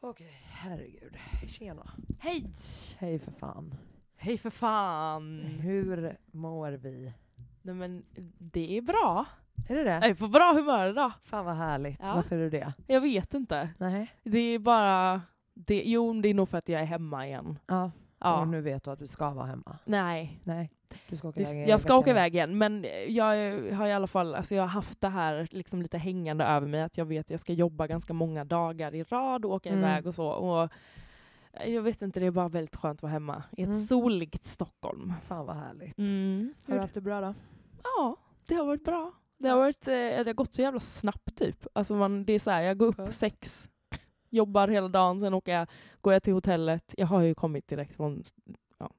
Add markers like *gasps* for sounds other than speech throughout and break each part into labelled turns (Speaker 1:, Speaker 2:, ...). Speaker 1: Okej, herregud. Tjena.
Speaker 2: Hej!
Speaker 1: Hej för fan.
Speaker 2: Hej för fan!
Speaker 1: Hur mår vi?
Speaker 2: Nej men det är bra.
Speaker 1: Är det det?
Speaker 2: Jag är på bra humör idag.
Speaker 1: Fan vad härligt.
Speaker 2: Ja.
Speaker 1: Varför är du det?
Speaker 2: Jag vet inte.
Speaker 1: Nej.
Speaker 2: Det är bara... Det, jo, det är nog för att jag är hemma igen.
Speaker 1: Ja.
Speaker 2: Ja.
Speaker 1: Och nu vet du att du ska vara hemma.
Speaker 2: Nej.
Speaker 1: Nej. Du ska åka
Speaker 2: Det-
Speaker 1: iväg i
Speaker 2: Jag ska
Speaker 1: veckan
Speaker 2: åka
Speaker 1: här.
Speaker 2: iväg igen men jag har i alla fall alltså jag har haft det här liksom lite hängande över mig att jag vet att jag ska jobba ganska många dagar i rad och åka
Speaker 1: Mm.
Speaker 2: iväg och så. Och jag vet inte, det är bara väldigt skönt att vara hemma i ett
Speaker 1: Mm.
Speaker 2: soligt Stockholm.
Speaker 1: Fan vad härligt.
Speaker 2: Mm.
Speaker 1: Har du haft det bra då?
Speaker 2: Ja, det har varit bra. Det har, varit, eh, det har gått så jävla snabbt typ. Alltså man, det är så här, jag går upp
Speaker 1: Skönt.
Speaker 2: sex, *laughs* jobbar hela dagen, sen åker jag, går jag till hotellet. Jag har ju kommit direkt från ja,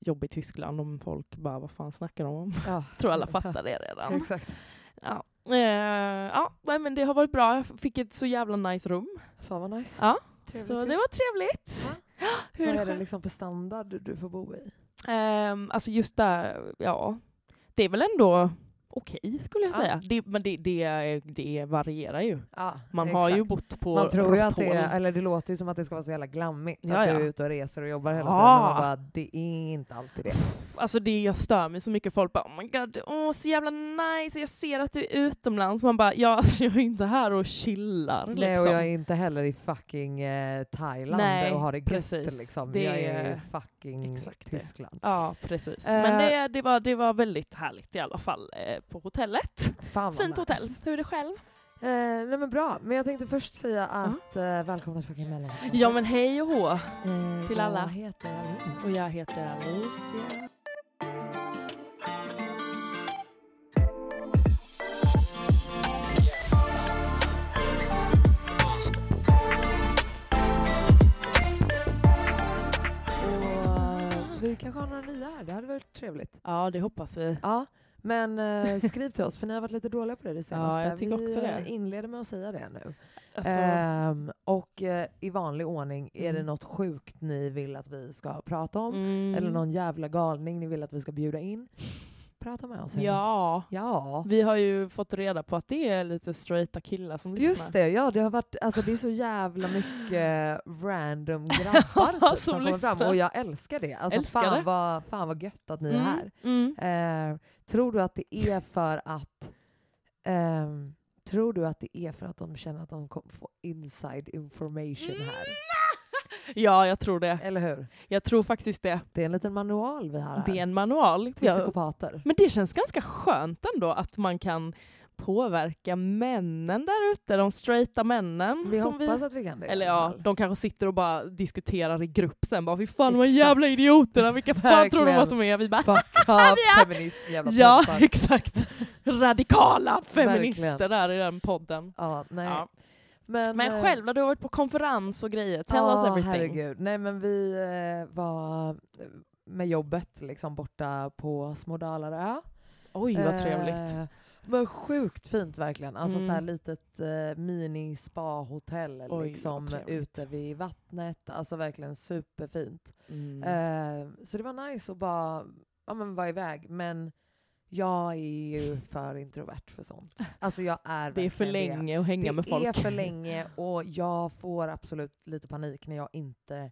Speaker 2: jobb i Tyskland om folk bara, vad fan snackar de om? *laughs*
Speaker 1: Ja.
Speaker 2: tror alla fattar det redan.
Speaker 1: Exakt.
Speaker 2: Ja. Eh, ja, nej, men det har varit bra. Jag fick ett så jävla nice rum.
Speaker 1: Fan vad nice.
Speaker 2: Ja,
Speaker 1: Trevligt,
Speaker 2: så det
Speaker 1: trevligt.
Speaker 2: var trevligt. *gasps* Hur
Speaker 1: Vad är det
Speaker 2: själv-
Speaker 1: liksom för standard du- du får bo i?
Speaker 2: Ehm, alltså just där, ja. Det är väl ändå okej skulle jag
Speaker 1: Ja.
Speaker 2: säga. Det, men det, det, det varierar ju.
Speaker 1: Ja,
Speaker 2: Man har ju bott på
Speaker 1: Man tror ju att det,
Speaker 2: Rothåll.
Speaker 1: är, eller det låter ju som att det ska vara så jälla glammigt.
Speaker 2: Ja,
Speaker 1: att
Speaker 2: ja.
Speaker 1: du är ute och reser och jobbar hela
Speaker 2: Ja.
Speaker 1: tiden. Men man bara, det är inte alltid det.
Speaker 2: Alltså det, jag stör mig så mycket. Folk bara oh my god, åh så jävla nice, jag ser att du är utomlands. Man bara ja, *laughs* alltså, jag är ju inte här och chillar.
Speaker 1: Nej och
Speaker 2: liksom.
Speaker 1: jag är inte heller i fucking eh, Thailand
Speaker 2: Nej,
Speaker 1: och har det gött
Speaker 2: precis.
Speaker 1: liksom.
Speaker 2: Det
Speaker 1: jag
Speaker 2: är
Speaker 1: är i fucking
Speaker 2: exakt det.
Speaker 1: Tyskland.
Speaker 2: Ja, precis.
Speaker 1: Eh.
Speaker 2: Men det, det, var, det var väldigt härligt i alla fall eh, på hotellet.
Speaker 1: Fan vad
Speaker 2: Fint
Speaker 1: nice.
Speaker 2: hotell. Hur är det själv?
Speaker 1: Eh, nej men bra, men jag tänkte först säga att eh, välkomna till fucking mellan.
Speaker 2: Ja men hej och hå.
Speaker 1: Eh,
Speaker 2: till alla.
Speaker 1: Jag heter Alin.
Speaker 2: Och jag heter Alicia.
Speaker 1: Och eh, vi kanske har några nya här, det hade varit trevligt.
Speaker 2: Ja, det hoppas vi.
Speaker 1: Ja, men eh, skriv till oss för ni har varit lite dåliga på det
Speaker 2: *laughs*
Speaker 1: det senaste.
Speaker 2: jag tycker
Speaker 1: vi
Speaker 2: också det.
Speaker 1: eh, inleder med att säga det nu.
Speaker 2: Alltså,
Speaker 1: Ehm, och eh, i vanlig ordning, är det
Speaker 2: Mm.
Speaker 1: något sjukt ni vill att vi ska prata om?
Speaker 2: mm.
Speaker 1: Eller någon jävla galning ni vill att vi ska bjuda in? Prata med oss. hörni.
Speaker 2: Ja.
Speaker 1: ja.
Speaker 2: Vi har ju fått reda på att det är lite straighta killar som lyssnar.
Speaker 1: Just det, ja det har varit, alltså det är så jävla mycket
Speaker 2: *laughs*
Speaker 1: random
Speaker 2: Som
Speaker 1: grabbar typ, som kommer fram
Speaker 2: lyssnar.
Speaker 1: och jag älskar det. Alltså
Speaker 2: Älskar det.
Speaker 1: fan vad, fan vad gött att ni är här.
Speaker 2: Mm.
Speaker 1: Ehm, tror du att det är för att ehm, Tror du att det är för att de känner att de kommer få inside information
Speaker 2: Mm.
Speaker 1: här?
Speaker 2: *laughs* Ja, jag tror det.
Speaker 1: Eller hur?
Speaker 2: Jag tror faktiskt det.
Speaker 1: Det är en liten manual vi har här.
Speaker 2: Det är en manual.
Speaker 1: Till
Speaker 2: Ja. Mm,
Speaker 1: psykopater.
Speaker 2: Men det känns ganska skönt ändå att man kan påverka männen där ute, de straighta männen.
Speaker 1: Vi
Speaker 2: som
Speaker 1: hoppas att vi kan det. i
Speaker 2: Eller
Speaker 1: alla
Speaker 2: ja, *laughs*
Speaker 1: fall.
Speaker 2: de kanske sitter och bara diskuterar i grupp sen bara fy fan
Speaker 1: *laughs*
Speaker 2: de här
Speaker 1: Exakt.
Speaker 2: jävla idioterna, vilka fan tror de
Speaker 1: Verkligen.
Speaker 2: att de är? Vi bara
Speaker 1: Fuck
Speaker 2: Ja.
Speaker 1: up feminism, jävla
Speaker 2: ja *laughs*
Speaker 1: pösar.
Speaker 2: exakt, radikala feminister
Speaker 1: Verkligen.
Speaker 2: där i den podden.
Speaker 1: Ja, nej.
Speaker 2: Ja.
Speaker 1: Men, eh,
Speaker 2: Men själv då, du har varit på konferens och grejer, tell
Speaker 1: ja,
Speaker 2: us everything.
Speaker 1: Herregud. Nej men vi eh, var eh, med jobbet liksom borta på Små Dalarö.
Speaker 2: Oj vad trevligt.
Speaker 1: Eh, men sjukt fint verkligen. Alltså
Speaker 2: Mm.
Speaker 1: så här litet eh, mini spa-hotell
Speaker 2: vad
Speaker 1: liksom
Speaker 2: trevligt.
Speaker 1: ute vid vattnet. Alltså verkligen superfint.
Speaker 2: Mm.
Speaker 1: Eh, så det var nice att bara ja, men vara iväg. Men jag är ju för introvert för sånt. Alltså jag är
Speaker 2: det är för
Speaker 1: verkligen
Speaker 2: länge att hänga
Speaker 1: det
Speaker 2: med folk.
Speaker 1: är
Speaker 2: *laughs*
Speaker 1: för länge och jag får absolut lite panik när jag inte,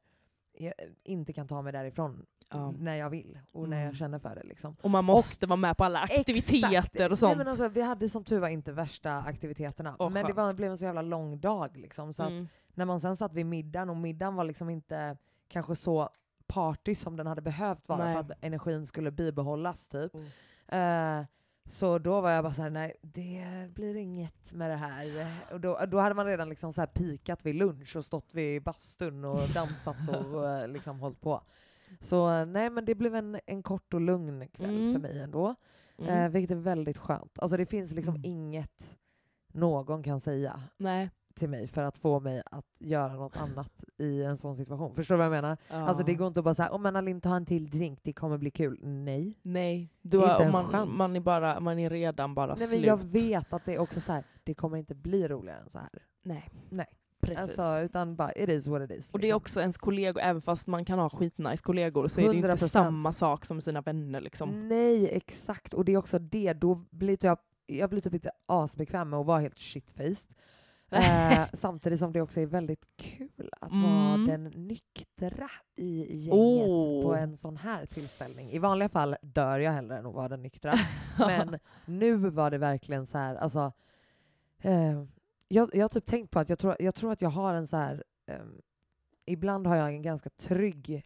Speaker 1: jag, inte kan ta mig därifrån
Speaker 2: Ja.
Speaker 1: när jag vill och när
Speaker 2: Mm.
Speaker 1: jag känner för det. Liksom.
Speaker 2: Och man måste vara med på alla aktiviteter
Speaker 1: Exakt.
Speaker 2: och sånt.
Speaker 1: Nej, men alltså, vi hade som tur var inte värsta aktiviteterna.
Speaker 2: Åh,
Speaker 1: men det
Speaker 2: skönt.
Speaker 1: var, blev en så jävla lång dag. Liksom, så att
Speaker 2: Mm.
Speaker 1: När man sen satt vid middagen och middagen var liksom inte kanske så party som den hade behövt vara
Speaker 2: Nej.
Speaker 1: för att energin skulle bibehållas. Typ.
Speaker 2: Mm.
Speaker 1: Eh, så då var jag bara såhär, nej det blir inget med det här. Och då, då hade man redan liksom så här pikat vid lunch och stått vid bastun och dansat
Speaker 2: *laughs*
Speaker 1: och eh, liksom hållit på. Så eh, nej men det blev en, en kort och lugn kväll
Speaker 2: Mm.
Speaker 1: för mig ändå.
Speaker 2: Mm.
Speaker 1: Eh, vilket är väldigt skönt. Alltså det finns liksom
Speaker 2: Mm.
Speaker 1: inget någon kan säga
Speaker 2: Nej.
Speaker 1: till mig för att få mig att göra något annat i en sån situation. Förstår du vad jag menar? Alltså
Speaker 2: Ja.
Speaker 1: det går inte att bara säga om men Alin ta en till drink, det kommer bli kul. Nej.
Speaker 2: Nej, du
Speaker 1: Inte
Speaker 2: har,
Speaker 1: en
Speaker 2: man,
Speaker 1: chans.
Speaker 2: man, är bara, man är redan bara
Speaker 1: Nej men
Speaker 2: slut.
Speaker 1: jag vet att det är också så här. det kommer inte bli roligare än så här.
Speaker 2: Nej.
Speaker 1: Nej.
Speaker 2: Precis.
Speaker 1: Alltså, utan bara it is what it is.
Speaker 2: och det är
Speaker 1: liksom.
Speaker 2: också ens kollegor, även fast man kan ha skitnice kollegor så är det ju inte
Speaker 1: 100%.
Speaker 2: samma sak som sina vänner liksom.
Speaker 1: Nej exakt, och det är också det, då blir typ jag, jag blir typ inte asbekväm med att vara
Speaker 2: *laughs*
Speaker 1: helt shitfaced. Eh, samtidigt som det också är väldigt kul att vara
Speaker 2: Mm.
Speaker 1: den nyktra i gänget på
Speaker 2: Oh.
Speaker 1: en sån här tillställning. I vanliga fall dör jag hellre än att vara den nyktra. *laughs* Men nu var det verkligen så här, alltså. Eh, jag, jag har typ tänkt på att jag tror, jag tror att jag har en så här. ehm, ibland har jag en ganska trygg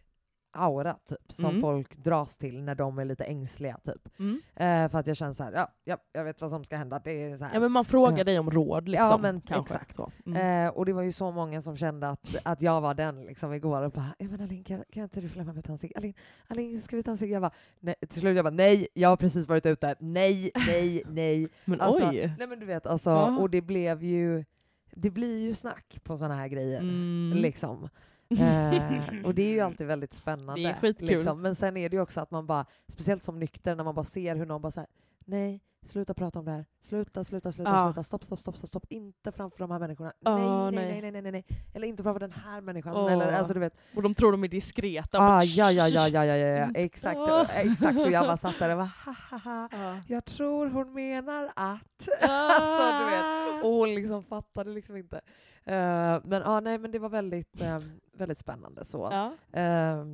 Speaker 1: aura typ som
Speaker 2: Mm.
Speaker 1: folk dras till när de är lite ängsliga typ.
Speaker 2: Mm.
Speaker 1: Eh, för att jag känner så här, ja, ja, jag vet vad som ska hända. Det är så här.
Speaker 2: Ja men man frågar
Speaker 1: Ja.
Speaker 2: dig om råd liksom.
Speaker 1: Ja, men
Speaker 2: kanske.
Speaker 1: exakt.
Speaker 2: Så. Mm.
Speaker 1: Eh, och det var ju så många som kände att, att jag var den liksom igår och bara "Ja, men Alin kan, kan inte du följa med mig och ta en cigg? Alin, Alin ska vi ta en cigg? Jag bara, nej. till slut jag bara nej, jag har precis varit ute, nej, nej, nej.
Speaker 2: Men
Speaker 1: alltså,
Speaker 2: oj!
Speaker 1: Nej men du vet alltså,
Speaker 2: Ja.
Speaker 1: och det blev ju, det blir ju snack på sådana här grejer.
Speaker 2: Mm. *laughs*
Speaker 1: Liksom. Eh, och det är ju alltid väldigt spännande.
Speaker 2: Det är skitkul.
Speaker 1: Liksom. Men sen är det ju också att man bara, speciellt som nykter, när man bara ser hur någon bara säger nej, sluta prata om det här, sluta, sluta, sluta,
Speaker 2: Ja.
Speaker 1: sluta, stopp, stopp, stopp, stopp, stopp, inte framför de här människorna,
Speaker 2: Ja,
Speaker 1: nej,
Speaker 2: nej.
Speaker 1: nej, nej, nej, nej, nej, eller inte framför den här människan,
Speaker 2: Åh.
Speaker 1: eller alltså du vet,
Speaker 2: Och de tror de är diskreta.
Speaker 1: ah,
Speaker 2: Bara-
Speaker 1: ja, ja, ja, ja, ja, ja, ja,
Speaker 2: Inte.
Speaker 1: exakt,
Speaker 2: Åh.
Speaker 1: exakt, och jag bara satt där och bara ha, ha, ha.
Speaker 2: *laughs* Ja.
Speaker 1: Jag tror hon menar att... alltså, du vet. *laughs* Och hon liksom fattade liksom inte. Eh, men ja, nej, men det var väldigt, eh, väldigt spännande så.
Speaker 2: Ja.
Speaker 1: Eh,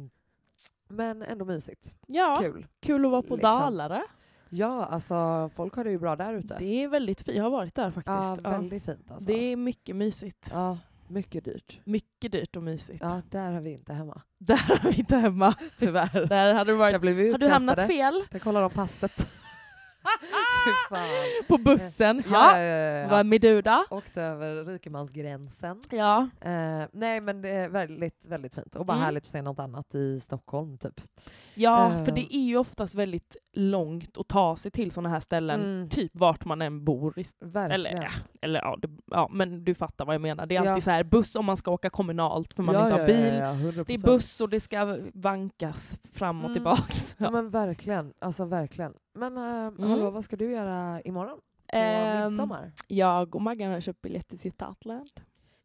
Speaker 1: men ändå mysigt.
Speaker 2: ja, kul.
Speaker 1: Kul.
Speaker 2: att vara på
Speaker 1: Liksom.
Speaker 2: Dalarö.
Speaker 1: Ja, alltså folk har det ju bra där ute.
Speaker 2: Det är väldigt fint. Jag har varit där faktiskt.
Speaker 1: ja,
Speaker 2: Ja.
Speaker 1: väldigt fint alltså.
Speaker 2: Det är mycket mysigt.
Speaker 1: ja, mycket dyrt.
Speaker 2: Mycket dyrt och mysigt.
Speaker 1: Ja, där har vi inte hemma.
Speaker 2: *laughs* Där har vi inte hemma.
Speaker 1: Tyvärr.
Speaker 2: Där hade du varit...
Speaker 1: Där blev vi
Speaker 2: Har du
Speaker 1: utkastade.
Speaker 2: hamnat fel?
Speaker 1: Där kollar de passet. *laughs*
Speaker 2: *laughs*
Speaker 1: Fy fan.
Speaker 2: På bussen?
Speaker 1: Ja,
Speaker 2: Ha?
Speaker 1: ja, ja, ja.
Speaker 2: Vem är du då?
Speaker 1: Åkte över rikemansgränsen.
Speaker 2: Ja,
Speaker 1: Eh, nej men det är väldigt, väldigt fint och bara
Speaker 2: Mm.
Speaker 1: härligt att se något annat i Stockholm typ.
Speaker 2: ja
Speaker 1: Eh.
Speaker 2: för det är ju oftast väldigt långt att ta sig till sådana här ställen,
Speaker 1: Mm.
Speaker 2: typ vart man än bor. I,
Speaker 1: Verkligen.
Speaker 2: eller ja, eller ja, det, ja, men du fattar vad jag menar. Det är
Speaker 1: Ja.
Speaker 2: alltid så här buss om man ska åka kommunalt för man
Speaker 1: ja,
Speaker 2: inte har
Speaker 1: ja,
Speaker 2: bil.
Speaker 1: Ja, ja, 100%.
Speaker 2: Det är buss och det ska vankas fram och
Speaker 1: Mm.
Speaker 2: tillbaks.
Speaker 1: Ja
Speaker 2: Ja. Mm.
Speaker 1: men verkligen, alltså verkligen. Men eh, hallå vad ska du göra imorgon? På
Speaker 2: Ehm,
Speaker 1: midsommar?
Speaker 2: jag och Maggan har köpt biljetter till Tatland.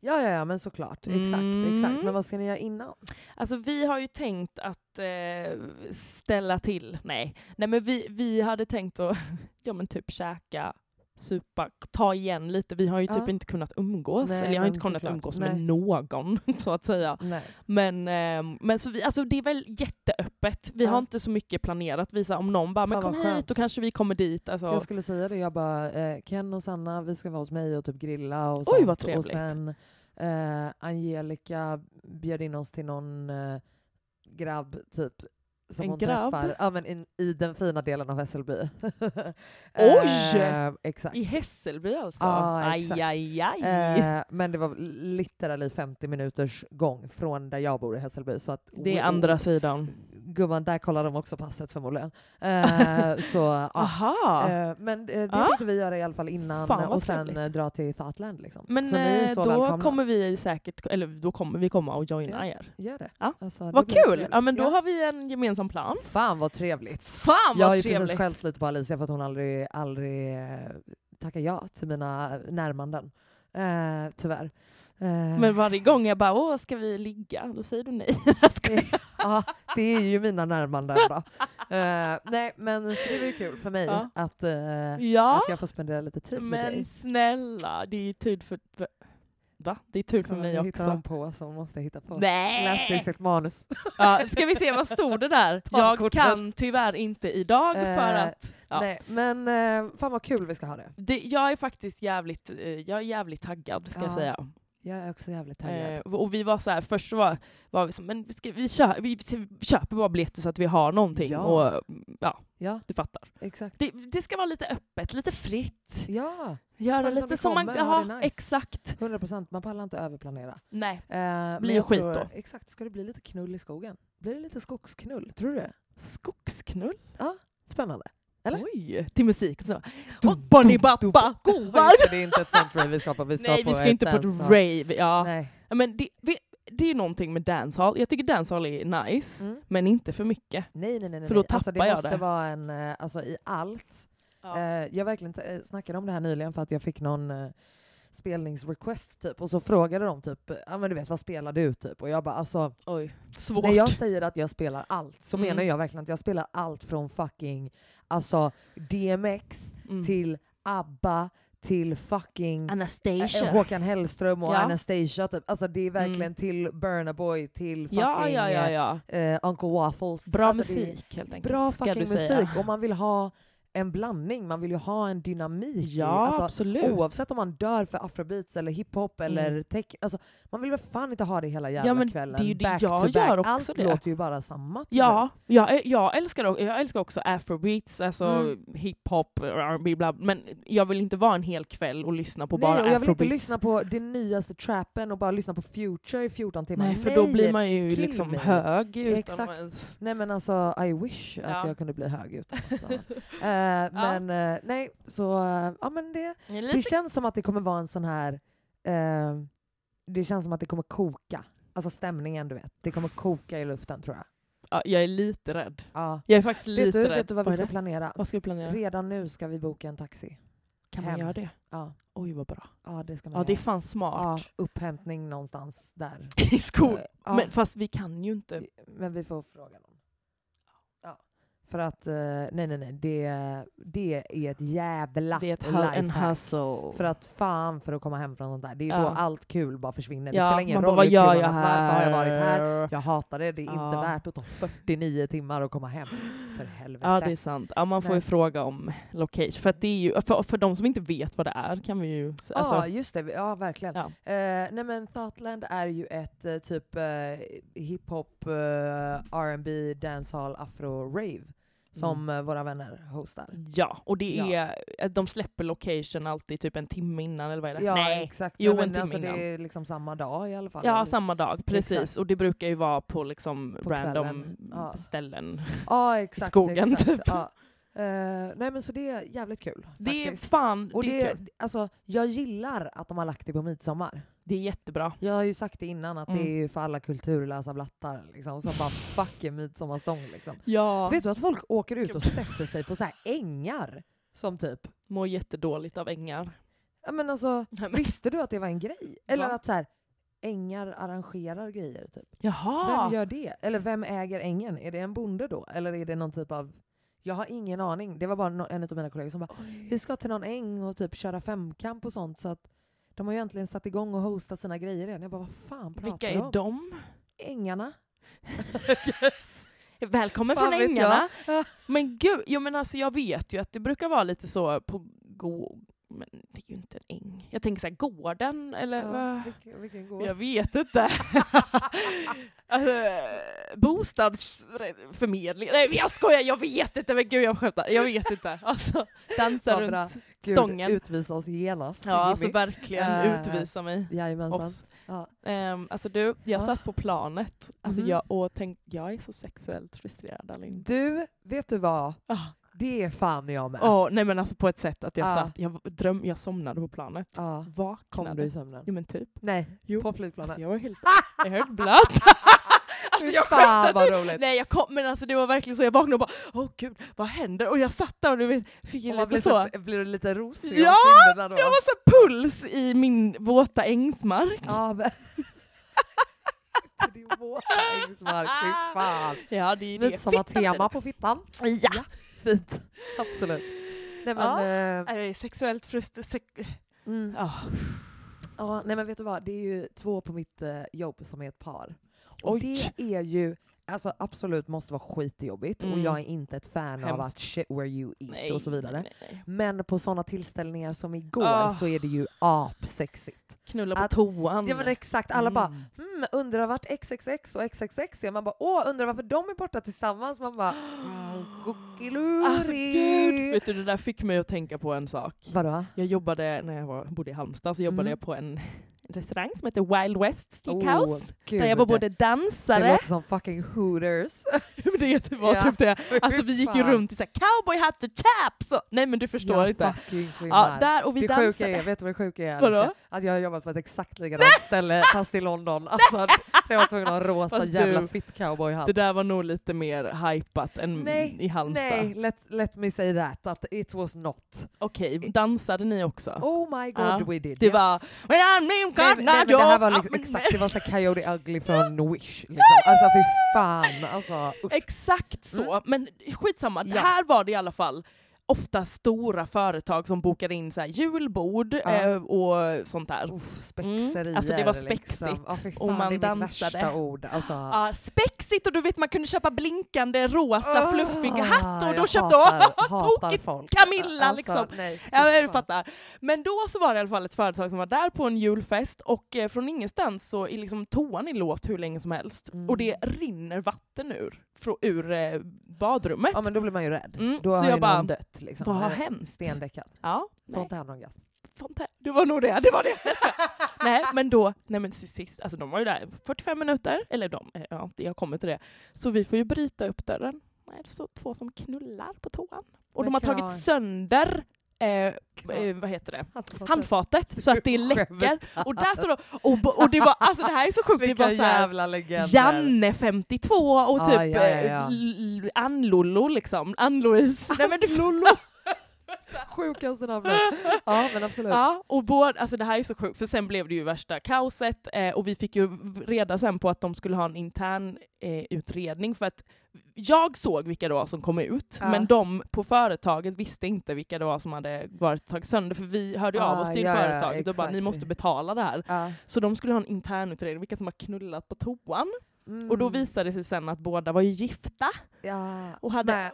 Speaker 1: Ja ja ja men såklart, exakt,
Speaker 2: Mm.
Speaker 1: exakt. Men vad ska ni göra innan?
Speaker 2: Alltså vi har ju tänkt att eh, ställa till, nej. nej men vi, vi hade tänkt att *laughs* ja, men typ käka, supa, ta igen lite. Vi har ju typ
Speaker 1: Ja.
Speaker 2: inte kunnat umgås,
Speaker 1: Nej,
Speaker 2: eller jag har
Speaker 1: men
Speaker 2: inte kunnat
Speaker 1: såklart.
Speaker 2: umgås med
Speaker 1: Nej.
Speaker 2: någon *laughs* så att säga.
Speaker 1: Nej.
Speaker 2: Men, eh, men så vi, alltså, det är väl jätteöppet. Vi
Speaker 1: Ja.
Speaker 2: har inte så mycket planerat. Vi, så här, om någon bara
Speaker 1: Fan,
Speaker 2: men
Speaker 1: vad
Speaker 2: kom hit
Speaker 1: skönt."
Speaker 2: då kanske vi kommer dit. Alltså,
Speaker 1: Jag skulle säga det, jag bara eh, Ken och Sanna vi ska vara hos mig och typ grilla och
Speaker 2: Oj, vad
Speaker 1: sånt. Och
Speaker 2: trevligt.
Speaker 1: sen eh, Angelica bjöd in oss till någon eh, grabb typ. Som
Speaker 2: En
Speaker 1: hon
Speaker 2: grabb?
Speaker 1: träffar ja, men in, i den fina delen av Hässelby. *laughs*
Speaker 2: Oj!
Speaker 1: Eh, exakt.
Speaker 2: I Hässelby alltså?
Speaker 1: Ja,
Speaker 2: aj,
Speaker 1: exakt.
Speaker 2: aj, aj.
Speaker 1: Eh, men det var literally 50 minuters gång från där jag bor i Hässelby. Så att
Speaker 2: det är andra sidan.
Speaker 1: gumman, där kollar de också passet förmodligen.
Speaker 2: *laughs*
Speaker 1: Eh, så, ja.
Speaker 2: Aha.
Speaker 1: Eh, men eh, det
Speaker 2: Ja.
Speaker 1: tänkte vi göra i alla fall innan
Speaker 2: Fan, vad
Speaker 1: och sen
Speaker 2: trevligt.
Speaker 1: eh, dra till Thoughtland. Liksom.
Speaker 2: Men
Speaker 1: så ni är
Speaker 2: eh,
Speaker 1: så
Speaker 2: då
Speaker 1: välkomna.
Speaker 2: kommer vi säkert, eller då kommer vi komma och joina er.
Speaker 1: Gör det.
Speaker 2: Ja.
Speaker 1: Alltså, det
Speaker 2: Vad
Speaker 1: blir
Speaker 2: kul!
Speaker 1: trevligt.
Speaker 2: Ja men då
Speaker 1: Ja.
Speaker 2: har vi en gemensam plan.
Speaker 1: Fan vad trevligt!
Speaker 2: Fan
Speaker 1: jag har
Speaker 2: vad
Speaker 1: ju
Speaker 2: trevligt!
Speaker 1: precis skällt lite på Alicia för att hon aldrig, aldrig eh, tackar ja till mina närmanden. Eh, tyvärr. Eh,
Speaker 2: Men varje gång jag bara åh ska vi ligga? Då säger du nej. *laughs* Jag skojar.
Speaker 1: *laughs* ja, det är ju mina närmanden då. Eh, nej men så det var ju kul för mig
Speaker 2: Ja.
Speaker 1: att, eh,
Speaker 2: ja
Speaker 1: att jag får spendera lite tid med dig.
Speaker 2: men snälla, det är ju tur för... för- Va? Det är tur för
Speaker 1: Kolla,
Speaker 2: mig
Speaker 1: nu hittar
Speaker 2: också.
Speaker 1: hon på så hon måste hitta på. Läs det i
Speaker 2: Nej!
Speaker 1: sitt manus.
Speaker 2: *laughs* Ja, ska vi se vad stod det
Speaker 1: *laughs*
Speaker 2: där? Jag
Speaker 1: Talkortet.
Speaker 2: kan tyvärr inte idag för
Speaker 1: Eh,
Speaker 2: att... Ja.
Speaker 1: Nej, men eh, fan vad kul vi ska ha det.
Speaker 2: Det, jag är faktiskt jävligt, eh, jag är jävligt taggad ska jag
Speaker 1: Ja.
Speaker 2: säga.
Speaker 1: Jag är också jävligt taggad.
Speaker 2: Eh, och vi var så här, först så var, var vi så, men ska vi, kö, vi köper bara biljetter så att vi har någonting.
Speaker 1: Ja.
Speaker 2: Och, mm, ja,
Speaker 1: Ja,
Speaker 2: du fattar.
Speaker 1: exakt.
Speaker 2: Det, det ska vara lite öppet, lite fritt.
Speaker 1: Ja,
Speaker 2: Göra
Speaker 1: det som
Speaker 2: lite
Speaker 1: det
Speaker 2: som man...
Speaker 1: kommer, ha
Speaker 2: Ja,
Speaker 1: det nice.
Speaker 2: exakt.
Speaker 1: 100 procent. Man pallar inte överplanera.
Speaker 2: Nej.
Speaker 1: Eh, men
Speaker 2: Blir
Speaker 1: jag
Speaker 2: skit
Speaker 1: tror-
Speaker 2: då.
Speaker 1: Exakt, ska det bli lite knull i skogen? Blir det lite skogsknull? Tror du det?
Speaker 2: Skogsknull?
Speaker 1: Spännande. Eller?
Speaker 2: Oj! Till musik så.
Speaker 1: Dum,
Speaker 2: Och Bonnie
Speaker 1: dum, dum.
Speaker 2: Bappa, goa!
Speaker 1: Just det, det är inte ett sånt rave vi ska på. Vi ska
Speaker 2: Nej,
Speaker 1: på
Speaker 2: vi ska inte på ett
Speaker 1: dancehall.
Speaker 2: rave. Ja.
Speaker 1: Nej.
Speaker 2: Ja, Men det, vi, det är ju någonting med dancehall. Jag tycker dancehall är nice,
Speaker 1: Mm.
Speaker 2: men inte för mycket.
Speaker 1: nej, nej, nej. nej.
Speaker 2: För då
Speaker 1: alltså, det
Speaker 2: tappar jag
Speaker 1: måste
Speaker 2: det.
Speaker 1: vara en, eh, alltså i allt. Eh, jag verkligen t- eh, snackade om det här nyligen för att jag fick någon eh, spelningsrequest typ och så frågade de typ, ja men du vet vad spelar du typ? Och jag bara alltså
Speaker 2: Oj, svårt.
Speaker 1: När jag säger att jag spelar allt så
Speaker 2: Mm.
Speaker 1: menar jag verkligen att jag spelar allt från fucking alltså, DMX
Speaker 2: Mm.
Speaker 1: till ABBA till fucking
Speaker 2: Anastasia.
Speaker 1: äh, Håkan Hellström och
Speaker 2: Ja.
Speaker 1: Anastasia. Typ. Alltså det är verkligen
Speaker 2: Mm.
Speaker 1: till Burna Boy till fucking
Speaker 2: Ja, ja, ja, ja.
Speaker 1: eh, Uncle Waffles.
Speaker 2: Bra
Speaker 1: Alltså, det är
Speaker 2: musik helt enkelt.
Speaker 1: Bra
Speaker 2: ska
Speaker 1: fucking
Speaker 2: du
Speaker 1: musik
Speaker 2: säga.
Speaker 1: och man vill ha en blandning, man vill ju ha en dynamik. i-
Speaker 2: Ja,
Speaker 1: alltså,
Speaker 2: absolut. Mm.
Speaker 1: Oavsett om man dör för afrobeats eller hiphop eller tech, alltså, man vill väl fan inte ha det hela jävla
Speaker 2: men det är
Speaker 1: kvällen.
Speaker 2: ju det
Speaker 1: back
Speaker 2: jag
Speaker 1: to back.
Speaker 2: gör också
Speaker 1: Allt
Speaker 2: det.
Speaker 1: låter ju bara samma. typ. till
Speaker 2: Ja, jag, jag, älskar, o- jag älskar också afrobeats, alltså
Speaker 1: Mm.
Speaker 2: hiphop, R&B, bla, men jag vill inte vara en hel kväll och lyssna på
Speaker 1: slut.
Speaker 2: bara
Speaker 1: Nej, och jag vill inte
Speaker 2: afrobeats.
Speaker 1: lyssna på den nyaste trappen och bara lyssna på Future i 14 timmar.
Speaker 2: Nej, för då blir man ju
Speaker 1: kill
Speaker 2: liksom
Speaker 1: me.
Speaker 2: hög utan
Speaker 1: Exakt.
Speaker 2: att ens...
Speaker 1: Nej men alltså, I wish att
Speaker 2: Ja.
Speaker 1: jag kunde bli
Speaker 2: *laughs*
Speaker 1: hög utan något annat. Eh, Men eh, nej, så eh, ja men det, Det
Speaker 2: Lite...
Speaker 1: känns som att det kommer vara en sån här... Eh, det känns som att det kommer koka. Alltså stämningen, du vet. Det kommer koka i luften tror jag.
Speaker 2: Ja, jag är lite rädd.
Speaker 1: Ja.
Speaker 2: Jag är faktiskt lite
Speaker 1: Vet, du,
Speaker 2: rädd.
Speaker 1: vet du vad vi
Speaker 2: Vad är
Speaker 1: ska
Speaker 2: det?
Speaker 1: planera?
Speaker 2: Vad ska vi planera?
Speaker 1: Redan nu ska vi boka en taxi.
Speaker 2: Kan man
Speaker 1: hem.
Speaker 2: göra det?
Speaker 1: Ja,
Speaker 2: Oj, vad bra.
Speaker 1: ja det ska man
Speaker 2: Ja, det är
Speaker 1: göra.
Speaker 2: fan
Speaker 1: ja,
Speaker 2: smart.
Speaker 1: upphämtning någonstans där.
Speaker 2: *laughs* I skol.
Speaker 1: Eh, Ja,
Speaker 2: Men fast vi kan ju inte.
Speaker 1: men vi får fråga någon. Ja. För att, eh, nej nej nej, det, det är ett jävla
Speaker 2: Det är ett hu- en
Speaker 1: lifehack.
Speaker 2: hustle.
Speaker 1: För att fan för att komma hem från sånt där, det är då
Speaker 2: Oh. Ja.
Speaker 1: allt kul bara försvinner. Det
Speaker 2: Ja,
Speaker 1: spelar ingen
Speaker 2: man
Speaker 1: roll
Speaker 2: bara,
Speaker 1: hur kul
Speaker 2: "Vad gör
Speaker 1: man
Speaker 2: jag
Speaker 1: har varit, varför har jag varit här?
Speaker 2: här?"
Speaker 1: Jag hatar det, det är
Speaker 2: Ja.
Speaker 1: inte värt att ta 49 timmar och komma hem. För helvete.
Speaker 2: Ja det är sant. Ja, man får
Speaker 1: Nej.
Speaker 2: ju fråga om location. För, att det är ju, för, för de som inte vet vad det är kan vi ju...
Speaker 1: Ja
Speaker 2: Alltså,
Speaker 1: just det, ja verkligen.
Speaker 2: Ja.
Speaker 1: Eh, nej men Thoughtland är ju ett eh, typ eh, hiphop, eh, R&B, dancehall, afro-rave som
Speaker 2: Mm.
Speaker 1: eh, våra vänner hostar.
Speaker 2: ja, och det
Speaker 1: Ja.
Speaker 2: är... eh, De släpper location alltid typ en timme innan eller vad är det?
Speaker 1: Ja
Speaker 2: Nej!
Speaker 1: exakt,
Speaker 2: Jo,
Speaker 1: Nej,
Speaker 2: en
Speaker 1: men
Speaker 2: timme
Speaker 1: alltså, det
Speaker 2: innan.
Speaker 1: är liksom samma dag i alla fall.
Speaker 2: Ja,
Speaker 1: Eller-
Speaker 2: samma dag. Precis.
Speaker 1: Exakt.
Speaker 2: Och det brukar ju vara på liksom
Speaker 1: På
Speaker 2: random
Speaker 1: kvällen. Ja.
Speaker 2: ställen. *laughs*
Speaker 1: Ja exakt.
Speaker 2: skogen,
Speaker 1: exakt.
Speaker 2: typ.
Speaker 1: Ja. Eh, nej men så det är jävligt kul.
Speaker 2: Det är
Speaker 1: faktiskt.
Speaker 2: fan...
Speaker 1: Och
Speaker 2: det, är
Speaker 1: det,
Speaker 2: kul.
Speaker 1: alltså, jag gillar att de har lagt det på midsommar.
Speaker 2: det är jättebra.
Speaker 1: Jag har ju sagt det innan att
Speaker 2: Mm.
Speaker 1: det är ju för alla kulturlösa blattar liksom, som bara fuck är midsommarstång. Liksom.
Speaker 2: Ja.
Speaker 1: Vet du att folk åker ut och
Speaker 2: Gud.
Speaker 1: sätter sig på så här ängar? Som typ,
Speaker 2: Mår jättedåligt av ängar.
Speaker 1: ja men alltså,
Speaker 2: Nej, men-
Speaker 1: visste du att det var en grej? Eller
Speaker 2: Va?
Speaker 1: att så här, ängar arrangerar grejer. Typ.
Speaker 2: *laughs* Jaha!
Speaker 1: Vem gör det? Eller vem äger ängen? Är det en bonde då? Eller är det någon typ av... Jag har ingen aning. Det var bara no- en av mina kollegor som bara vi ska till någon äng och typ köra femkamp och sånt så att de har ju äntligen satt igång och hostat sina grejer igen. Jag bara, vad fan pratar
Speaker 2: Vilka
Speaker 1: du om?
Speaker 2: är de?
Speaker 1: Ängarna.
Speaker 2: Välkommen
Speaker 1: Fan
Speaker 2: från
Speaker 1: vet
Speaker 2: Ängarna!
Speaker 1: jag.
Speaker 2: Men gud, jo, men alltså, jag vet ju att det brukar vara lite så på go- Men det är ju inte en äng. Jag tänker så här, gården eller?
Speaker 1: Ja,
Speaker 2: vad?
Speaker 1: vilken, vilken gård?
Speaker 2: Jag vet inte. *laughs* alltså, bostadsförmedling. Nej men jag skojar, jag vet inte. Men gud jag skämtar. Jag vet inte. Alltså, dansa
Speaker 1: Vad bra.
Speaker 2: runt
Speaker 1: Gud,
Speaker 2: stången.
Speaker 1: Utvisa oss genast.
Speaker 2: ja, alltså
Speaker 1: Jimmy.
Speaker 2: verkligen
Speaker 1: Eh,
Speaker 2: utvisa mig.
Speaker 1: Jajamensan.
Speaker 2: Oss.
Speaker 1: Ja.
Speaker 2: Ehm, alltså du, jag
Speaker 1: Ja.
Speaker 2: satt på planet alltså,
Speaker 1: Mhm.
Speaker 2: jag, och tänkte, jag är så sexuellt frustrerad Alin.
Speaker 1: Du, vet du vad?
Speaker 2: Ah.
Speaker 1: Det är fan jag med.
Speaker 2: Åh, nej men alltså på ett sätt att jag
Speaker 1: Ja.
Speaker 2: satt, jag, dröm, jag somnade på planet.
Speaker 1: Ja. Kom
Speaker 2: Vaknade.
Speaker 1: du i sömnen?
Speaker 2: Jo men typ.
Speaker 1: Nej,
Speaker 2: Jo.
Speaker 1: på flygplanet.
Speaker 2: Alltså jag var helt, *laughs* jag var helt blöt. *laughs* alltså jag
Speaker 1: Fy fan,
Speaker 2: skämtar
Speaker 1: vad
Speaker 2: inte.
Speaker 1: roligt.
Speaker 2: Nej jag kom, men alltså det var verkligen så, jag vaknade och bara åh gud vad händer? Och jag satt där och du vet, fick
Speaker 1: Och
Speaker 2: en
Speaker 1: man
Speaker 2: lite
Speaker 1: blir,
Speaker 2: så,
Speaker 1: så, blir du lite rosig om
Speaker 2: Ja,
Speaker 1: kinderna då?
Speaker 2: jag var så här puls i min våta ängsmark.
Speaker 1: Ja,
Speaker 2: *laughs*
Speaker 1: men... det är våta ängsmark, fy fan.
Speaker 2: Ja det är ju det. typ.
Speaker 1: Lite samma
Speaker 2: Fittan,
Speaker 1: tema på fittan.
Speaker 2: det är det. Ja.
Speaker 1: Fint. Absolut. Nej men,
Speaker 2: Ja.
Speaker 1: eh,
Speaker 2: Jag är sexuellt frustrerad. Sex-
Speaker 1: mm.
Speaker 2: ah.
Speaker 1: ja, nej men vet du vad, det är ju två på mitt eh, jobb som är ett par. Och
Speaker 2: Oj.
Speaker 1: det är ju, alltså absolut måste vara skitjobbigt och
Speaker 2: Mm.
Speaker 1: jag är inte ett fan av
Speaker 2: Hemskt.
Speaker 1: att shit where you eat och så vidare.
Speaker 2: Nej, nej, nej.
Speaker 1: Men på sådana tillställningar som igår
Speaker 2: Ah.
Speaker 1: så är det ju apsexigt.
Speaker 2: Knulla på
Speaker 1: Att-
Speaker 2: toan.
Speaker 1: Ja men exakt, alla bara
Speaker 2: Mm.
Speaker 1: hmm, undrar vart XXX och XXX är. Man bara åh, undrar varför de är borta tillsammans. Man bara
Speaker 2: *gasps*
Speaker 1: mm, kuckiluri.
Speaker 2: Alltså gud! Vet du, det där fick mig att tänka på en sak.
Speaker 1: Vadå?
Speaker 2: Jag jobbade, när jag var, bodde i Halmstad, så jobbade
Speaker 1: Mm.
Speaker 2: jag på en restaurang som heter Wild West Steakhouse.
Speaker 1: gud.
Speaker 2: där jag var både
Speaker 1: Det
Speaker 2: dansare,
Speaker 1: låter som fucking hooters.
Speaker 2: *laughs* men det var
Speaker 1: Ja.
Speaker 2: typ
Speaker 1: *laughs*
Speaker 2: det. Alltså vi gick ju runt i så här cowboyhatt och chaps! Och, nej men du förstår
Speaker 1: jag
Speaker 2: inte.
Speaker 1: fucking svimmar.
Speaker 2: Ja, där och vi
Speaker 1: det sjuka
Speaker 2: dansade.
Speaker 1: är, vet du vad det sjuka är?
Speaker 2: Vadå?
Speaker 1: Alicia? Att jag har jobbat på ett exakt likadant
Speaker 2: *laughs*
Speaker 1: ställe fast i London. Alltså, jag var tvungen att ha en rosa
Speaker 2: Fast
Speaker 1: jävla
Speaker 2: du-
Speaker 1: fit cowboyhatt.
Speaker 2: Det där var nog lite mer hypat än
Speaker 1: Nej,
Speaker 2: i Halmstad.
Speaker 1: Nej, let, let me say that, att it was not.
Speaker 2: Okej, dansade ni också?
Speaker 1: Oh my god
Speaker 2: Ja,
Speaker 1: we did.
Speaker 2: det
Speaker 1: yes.
Speaker 2: var... Men I'm
Speaker 1: Nej, nej, men det här var liksom, exakt, det var så här Coyote
Speaker 2: *laughs*
Speaker 1: Ugly från Wish. Liksom. Alltså fy fan. Alltså, usch.
Speaker 2: Exakt så, men skitsamma.
Speaker 1: Mm. Ja.
Speaker 2: Här var det i alla fall ofta stora företag som bokade in så här julbord
Speaker 1: Ja.
Speaker 2: eh, och sånt där.
Speaker 1: Uff, spexerier.
Speaker 2: Alltså, det var
Speaker 1: Liksom.
Speaker 2: spexigt.
Speaker 1: Ja, fy fan,
Speaker 2: Och man
Speaker 1: det är mitt värsta
Speaker 2: dansade.
Speaker 1: ord. Alltså,
Speaker 2: Ja, Ah, spexigt och du vet man kunde köpa blinkande rosa
Speaker 1: Ah,
Speaker 2: fluffiga hattar och då
Speaker 1: jag
Speaker 2: köpte *laughs*
Speaker 1: hatar- hatar
Speaker 2: tokigt
Speaker 1: folk.
Speaker 2: Camilla
Speaker 1: Alltså,
Speaker 2: liksom.
Speaker 1: Nej,
Speaker 2: Ja,
Speaker 1: fy
Speaker 2: jag
Speaker 1: fan.
Speaker 2: fattar. Men då så var det i alla fall ett företag som var där på en julfest och eh, från ingenstans så är liksom toan är låst hur länge som helst
Speaker 1: Mm.
Speaker 2: och det rinner vatten ur, frå, ur eh, badrummet.
Speaker 1: Ja men då blir man ju rädd.
Speaker 2: Mm,
Speaker 1: Då
Speaker 2: så
Speaker 1: har
Speaker 2: jag
Speaker 1: ju
Speaker 2: bara,
Speaker 1: någon dött. Liksom.
Speaker 2: vad har
Speaker 1: Eh,
Speaker 2: hänt?
Speaker 1: Stendäckat.
Speaker 2: Ja,
Speaker 1: Får
Speaker 2: nej,
Speaker 1: inte hand om gas.
Speaker 2: fontän. Det var nog det, det var det. Jag
Speaker 1: *laughs*
Speaker 2: skojar. nej men då, nej men till sist, alltså de var ju där 45 minuter, eller de, eh, ja jag kommer till det. Så vi får ju bryta upp dörren. Nej, det står två som knullar på toan. Och
Speaker 1: Men
Speaker 2: de har tagit
Speaker 1: klar.
Speaker 2: sönder, eh, eh, vad heter det?
Speaker 1: Handfatet.
Speaker 2: handfatet så att
Speaker 1: *laughs*
Speaker 2: det läcker.
Speaker 1: Skämtar.
Speaker 2: Och där står det, och, b- och det var, alltså det här är så sjukt, det
Speaker 1: Vilka
Speaker 2: var såhär
Speaker 1: jävla legender.
Speaker 2: Janne 52 och
Speaker 1: Ah,
Speaker 2: typ
Speaker 1: ja, ja, ja.
Speaker 2: eh, L- Ann-Lollo liksom,
Speaker 1: *laughs*
Speaker 2: Ann-Louise. Nej, men det-
Speaker 1: Lollo. Sjukaste namnet. *laughs* Ja men absolut.
Speaker 2: Ja, och båda, alltså det här är så sjukt, för sen blev det ju värsta kaoset eh, och vi fick ju reda sen på att de skulle ha en intern eh, utredning för att jag såg vilka det var som kom ut,
Speaker 1: Ja.
Speaker 2: men de på företaget visste inte vilka det var som hade varit tagit sönder, för vi hörde ju av
Speaker 1: Ah,
Speaker 2: oss till
Speaker 1: ja, ja,
Speaker 2: företaget och bara
Speaker 1: exakt.
Speaker 2: ni måste betala det här.
Speaker 1: Ja.
Speaker 2: Så de skulle ha en intern utredning vilka som har knullat på toan. Och då
Speaker 1: Mm.
Speaker 2: visade det sig sen att båda var ju gifta
Speaker 1: Ja.
Speaker 2: och hade,
Speaker 1: Nej.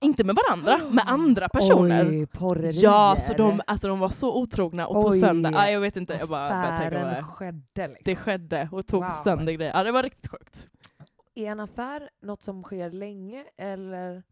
Speaker 2: inte med varandra,
Speaker 1: *gasps*
Speaker 2: med andra personer.
Speaker 1: Oj, porrerier.
Speaker 2: Ja, så de, alltså de var så otrogna och tog
Speaker 1: Oj.
Speaker 2: sönder, ja, jag vet inte, jag bara började tänka på
Speaker 1: Affären
Speaker 2: det.
Speaker 1: skedde liksom.
Speaker 2: Det skedde och tog
Speaker 1: Wow.
Speaker 2: sönder grejer. Ja det var riktigt sjukt.
Speaker 1: Är en affär något som sker länge eller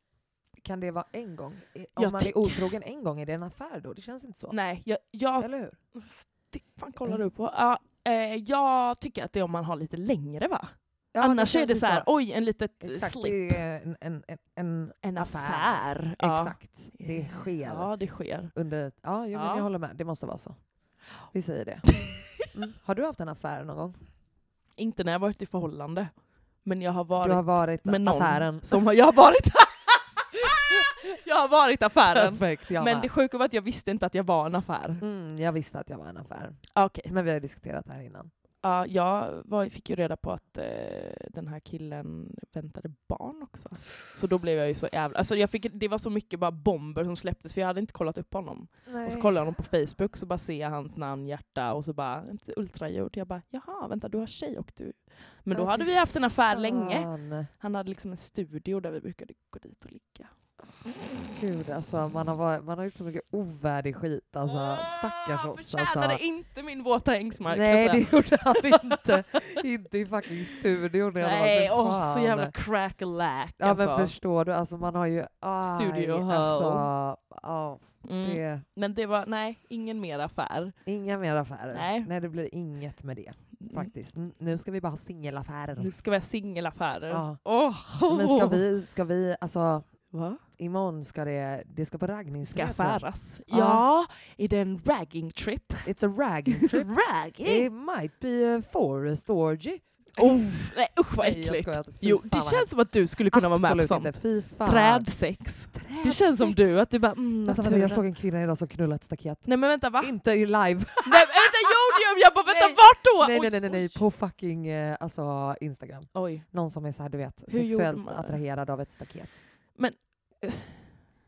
Speaker 1: kan det vara en gång? I- Om
Speaker 2: Jag
Speaker 1: man
Speaker 2: tycker-
Speaker 1: är otrogen en gång, är det en affär då? Det känns inte så.
Speaker 2: Nej, jag, jag
Speaker 1: Eller Mm. hur?
Speaker 2: det fan kollar du på? Ja, eh, jag tycker att det är om man har lite längre va?
Speaker 1: Ja,
Speaker 2: Annars är
Speaker 1: känns
Speaker 2: det
Speaker 1: ju
Speaker 2: så här, oj en litet eh,
Speaker 1: Exakt,
Speaker 2: slip.
Speaker 1: det är en, en, en, en
Speaker 2: En
Speaker 1: affär.
Speaker 2: affär. Ja. Eh,
Speaker 1: Exakt, det sker
Speaker 2: Ja det sker.
Speaker 1: under ett... Ja, jo,
Speaker 2: Ja.
Speaker 1: men jag håller med. Det måste vara så. Vi
Speaker 2: *laughs*
Speaker 1: säger det. Mm. Har du haft en affär någon gång?
Speaker 2: Inte när jag varit i förhållande. Men jag har
Speaker 1: du
Speaker 2: varit
Speaker 1: har varit
Speaker 2: med någon
Speaker 1: affären.
Speaker 2: som har, jag har varit *laughs* Jag har varit
Speaker 1: *laughs*
Speaker 2: affären.
Speaker 1: Perfekt, jag
Speaker 2: Men
Speaker 1: med.
Speaker 2: det sjuka var att jag visste inte att jag var en affär.
Speaker 1: Mm, jag visste att jag var en affär.
Speaker 2: Okej.
Speaker 1: Men vi har ju diskuterat det här innan.
Speaker 2: Ja, jag var, fick ju reda på att eh, den här killen väntade barn också. Så då blev jag ju så jävla... Alltså jag fick, det var så mycket bara bomber som släpptes för jag hade inte kollat upp honom. Och så kollade jag honom på Facebook så bara ser jag hans namn, hjärta och så bara inte ultraljud. Jag bara jaha vänta du har tjej och du... Men då
Speaker 1: Nej,
Speaker 2: hade
Speaker 1: fy
Speaker 2: vi haft en affär
Speaker 1: Fan.
Speaker 2: länge. Han hade liksom en studio där vi brukade gå dit och ligga.
Speaker 1: Gud alltså, man har, varit, man har gjort så mycket ovärdig skit. Alltså, stackars
Speaker 2: Åh,
Speaker 1: oss.
Speaker 2: Ah, Förtjänade
Speaker 1: Alltså.
Speaker 2: inte min våta ängsmark. alltså.
Speaker 1: Nej,
Speaker 2: kan jag
Speaker 1: det gjorde han
Speaker 2: säga. *laughs*
Speaker 1: inte. inte i fucking studion. Jag bara,
Speaker 2: Nej,
Speaker 1: "Men
Speaker 2: åh så
Speaker 1: fan."
Speaker 2: jävla crack a lack
Speaker 1: Ja
Speaker 2: alltså.
Speaker 1: men förstår du, alltså man har ju... Aj,
Speaker 2: Studio hall.
Speaker 1: alltså, ja,
Speaker 2: mm.
Speaker 1: det
Speaker 2: Men det var, nej, ingen mer affär.
Speaker 1: Inga mer affärer.
Speaker 2: Nej.
Speaker 1: det blir inget med det
Speaker 2: Mm.
Speaker 1: faktiskt. N- Nu ska vi bara ha singelaffärer.
Speaker 2: Nu Oh. ska vi ha singelaffärer.
Speaker 1: Ja.
Speaker 2: Åh!
Speaker 1: Men ska vi, ska vi, alltså
Speaker 2: Va?
Speaker 1: imorgon ska det, det ska på raggning.
Speaker 2: Ska affäras?
Speaker 1: Ja.
Speaker 2: Ja, i den ragging trip.
Speaker 1: It's a
Speaker 2: *laughs*
Speaker 1: ragging *laughs* trip.
Speaker 2: ragging?
Speaker 1: It might be a forest orgy.
Speaker 2: Oh, nej usch vad
Speaker 1: Nej, jag
Speaker 2: äckligt.
Speaker 1: skojar. Fy
Speaker 2: Jo,
Speaker 1: fan
Speaker 2: det
Speaker 1: vad
Speaker 2: känns som att du skulle kunna vara med på
Speaker 1: Absolut
Speaker 2: sånt.
Speaker 1: inte. Fy fan.
Speaker 2: Trädsex. Det känns som
Speaker 1: Trädsex.
Speaker 2: du, att du bara mm,
Speaker 1: Vänta, vänta,
Speaker 2: naturen.
Speaker 1: jag såg en kvinna idag som knullade ett staket.
Speaker 2: Nej men vänta va?
Speaker 1: Inte i live.
Speaker 2: nej, men vänta,
Speaker 1: *laughs*
Speaker 2: jo, det- jag bara vänta
Speaker 1: Nej.
Speaker 2: vart då?
Speaker 1: nej,
Speaker 2: Oj,
Speaker 1: nej, nej, nej, nej. På fucking eh, alltså, Instagram.
Speaker 2: Oj.
Speaker 1: Någon som är så här, du vet,
Speaker 2: Hur gjorde
Speaker 1: sexuellt
Speaker 2: man det?
Speaker 1: attraherad av ett staket.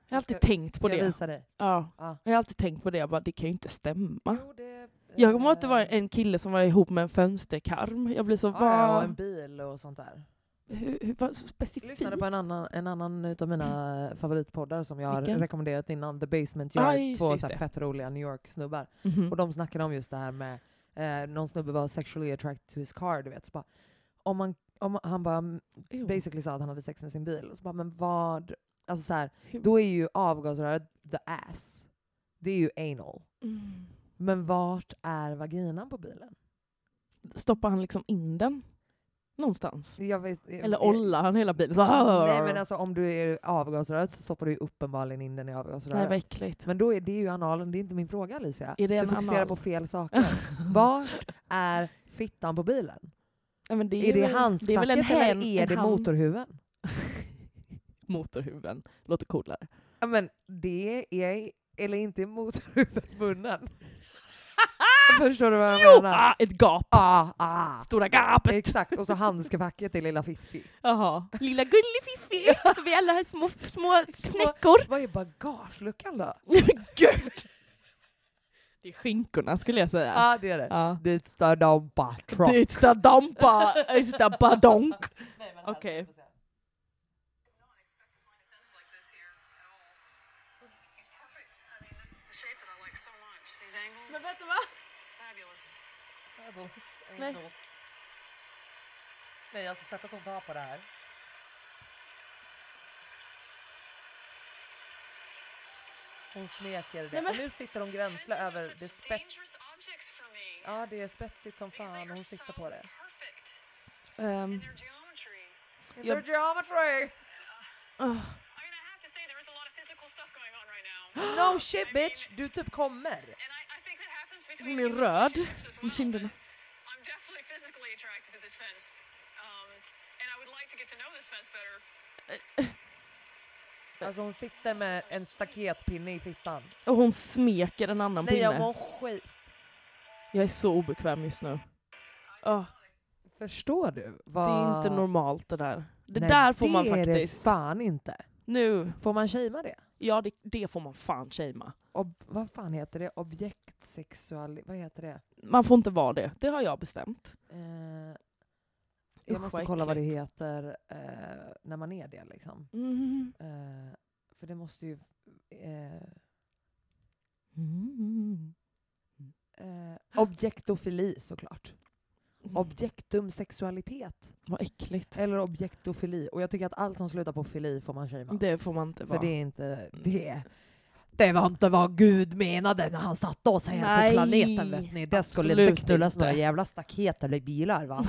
Speaker 2: Jag har alltid
Speaker 1: Ska-
Speaker 2: tänkt på
Speaker 1: Ska jag
Speaker 2: det.
Speaker 1: visa dig?
Speaker 2: Ja.
Speaker 1: Ja. Eh,
Speaker 2: Jag har alltid tänkt på det, jag bara, det kan ju inte stämma.
Speaker 1: Jo, det,
Speaker 2: Jag kommer ihåg att det var
Speaker 1: eh,
Speaker 2: en kille som var ihop med en fönsterkarm. Jag blev så,
Speaker 1: ja, ja, och en
Speaker 2: vad,
Speaker 1: bil och sånt där.
Speaker 2: hur, hur, vad så
Speaker 1: Jag
Speaker 2: specifikt?
Speaker 1: lyssnade på en annan, en annan utav mina eh, favoritpoddar som jag har
Speaker 2: Vilken?
Speaker 1: rekommenderat innan, The Basement
Speaker 2: Ja,
Speaker 1: Yard.
Speaker 2: just det,
Speaker 1: två
Speaker 2: just
Speaker 1: så här
Speaker 2: det.
Speaker 1: fett roliga New York-snubbar.
Speaker 2: Mhm.
Speaker 1: Och de snackade om just det här med, eh, någon snubbe var sexually attracted to his car, du vet. Så bara, om man, om, han bara mm,
Speaker 2: Jo.
Speaker 1: basically sa att han hade sex med sin bil. Och så bara, men vad... Alltså så här,
Speaker 2: Hur-
Speaker 1: då är ju avgasröret the ass. Det är ju anal.
Speaker 2: Mm.
Speaker 1: Men vart är vaginan på bilen?
Speaker 2: Stoppar han liksom in den någonstans?
Speaker 1: Jag vet, eh,
Speaker 2: Eller ollar han hela bilen? Så,
Speaker 1: Nej men alltså om du är avgasröret så stoppar du ju uppenbarligen in den i
Speaker 2: Nej
Speaker 1: avgasröret.
Speaker 2: vad äckligt.
Speaker 1: men då är det ju analen, det är inte min fråga Alicia.
Speaker 2: Är det
Speaker 1: du
Speaker 2: en
Speaker 1: fokuserar
Speaker 2: anal?
Speaker 1: på
Speaker 2: *laughs*
Speaker 1: fel saker. Vart är fittan på bilen?
Speaker 2: Nej, men det
Speaker 1: Är, det
Speaker 2: väl- det är väl
Speaker 1: handskfacket
Speaker 2: en
Speaker 1: eller
Speaker 2: hän-
Speaker 1: är
Speaker 2: en
Speaker 1: det
Speaker 2: hand-
Speaker 1: motorhuven?
Speaker 2: *laughs* Motorhuven. Låter coolare.
Speaker 1: Ja, men det är, eller inte är motorhuven munnen. *laughs* Förstår du *laughs* vad jag
Speaker 2: Jo!
Speaker 1: menar?
Speaker 2: Ah, ett gap.
Speaker 1: Ah, ah.
Speaker 2: Stora gapet.
Speaker 1: Exakt, och så handskfacket till lilla Fiffi.
Speaker 2: Jaha. Lilla gullig Fiffi. *laughs* För vi alla har små, små
Speaker 1: *laughs*
Speaker 2: knäckor.
Speaker 1: Vad är bagageluckan då?
Speaker 2: Nej men gud! Det är skinkorna skulle jag säga.
Speaker 1: Ja ah, det är det.
Speaker 2: Ja.
Speaker 1: Dit står de bara
Speaker 2: Det är
Speaker 1: truck.
Speaker 2: ett stadampa, ett stadbadonk. Okej.
Speaker 1: alltså,
Speaker 3: He's perfect. I mean, this is the shape that I like so much. These angles,
Speaker 2: Men vänta va?
Speaker 3: fabulous.
Speaker 2: Nej.
Speaker 1: eh, Nej alltså sättet hon tar på det här. Hon smeker det.
Speaker 2: Nej, men-
Speaker 1: Nu sitter hon gränsle över det spett...
Speaker 3: Dangerous objects for me.
Speaker 1: Ja det är spetsigt som
Speaker 3: Because they
Speaker 1: fan
Speaker 3: are
Speaker 1: hon sitter
Speaker 3: so
Speaker 1: på det.
Speaker 3: perfect
Speaker 2: Ehm,
Speaker 3: in their geometry.
Speaker 1: Your geometry!
Speaker 3: I'm gonna have to say there is a lot of physical stuff going on right now.
Speaker 1: *gasps* No shit bitch! Du typ kommer!
Speaker 3: And I, I think that happens between
Speaker 2: hon är
Speaker 3: human
Speaker 2: röd
Speaker 3: relationships
Speaker 1: *laughs*
Speaker 3: as
Speaker 2: om
Speaker 3: well,
Speaker 2: kinderna.
Speaker 3: but I'm definitely physically attracted to this fence. Um, and I would like to get to know this fence better.
Speaker 1: Alltså hon sitter med en staketpinne i fittan.
Speaker 2: Och hon smeker en annan
Speaker 1: Nej jag
Speaker 2: pinne.
Speaker 1: mår skit.
Speaker 2: Jag är så obekväm just nu. Ah,
Speaker 1: Förstår du?
Speaker 2: det
Speaker 1: Vad...
Speaker 2: är inte normalt det där. Det
Speaker 1: Nej,
Speaker 2: där får man
Speaker 1: Det är det
Speaker 2: faktiskt.
Speaker 1: fan inte.
Speaker 2: Nu.
Speaker 1: Får man shamea det?
Speaker 2: Ja det, det får man fan shamea.
Speaker 1: Ob vad fan heter det? Objektsexual... Vad heter det?
Speaker 2: Man får inte vara det. Det har jag bestämt.
Speaker 1: Eh,
Speaker 2: Usch,
Speaker 1: jag måste
Speaker 2: vad
Speaker 1: kolla vad det
Speaker 2: äckligt.
Speaker 1: heter eh, när man är det liksom.
Speaker 2: Mm.
Speaker 1: Eh, för det måste ju... Eh,
Speaker 2: Mm.
Speaker 1: eh,
Speaker 2: Ah.
Speaker 1: objektofili såklart.
Speaker 2: Mm.
Speaker 1: Objektum sexualitet.
Speaker 2: Vad äckligt.
Speaker 1: Eller objektofili. Och jag tycker att allt som slutar på fili får man shamea.
Speaker 2: Eh, Det Mm. får man inte
Speaker 1: För
Speaker 2: vara.
Speaker 1: det är inte... Det, det var inte vad Gud menade när han satte oss här
Speaker 2: Nej,
Speaker 1: på planeten vet ni. Det skulle
Speaker 2: absolut
Speaker 1: inte knullas
Speaker 2: inte.
Speaker 1: några jävla staket eller
Speaker 2: *laughs*
Speaker 1: bilar va?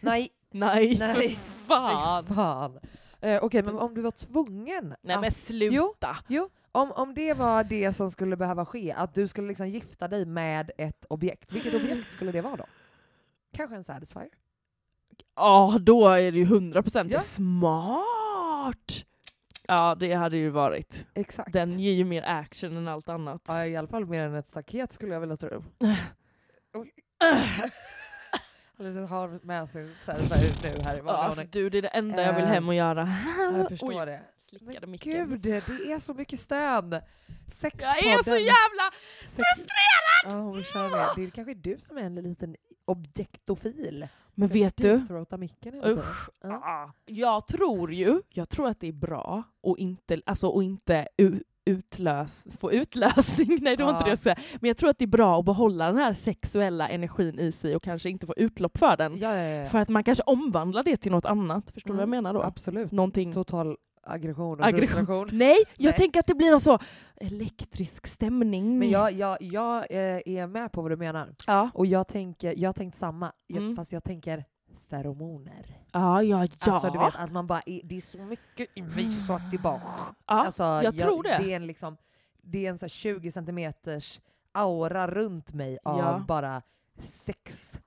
Speaker 1: Nej,
Speaker 2: Nej,
Speaker 1: Nej.
Speaker 2: för fan.
Speaker 1: fy fan. Eh, Okej, men om du var tvungen
Speaker 2: Nej
Speaker 1: att...
Speaker 2: men sluta.
Speaker 1: Jo, om, om det var det som skulle behöva ske, att du skulle liksom gifta dig med ett objekt, vilket objekt skulle det vara då? Kanske en satisfier?
Speaker 2: Ja, då är det ju 100% procent
Speaker 1: Ja.
Speaker 2: smart. Ja, det hade ju varit.
Speaker 1: Exakt.
Speaker 2: Den ger ju mer action än allt annat.
Speaker 1: Ja, i alla fall mer än ett staket skulle jag
Speaker 2: *laughs*
Speaker 1: vilja tro. Oj. *laughs* Alice har med sig satisfier nu här i
Speaker 2: Ja, alltså, du, det är det enda jag vill hem och göra.
Speaker 1: Eh, Jag förstår
Speaker 2: *laughs* Oj,
Speaker 1: det.
Speaker 2: slickade
Speaker 1: Men
Speaker 2: micken.
Speaker 1: gud, det är så mycket stön! Sexpodden.
Speaker 2: Jag är så jävla
Speaker 1: Sex...
Speaker 2: frustrerad!
Speaker 1: Ja, hon kör med. Det är kanske du som är en liten objektofil.
Speaker 2: Men
Speaker 1: Ska
Speaker 2: vet du?
Speaker 1: deepthroata micken hela tiden?
Speaker 2: Usch.
Speaker 1: Ja.
Speaker 2: Ah, Jag tror ju, jag tror att det är bra att inte, alltså, att inte u- utlös, få utlösning, *laughs* nej det var inte
Speaker 1: Ja.
Speaker 2: det jag skulle säga. Men jag tror att det är bra att behålla den här sexuella energin i sig och kanske inte få utlopp för den.
Speaker 1: Ja, ja, ja, ja.
Speaker 2: För att man kanske omvandlar det till något annat, förstår du vad jag
Speaker 1: Mm,
Speaker 2: menar då?
Speaker 1: Absolut.
Speaker 2: Någonting...
Speaker 1: Total aggression och
Speaker 2: Aggression.
Speaker 1: frustration.
Speaker 2: Nej, jag
Speaker 1: Nej.
Speaker 2: tänker att det blir någon så elektrisk stämning.
Speaker 1: Men jag, jag, jag eh, är med på vad du menar.
Speaker 2: Ja,
Speaker 1: Och jag tänker, jag tänkt samma, jag,
Speaker 2: Mm.
Speaker 1: fast jag tänker feromoner.
Speaker 2: ja, ja. ja.
Speaker 1: Alltså du vet att man bara, är- det är så mycket i mig så att det bara...
Speaker 2: ja.
Speaker 1: alltså,
Speaker 2: jag tror det.
Speaker 1: Det är en, liksom, det är en så här 20 centimeters aura runt mig av
Speaker 2: Ja.
Speaker 1: bara sex.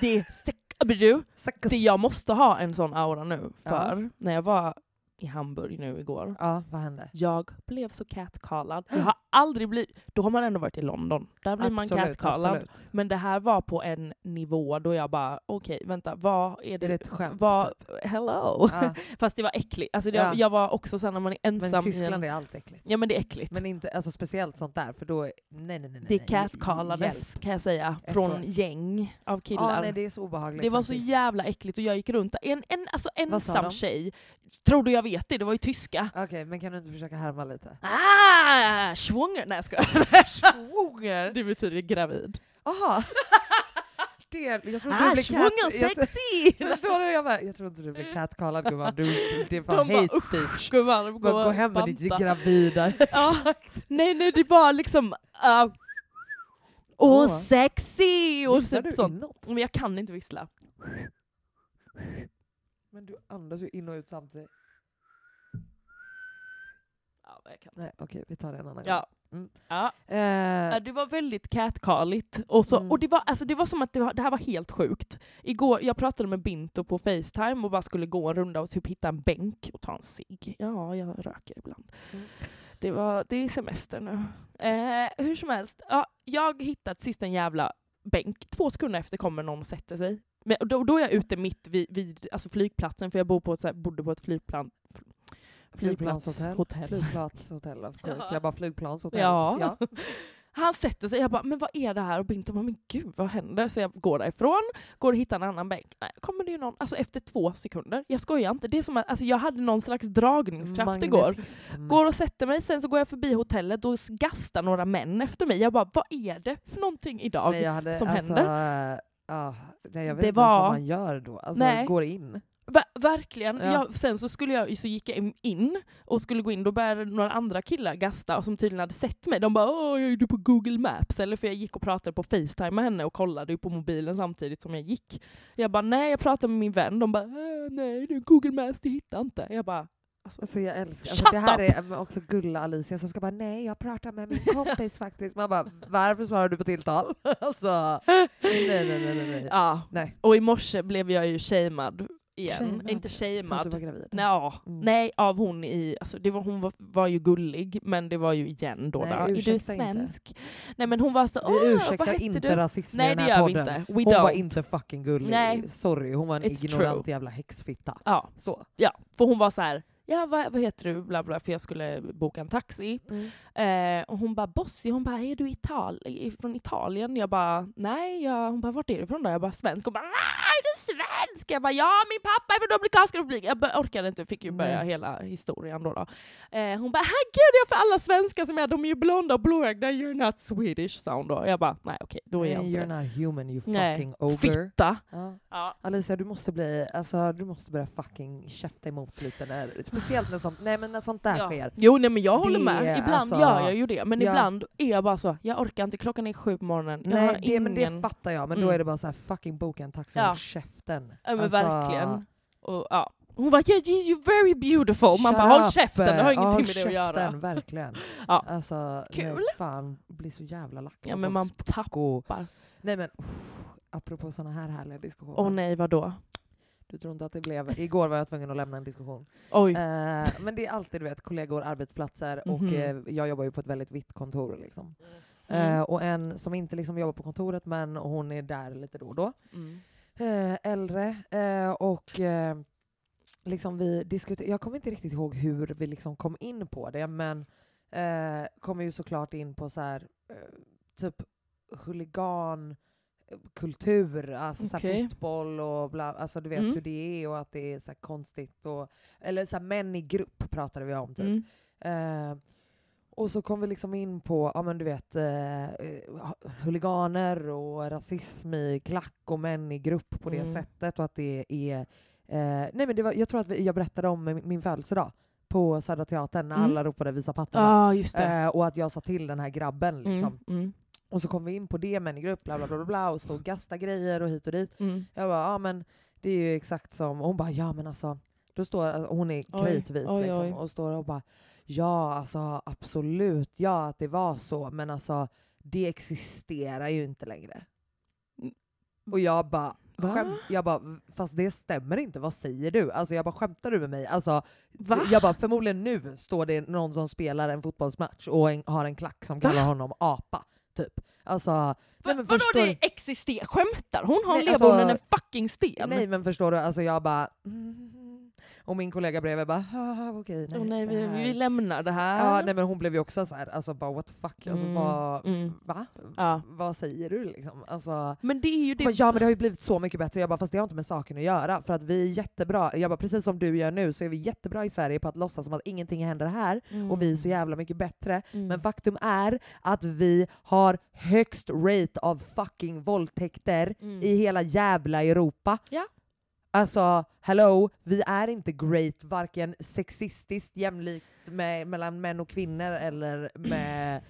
Speaker 2: Det är sex... Men du,
Speaker 1: sex.
Speaker 2: det jag måste ha en sån aura nu, för när jag var i Hamburg nu igår,
Speaker 1: Ja, vad hände?
Speaker 2: jag blev så catcallad. Jag har aldrig blivit... Då har man ändå varit i London, där blir man catcallad.
Speaker 1: absolut.
Speaker 2: Men det här var på en nivå då jag bara, okej vänta, vad är det?
Speaker 1: Är det ett skämt?
Speaker 2: vad,
Speaker 1: typ?
Speaker 2: hello!
Speaker 1: Ja.
Speaker 2: *laughs* Fast det var äckligt. Alltså jag,
Speaker 1: Ja.
Speaker 2: jag var också sen när man är *laughs* ensam
Speaker 1: Men
Speaker 2: i en...
Speaker 1: Tyskland är allt äckligt.
Speaker 2: Ja men det är äckligt.
Speaker 1: Men inte, alltså speciellt sånt där, för då... är- Nej, nej, nej. nej,
Speaker 2: det
Speaker 1: nej.
Speaker 2: catcallades
Speaker 1: Hjälp.
Speaker 2: kan jag säga, från
Speaker 1: SOS.
Speaker 2: gäng av killar.
Speaker 1: Ja, nej,
Speaker 2: det
Speaker 1: det är så obehagligt.
Speaker 2: var så
Speaker 1: faktiskt.
Speaker 2: jävla äckligt och jag gick runt en, en alltså
Speaker 1: Vad sa
Speaker 2: ensam
Speaker 1: de?
Speaker 2: tjej. Tror du jag vet det? Det var ju tyska.
Speaker 1: Okej, men kan du inte försöka härma lite?
Speaker 2: Ah! Schwunger! Nej jag skojar.
Speaker 1: Schwunger?
Speaker 2: Det betyder gravid.
Speaker 1: Jaha. Det, jag tror inte
Speaker 2: Ah,
Speaker 1: du blir
Speaker 2: schwunger
Speaker 1: cat... jag-
Speaker 2: sexy!
Speaker 1: *laughs* Förstår du? Jag, bara, jag tror inte du blir catcallad gumman, du, det är fan
Speaker 2: De bara,
Speaker 1: hate speech.
Speaker 2: Gumman,
Speaker 1: Bara, gå hem med ditt
Speaker 2: banta. *laughs*
Speaker 1: gravida.
Speaker 2: Ja. Nej, nej, det var liksom... Uh, och
Speaker 1: Åh.
Speaker 2: sexy! Och
Speaker 1: Visslar
Speaker 2: typ
Speaker 1: du
Speaker 2: sånt.
Speaker 1: inåt?
Speaker 2: Men jag kan inte vissla.
Speaker 1: Men du andas ju in och ut samtidigt.
Speaker 2: Ja, jag kan.
Speaker 1: Nej okej, vi tar det en annan
Speaker 2: Ja.
Speaker 1: Mm.
Speaker 2: Ja.
Speaker 1: gång. Eh,
Speaker 2: Ja, det var väldigt catcalligt. Och, så,
Speaker 1: Mm.
Speaker 2: och det, var, alltså, det var som att det, var, det här var helt sjukt. Igår, jag pratade med Binto på Facetime och bara skulle gå en runda och typ hitta en bänk och ta en cigg. Ja, jag röker ibland.
Speaker 1: Mm.
Speaker 2: Det, var, det är semester nu. Eh, hur som helst, ja, jag hittat sist en jävla bänk. Två sekunder efter kommer någon och sätter sig. Men och då, och då är jag ute mitt vid, vid alltså flygplatsen, för jag bor på ett, så här, bodde på ett flygplan,
Speaker 1: flygplanshotell.
Speaker 2: flygplatshotell.
Speaker 1: Flygplanshotell of course.
Speaker 2: Ja.
Speaker 1: Jag bara flygplanshotell.
Speaker 2: Ja. Han sätter sig, jag bara men vad är det här? Och Binto bara men gud vad händer? Så jag går därifrån, går och hittar en annan bänk. Nej, kommer det ju någon, alltså efter två sekunder, jag skojar inte. Det är som att, alltså jag hade någon slags dragningskraft igår.
Speaker 1: Magnetism.
Speaker 2: Går och sätter mig, sen så går jag förbi hotellet och gastar några män efter mig. Jag bara vad är det för någonting idag?
Speaker 1: Nej, jag hade,
Speaker 2: som
Speaker 1: alltså, händer. nej, jag vet
Speaker 2: Det
Speaker 1: inte ens
Speaker 2: var-
Speaker 1: vad man gör då. Alltså,
Speaker 2: Nej.
Speaker 1: går in.
Speaker 2: Va- verkligen.
Speaker 1: Ja.
Speaker 2: Jag, sen så, skulle jag, så gick jag in och skulle gå in, då började några andra killar gasta och som tydligen hade sett mig. De bara “Åh, är du på Google Maps?” eller för jag gick och pratade på Facetime med henne och kollade ju på mobilen samtidigt som jag gick. Jag bara “Nej, jag pratade med min vän”. De bara "Äh, “Nej, du Google Maps, det hittar jag inte”. Jag bara alltså,
Speaker 1: Alltså, jag älskar.
Speaker 2: Shut
Speaker 1: Alltså, det här
Speaker 2: up!
Speaker 1: är men också gulla Alicia som ska bara nej, jag pratar med min
Speaker 2: *laughs*
Speaker 1: kompis faktiskt. Man bara varför svarar du på tilltal? *laughs* alltså, nej, nej, nej, nej, nej.
Speaker 2: ja.
Speaker 1: Nej.
Speaker 2: Och i morse blev jag ju shamed igen.
Speaker 1: Shamed?
Speaker 2: Inte
Speaker 1: För att du
Speaker 2: shamed.
Speaker 1: var gravid.
Speaker 2: Nå,
Speaker 1: Mm.
Speaker 2: Nej, av hon i... Alltså det var, hon var, var ju gullig, men det var ju igen då.
Speaker 1: Nej,
Speaker 2: där. Är du
Speaker 1: ursäkta inte.
Speaker 2: svensk? Nej men hon var så... Åh,
Speaker 1: Vi
Speaker 2: vad
Speaker 1: ursäktar
Speaker 2: hette
Speaker 1: inte
Speaker 2: du?
Speaker 1: rasism
Speaker 2: Nej
Speaker 1: i
Speaker 2: det
Speaker 1: den
Speaker 2: gör
Speaker 1: här
Speaker 2: vi
Speaker 1: podden.
Speaker 2: inte. We
Speaker 1: Hon
Speaker 2: don't.
Speaker 1: var inte fucking gullig.
Speaker 2: Nej.
Speaker 1: Sorry, hon var en
Speaker 2: It's
Speaker 1: ignorant
Speaker 2: true.
Speaker 1: jävla häxfitta.
Speaker 2: Ja,
Speaker 1: Så.
Speaker 2: ja, för hon var så här... Ja, vad, vad heter du? Bla, bla, för jag skulle boka en taxi.
Speaker 1: Mm.
Speaker 2: Eh, och hon bara, Bossi, hon bara, är du Ital i- från Italien? Jag bara, nej. Jag, hon bara, vart är du från då? Jag bara, svensk. Hon bara, "Ah, är du svensk? Jag bara, ja, min pappa är från Dominikanska republiken. Jag bara, orkade inte, fick ju börja
Speaker 1: Nej.
Speaker 2: hela historien då. då. Eh, hon bara, herregud, jag för alla svenskar som är, de är ju blonda och blåögda, you're not Swedish, sa hon då. Jag bara, nej okej, då är jag
Speaker 1: Nej,
Speaker 2: inte
Speaker 1: Eh, you're
Speaker 2: det.
Speaker 1: not human you
Speaker 2: Nej.
Speaker 1: fucking ogre.
Speaker 2: Fitta.
Speaker 1: Ja.
Speaker 2: Ja.
Speaker 1: Alicia, du måste, bli, alltså, du måste börja fucking käfta emot lite. När, speciellt när sånt, nej, men när sånt där
Speaker 2: Ja.
Speaker 1: sker.
Speaker 2: Jo nej men jag håller
Speaker 1: Det,
Speaker 2: med, ibland
Speaker 1: alltså,
Speaker 2: gör jag ju det. Men
Speaker 1: ja.
Speaker 2: ibland är jag bara så, jag orkar inte, klockan är sju på morgonen. Jag har
Speaker 1: Nej, det, men det
Speaker 2: ingen...
Speaker 1: fattar jag, men
Speaker 2: Mm.
Speaker 1: då är det bara så här fucking boka en taxi
Speaker 2: Ja.
Speaker 1: och håll käften.
Speaker 2: Ja men
Speaker 1: Alltså,
Speaker 2: verkligen. Och, ja. Hon bara yeah, you- you're very beautiful, man
Speaker 1: shut
Speaker 2: bara håll
Speaker 1: up. eh,
Speaker 2: käften, det har
Speaker 1: Ja,
Speaker 2: ingenting
Speaker 1: håll
Speaker 2: med det att göra.
Speaker 1: käften, Verkligen.
Speaker 2: *laughs* Ja.
Speaker 1: Alltså,
Speaker 2: Kul.
Speaker 1: Nej, fan, blir så jävla lack.
Speaker 2: Ja
Speaker 1: på
Speaker 2: men man
Speaker 1: folks
Speaker 2: tappar...
Speaker 1: Go. Nej men, uff, apropå såna här härliga diskussioner.
Speaker 2: Åh nej vadå?
Speaker 1: Du tror inte att det blev... Igår var jag tvungen att lämna en diskussion.
Speaker 2: Oj.
Speaker 1: Eh, men det är alltid du vet, kollegor, arbetsplatser och
Speaker 2: Mhm.
Speaker 1: eh, jag jobbar ju på ett väldigt vitt kontor. Liksom.
Speaker 2: Mm.
Speaker 1: Eh, och en som inte liksom jobbar på kontoret men hon är där lite då och då.
Speaker 2: Mm.
Speaker 1: Eh, äldre eh, och eh, liksom vi diskuter- jag kommer inte riktigt ihåg hur vi liksom kom in på det men eh, kommer ju såklart in på så här, eh, typ huligan kultur, alltså så här
Speaker 2: Okej.
Speaker 1: fotboll och bla, alltså du vet
Speaker 2: Mm.
Speaker 1: hur det är och att det är så här konstigt. Och, eller så här män i grupp pratade vi om typ.
Speaker 2: Mm.
Speaker 1: Eh, och så kom vi liksom in på, ja men du vet, eh, eh, huliganer och rasism i klack och män i grupp på det
Speaker 2: Mm.
Speaker 1: sättet och att det är... Eh, nej men det var, jag tror att vi, jag berättade om min- min födelsedag på Södra Teatern när
Speaker 2: Mm.
Speaker 1: alla ropade visa pattarna.
Speaker 2: ah, just det.
Speaker 1: Eh, och att jag sa till den här grabben liksom.
Speaker 2: Mm, mm,
Speaker 1: Och så kom vi in på det, män i grupp, bla bla bla bla, bla och stod och gasta grejer och hit och dit.
Speaker 2: mm.
Speaker 1: Jag bara, ja men det är ju exakt som, och hon bara, ja men alltså. Då står, alltså, hon är
Speaker 2: Oj,
Speaker 1: kritvit
Speaker 2: oj,
Speaker 1: liksom,
Speaker 2: oj.
Speaker 1: och står och bara, ja alltså absolut, ja att det var så, men alltså det existerar ju inte längre.
Speaker 2: Mm.
Speaker 1: Och jag bara,
Speaker 2: Va?
Speaker 1: skäm, jag bara, fast det stämmer inte, vad säger du? Alltså jag bara, skämtar du med mig? Alltså,
Speaker 2: Va?
Speaker 1: jag bara, förmodligen nu står det någon som spelar en fotbollsmatch och en, har en klack som kallar honom apa, typ. Alltså,
Speaker 2: Va,
Speaker 1: nej, men
Speaker 2: vadå
Speaker 1: förstår-
Speaker 2: det existerar? Skämtar Hon har
Speaker 1: Nej,
Speaker 2: levbonen
Speaker 1: alltså-
Speaker 2: en fucking sten!
Speaker 1: Nej men förstår du, alltså jag bara... Mm. Och min kollega bredvid bara "Haha, okej nej.
Speaker 2: Åh, nej
Speaker 1: det
Speaker 2: vi,
Speaker 1: här."
Speaker 2: vi lämnar det här.
Speaker 1: ja, nej men hon blev ju också så här, alltså bara what the fuck, alltså
Speaker 2: Mm,
Speaker 1: vad,
Speaker 2: mm.
Speaker 1: va?
Speaker 2: Ja.
Speaker 1: Vad säger du liksom? Alltså,
Speaker 2: Men det är ju det...
Speaker 1: men ja men det har ju blivit så mycket bättre, jag bara fast det har inte med saken att göra för att vi är jättebra, jag bara precis som du gör nu så är vi jättebra i Sverige på att låtsas som att ingenting händer här och vi är så jävla mycket bättre
Speaker 2: Mm.
Speaker 1: men faktum är att vi har högst rate av fucking våldtäkter
Speaker 2: Mm.
Speaker 1: i hela jävla Europa.
Speaker 2: Ja.
Speaker 1: Alltså, hello, vi är inte great, varken sexistiskt jämlikt med, mellan män och kvinnor eller med...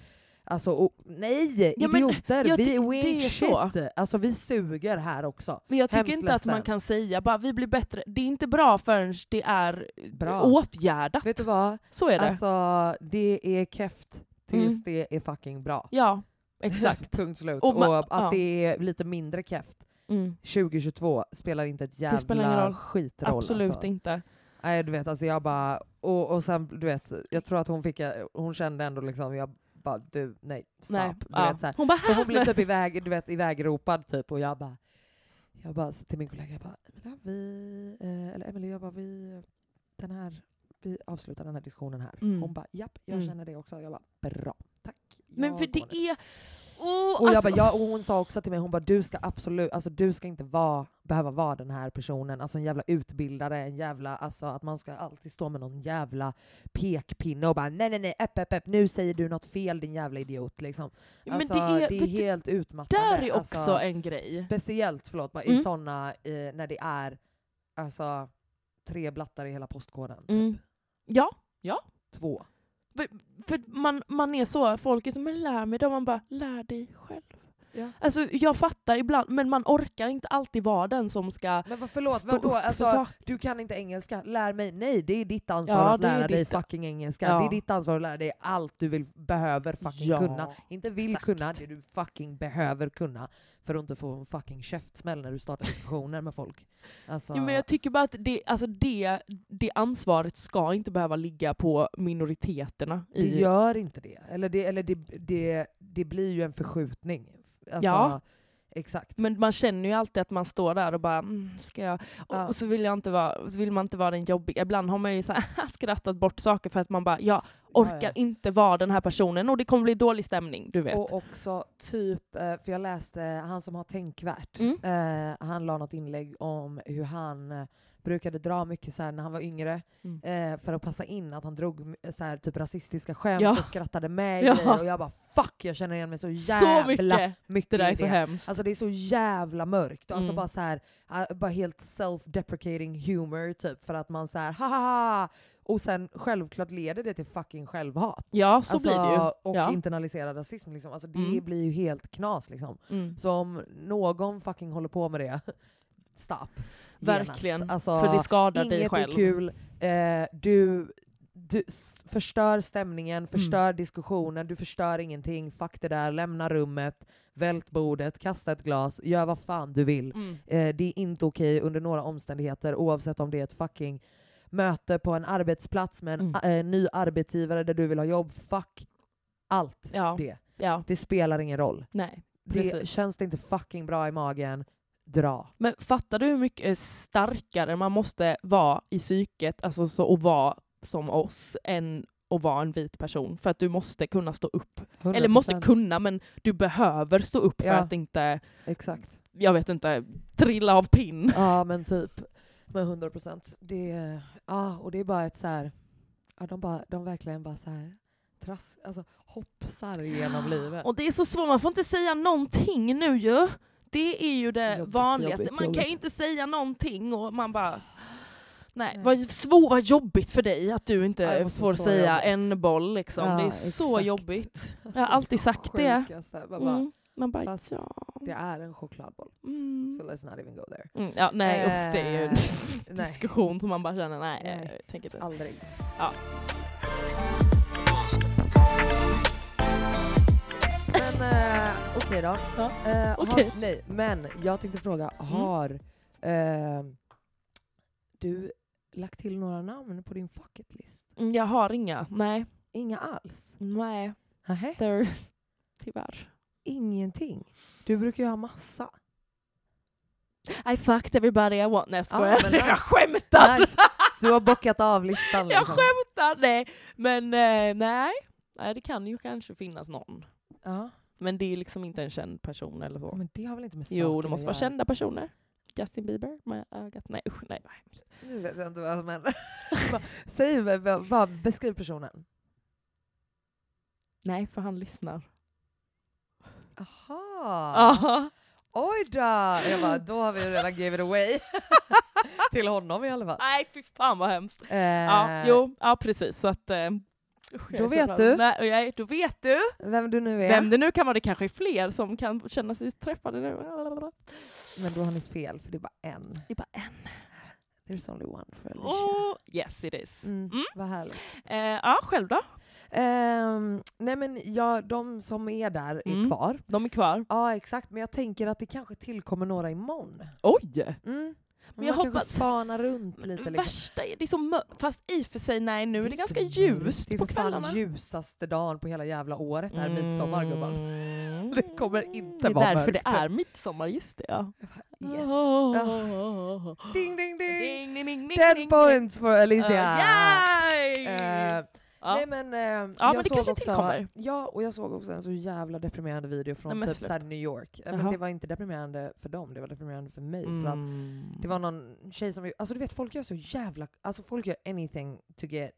Speaker 1: Alltså, och, nej!
Speaker 2: Ja, men
Speaker 1: idioter!
Speaker 2: jag
Speaker 1: vi
Speaker 2: ty-
Speaker 1: är we
Speaker 2: det
Speaker 1: ain't
Speaker 2: är så.
Speaker 1: shit! Alltså vi suger här också.
Speaker 2: Men jag tycker
Speaker 1: Hemskt
Speaker 2: inte att man
Speaker 1: ledsen.
Speaker 2: kan säga bara vi blir bättre. Det är inte bra förrän det är eh,
Speaker 1: Bra.
Speaker 2: åtgärdat.
Speaker 1: Vet du vad?
Speaker 2: Så är det.
Speaker 1: Alltså, det är keft tills
Speaker 2: Mm.
Speaker 1: det är fucking bra.
Speaker 2: ja, exakt.
Speaker 1: *laughs* Punkt slut.
Speaker 2: Och
Speaker 1: Och,
Speaker 2: ma-
Speaker 1: att
Speaker 2: ja.
Speaker 1: det är lite mindre keft Mm. 2022 spelar inte ett jävla
Speaker 2: spelar ingen roll.
Speaker 1: skitroll.
Speaker 2: Absolut
Speaker 1: alltså.
Speaker 2: inte.
Speaker 1: Nej, du vet, alltså jag bara... Och, och sen, du vet, jag tror att hon fick... Hon kände ändå liksom, jag bara, du, nej, stopp.
Speaker 2: Nej.
Speaker 1: Du
Speaker 2: Ja.
Speaker 1: vet, så här.
Speaker 2: Hon bara
Speaker 1: För hon blev typ iväg, du vet, ivägropad typ och jag bara... Jag bara så till min kollega, jag bara, Emilia, vi... eh, Eller Emelie, jag bara, vi... Den här... Vi avslutar den här diskussionen här.
Speaker 2: Mm.
Speaker 1: Hon bara, japp, jag
Speaker 2: Mm.
Speaker 1: känner det också. Jag bara, bra, tack.
Speaker 2: *laughs* Men
Speaker 1: jag
Speaker 2: för
Speaker 1: går nu."
Speaker 2: det är... Oh,
Speaker 1: Och, jag
Speaker 2: alltså-
Speaker 1: bara, ja, och hon sa också till mig, hon bara du ska absolut, alltså du ska inte vara, behöva vara den här personen, alltså en jävla utbildare, en jävla, alltså att man ska alltid stå med någon jävla pekpinne och bara nej nej nej, upp, upp, upp, nu säger du något fel din jävla idiot liksom.
Speaker 2: Men
Speaker 1: Alltså,
Speaker 2: det är... vet du,
Speaker 1: helt utmattande.
Speaker 2: där är också
Speaker 1: alltså,
Speaker 2: en grej.
Speaker 1: Speciellt, förlåt, bara, i
Speaker 2: Mm.
Speaker 1: sådana, eh, när det är alltså tre blattar i hela postkoden.
Speaker 2: Mm.
Speaker 1: Typ.
Speaker 2: Ja,
Speaker 1: Två.
Speaker 2: För- För man, man är så, folk är som men lär mig då, man bara lär dig själv.
Speaker 1: Ja.
Speaker 2: Alltså jag fattar ibland, men man orkar inte alltid vara den som ska
Speaker 1: Men vad, förlåt,
Speaker 2: stå
Speaker 1: vadå?
Speaker 2: upp för
Speaker 1: Alltså,
Speaker 2: saker.
Speaker 1: Du kan inte engelska, lär mig. Nej, det är ditt ansvar
Speaker 2: Ja,
Speaker 1: att
Speaker 2: det är
Speaker 1: lära dig
Speaker 2: ditt-
Speaker 1: fucking engelska.
Speaker 2: Ja.
Speaker 1: Det är ditt ansvar att lära dig allt du vill, behöver fucking
Speaker 2: Ja,
Speaker 1: kunna. Inte vill
Speaker 2: exakt.
Speaker 1: kunna, det du fucking behöver kunna. För att inte få en fucking käftsmäll när du startar diskussioner med folk. Alltså,
Speaker 2: Jo, men jag tycker bara att det, alltså det, det ansvaret ska inte behöva ligga på minoriteterna.
Speaker 1: det
Speaker 2: I,
Speaker 1: gör inte det. Eller, det, eller det, det, det blir ju en förskjutning. Alltså,
Speaker 2: Ja.
Speaker 1: Exakt.
Speaker 2: men man känner ju alltid att man står där och bara, mm, ska jag? Och,
Speaker 1: Ja.
Speaker 2: och så, vill jag inte vara, så vill man inte vara den jobbiga. Ibland har man ju så här *laughs* skrattat bort saker för att man bara, jag orkar
Speaker 1: Ja, ja.
Speaker 2: inte vara den här personen och det kommer bli dålig stämning, du vet.
Speaker 1: Och också typ, eh, för jag läste han som har tänkvärt,
Speaker 2: Mm.
Speaker 1: eh, han la något inlägg om hur han eh, brukade dra mycket så här när han var yngre eh, för att passa in att han drog m- så här, typ rasistiska skämt
Speaker 2: Mm. Ja.
Speaker 1: och skrattade med
Speaker 2: Ja.
Speaker 1: grejer och jag bara fuck jag känner igen mig så
Speaker 2: så
Speaker 1: jävla
Speaker 2: mycket!
Speaker 1: mycket
Speaker 2: Det där är
Speaker 1: i
Speaker 2: så hemskt.
Speaker 1: Alltså det är så jävla mörkt. Alltså
Speaker 2: Mm.
Speaker 1: bara så här, eh, bara helt self-deprecating humor typ för att man så här ha ha ha och sen självklart leder det till fucking självhat.
Speaker 2: Ja, så
Speaker 1: alltså,
Speaker 2: blir det ju.
Speaker 1: Och
Speaker 2: Ja.
Speaker 1: internaliserad rasism liksom. Alltså det
Speaker 2: Mm.
Speaker 1: blir ju helt knas liksom.
Speaker 2: Mm.
Speaker 1: Så om någon fucking håller på med det, stopp. Genast.
Speaker 2: Verkligen.
Speaker 1: Alltså,
Speaker 2: För det skadar dig
Speaker 1: Inget
Speaker 2: själv.
Speaker 1: är kul. Eh, du, du s- förstör
Speaker 2: Mm.
Speaker 1: stämningen, förstör diskussionen, du förstör ingenting. Fuck det där, lämna rummet, vält bordet, kasta ett glas, gör vad fan du vill.
Speaker 2: Mm.
Speaker 1: Eh, det är inte okej under några omständigheter oavsett om det är ett fucking möte på en arbetsplats med en
Speaker 2: Mm.
Speaker 1: a- eh, ny arbetsgivare där du vill ha jobb. Fuck allt
Speaker 2: Ja.
Speaker 1: det.
Speaker 2: Ja,
Speaker 1: Det spelar ingen roll.
Speaker 2: nej.
Speaker 1: Det,
Speaker 2: Precis.
Speaker 1: känns det inte fucking bra i magen, dra.
Speaker 2: Men fattar du hur mycket starkare man måste vara i psyket, alltså så att vara som oss, än att vara en vit person. För att du måste kunna stå upp. Eller måste
Speaker 1: 100%.
Speaker 2: kunna, men du behöver stå upp för
Speaker 1: Ja.
Speaker 2: att inte,
Speaker 1: Exakt.
Speaker 2: jag vet inte, trilla av pinn.
Speaker 1: Ja men typ. Med 100 procent. Det, ja, och det är bara ett så här, ja, de, bara, de verkligen bara så här, tras, alltså, hoppsar genom livet.
Speaker 2: Och det är så svårt, man får inte säga någonting nu ju. Det är ju det
Speaker 1: Jobbigt,
Speaker 2: vanligaste.
Speaker 1: jobbigt,
Speaker 2: man kan ju
Speaker 1: jobbigt.
Speaker 2: inte säga någonting och man bara... Nej,
Speaker 1: Nej.
Speaker 2: vad svårt, vad jobbigt för dig att du
Speaker 1: Ja, det
Speaker 2: inte
Speaker 1: måste
Speaker 2: får
Speaker 1: vara så
Speaker 2: säga
Speaker 1: jobbigt.
Speaker 2: en boll liksom.
Speaker 1: Ja,
Speaker 2: det är så
Speaker 1: exakt.
Speaker 2: jobbigt. Jag har alltid sagt det.
Speaker 1: Sjukaste. Man bara,
Speaker 2: Mm. Man bara,
Speaker 1: Fast-
Speaker 2: ja...
Speaker 1: Det är en chokladboll.
Speaker 2: Mm.
Speaker 1: So let's not even go there.
Speaker 2: Mm, ja, nej, uff, det är *laughs* ju en
Speaker 1: Eh, nej.
Speaker 2: diskussion som man bara känner, nej,
Speaker 1: Nej.
Speaker 2: jag tänker inte ens.
Speaker 1: Aldrig.
Speaker 2: Ja.
Speaker 1: Men eh, okej då.
Speaker 2: Ja,
Speaker 1: Eh, har-
Speaker 2: okej. Mm.
Speaker 1: nej, men jag tänkte fråga, har eh, du lagt till några namn på din fucketlist?
Speaker 2: Mm, Jag har inga, nej.
Speaker 1: Inga alls?
Speaker 2: Nej,
Speaker 1: Nähä?
Speaker 2: there, tyvärr.
Speaker 1: Ingenting? Du brukar ju ha massa.
Speaker 2: I fucked everybody I want. Nej jag skojar.
Speaker 1: Ah, men
Speaker 2: *laughs*
Speaker 1: nice.
Speaker 2: jag skämtar!
Speaker 1: *laughs* Nice. Du har bockat av
Speaker 2: *laughs* jag
Speaker 1: listan liksom.
Speaker 2: skämtar! Nej. Men eh, nej. nej, det kan ju kanske finnas någon.
Speaker 1: Ja,
Speaker 2: Men det är liksom inte en känd person eller så.
Speaker 1: men det har väl inte med saken
Speaker 2: Jo, det måste
Speaker 1: att
Speaker 2: vara
Speaker 1: göra?
Speaker 2: kända personer. Justin Bieber med ögat. Nej usch, nej vad hemskt.
Speaker 1: Nu vet jag inte vad som *laughs* händer. Vad- Säg, vad- vad, vad, beskriv personen.
Speaker 2: Nej, för han lyssnar.
Speaker 1: Aha!
Speaker 2: Aha.
Speaker 1: Oj då! Jag bara, då har vi redan give it away. *laughs* Till honom i alla fall.
Speaker 2: *laughs* Nej fy fan vad hemskt.
Speaker 1: Eh,
Speaker 2: Ja, jo, ja precis. Så att, eh, usch, jag
Speaker 1: Då
Speaker 2: är så
Speaker 1: vet
Speaker 2: glad.
Speaker 1: du.
Speaker 2: Nej, och jag, är- då vet du
Speaker 1: Vem du nu är.
Speaker 2: vem det nu kan vara. Det kanske är fler som kan känna sig träffade nu.
Speaker 1: Men då har ni fel, för det är bara en.
Speaker 2: Det är bara en.
Speaker 1: There's only one for Alicia.
Speaker 2: Oh, yes it is.
Speaker 1: Mm,
Speaker 2: Mm.
Speaker 1: Vad härligt.
Speaker 2: Eh, ja, själv då?
Speaker 1: Ehm, nej men ja, de som är där är
Speaker 2: Mm.
Speaker 1: kvar.
Speaker 2: De är kvar.
Speaker 1: Ja exakt, men jag tänker att det kanske tillkommer några imorgon.
Speaker 2: Oj!
Speaker 1: Mm. Men
Speaker 2: jag
Speaker 1: jag Man kanske
Speaker 2: hoppas-
Speaker 1: spanar runt lite. Liksom.
Speaker 2: Värsta är, det är så mör- Fast i och för sig, nej nu är det
Speaker 1: inte
Speaker 2: ganska
Speaker 1: mörkt.
Speaker 2: ljust
Speaker 1: Det är
Speaker 2: på
Speaker 1: för fan
Speaker 2: kvällarna. Mm.
Speaker 1: ljusaste dagen på hela jävla året här midsommar gubban. Det kommer inte
Speaker 2: Det är
Speaker 1: vara
Speaker 2: därför
Speaker 1: mörkt.
Speaker 2: det är midsommar, just det ja.
Speaker 1: Yes.
Speaker 2: Oh.
Speaker 1: Ding ding ding!
Speaker 2: Ding, ding, ding, ding,
Speaker 1: Ten
Speaker 2: ding.
Speaker 1: points for
Speaker 2: Uh,
Speaker 1: Alicia!
Speaker 2: yay!
Speaker 1: Eh,
Speaker 2: Ja.
Speaker 1: Nej men, eh, jag
Speaker 2: men det
Speaker 1: såg
Speaker 2: kanske
Speaker 1: också,
Speaker 2: tillkommer.
Speaker 1: Ja, och jag såg också en så jävla deprimerande video från
Speaker 2: Nej, men
Speaker 1: typ
Speaker 2: släpp.
Speaker 1: såhär New York. Eh, Men
Speaker 2: Jaha.
Speaker 1: det var inte deprimerande för dem, det var deprimerande för mig. För att
Speaker 2: Mm.
Speaker 1: det var någon tjej som, alltså du vet folk gör så jävla, alltså folk gör anything to get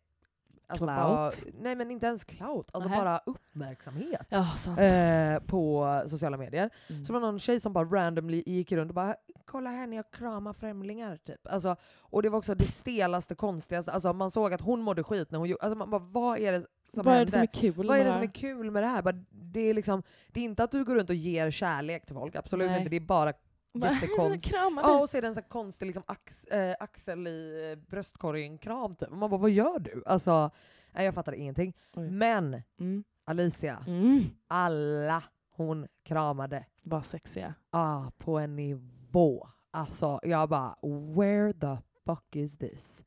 Speaker 1: Alltså
Speaker 2: Clout?
Speaker 1: bara, nej men inte ens clout, alltså
Speaker 2: Nähä. Ah.
Speaker 1: bara uppmärksamhet
Speaker 2: Ja, sant.
Speaker 1: eh, på sociala medier.
Speaker 2: Mm.
Speaker 1: Så det var någon tjej som bara randomly gick runt och bara “kolla här när jag kramar främlingar” typ. Alltså, och det var också det stelaste, konstigaste, alltså man såg att hon mådde skit när hon gjorde, alltså man bara vad är det som
Speaker 2: Vad är
Speaker 1: händer?
Speaker 2: det som är kul
Speaker 1: vad är
Speaker 2: med
Speaker 1: det
Speaker 2: här?
Speaker 1: som är kul med det här? Bara, det, är liksom, det är inte att du går runt och ger kärlek till folk, absolut
Speaker 2: Nej.
Speaker 1: inte. Det
Speaker 2: *laughs*
Speaker 1: är bara jättekonstigt.
Speaker 2: Krama
Speaker 1: Ja,
Speaker 2: dig.
Speaker 1: och så är det en sån här konstig liksom, ax, eh, axel i eh, bröstkorgen-kram typ. Och Man bara vad gör du? Alltså, nej, jag fattar ingenting.
Speaker 2: Oj.
Speaker 1: Men
Speaker 2: Mm.
Speaker 1: Alicia,
Speaker 2: Mm.
Speaker 1: alla hon kramade
Speaker 2: Vad sexiga.
Speaker 1: ah, på en nivå. Alltså jag bara where the fuck is this?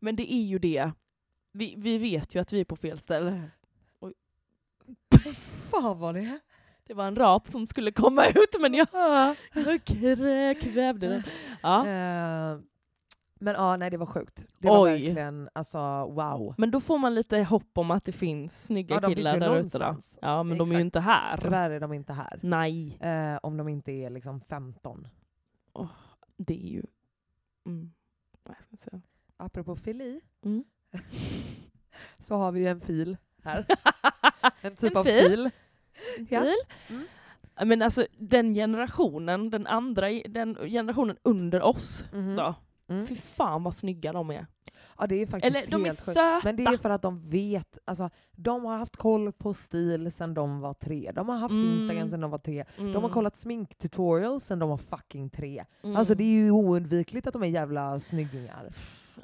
Speaker 2: Men det är ju det. Vi, vi vet ju att vi är på fel ställe.
Speaker 1: *laughs* Fan vad det
Speaker 2: Det var en rap som skulle komma *laughs* ut men jag, jag krä- kvävde den. Ja.
Speaker 1: Eh, men ja, nej det var sjukt. Det var
Speaker 2: Oj.
Speaker 1: verkligen alltså wow.
Speaker 2: Men då får man lite hopp om att det finns snygga
Speaker 1: Ja, de finns
Speaker 2: killar
Speaker 1: ju
Speaker 2: där ute. Då.
Speaker 1: någonstans.
Speaker 2: Ja, men de är
Speaker 1: Exakt.
Speaker 2: ju inte här.
Speaker 1: Tyvärr är de inte här.
Speaker 2: Nej,
Speaker 1: Eh, om de inte är liksom 15.
Speaker 2: det är ju... Mm. Vad ska jag säga?
Speaker 1: Apropå Fili
Speaker 2: Mm.
Speaker 1: *laughs* så har vi ju en fil här.
Speaker 2: *laughs*
Speaker 1: En typ
Speaker 2: En
Speaker 1: av
Speaker 2: fil?
Speaker 1: fil. Ja.
Speaker 2: Bil.
Speaker 1: Mm.
Speaker 2: Men alltså den generationen, den andra den generationen under oss
Speaker 1: Mhm.
Speaker 2: då.
Speaker 1: Mm.
Speaker 2: Fy fan vad snygga de är.
Speaker 1: Ja det är faktiskt
Speaker 2: Eller de är
Speaker 1: helt sjukt.
Speaker 2: söta.
Speaker 1: Men det är för att de vet, alltså, de har haft koll på stil sedan de var tre. De har haft
Speaker 2: Mm.
Speaker 1: Instagram sedan de var tre. De har
Speaker 2: Mm.
Speaker 1: kollat sminktutorials sedan de var fucking tre.
Speaker 2: Mm.
Speaker 1: Alltså det är ju oundvikligt att de är jävla snyggingar.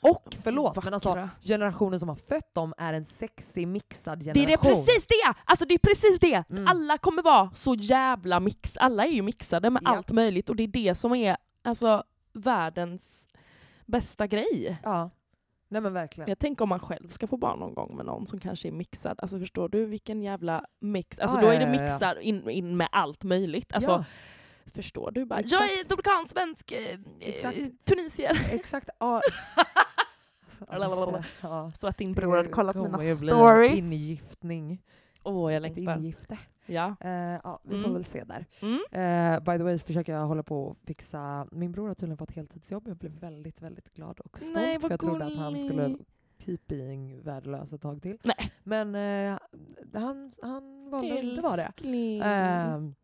Speaker 1: Och
Speaker 2: De är så
Speaker 1: förlåt, men alltså
Speaker 2: vackra.
Speaker 1: generationen som har fött dem är en sexig mixad
Speaker 2: Det är
Speaker 1: generation.
Speaker 2: det, precis det! Alltså det är precis det!
Speaker 1: Mm.
Speaker 2: Alla kommer vara så jävla mix, alla är ju mixade med
Speaker 1: Ja.
Speaker 2: allt möjligt och det är det som är alltså, världens bästa grej.
Speaker 1: Ja. Nej men verkligen.
Speaker 2: Jag tänker om man själv ska få barn någon gång med någon som kanske är mixad, alltså förstår du vilken jävla mix, alltså
Speaker 1: Ja,
Speaker 2: då
Speaker 1: ja,
Speaker 2: är det
Speaker 1: ja, ja, ja.
Speaker 2: mixar in, in med allt möjligt. Alltså,
Speaker 1: Ja,
Speaker 2: Förstår du? Bara,
Speaker 1: Exakt.
Speaker 2: jag är dominikan, svensk, eh, eh,
Speaker 1: *laughs* Exakt.
Speaker 2: *laughs* tunisier.
Speaker 1: exakt. Ja. Alltså,
Speaker 2: Lalalala.
Speaker 1: Ja.
Speaker 2: Så att din bror hade kollat
Speaker 1: Det
Speaker 2: mina
Speaker 1: kommer ju bli en
Speaker 2: stories.
Speaker 1: Ingiftning.
Speaker 2: Åh, jag
Speaker 1: Ett
Speaker 2: längtar.
Speaker 1: ingifte.
Speaker 2: Ja.
Speaker 1: Eh, ja, vi får
Speaker 2: Mm.
Speaker 1: väl se där.
Speaker 2: Mm.
Speaker 1: Eh, by the way så försöker jag hålla på och fixa... Min bror har tydligen fått heltidsjobb. Jag blev väldigt, väldigt glad och stolt.
Speaker 2: Nej,
Speaker 1: för
Speaker 2: vad
Speaker 1: jag trodde att han skulle
Speaker 2: gullig.
Speaker 1: keep being värdelös ett tag till.
Speaker 2: Nej.
Speaker 1: Men eh, han, han valde att inte vara det.
Speaker 2: Älskling.
Speaker 1: Ehm,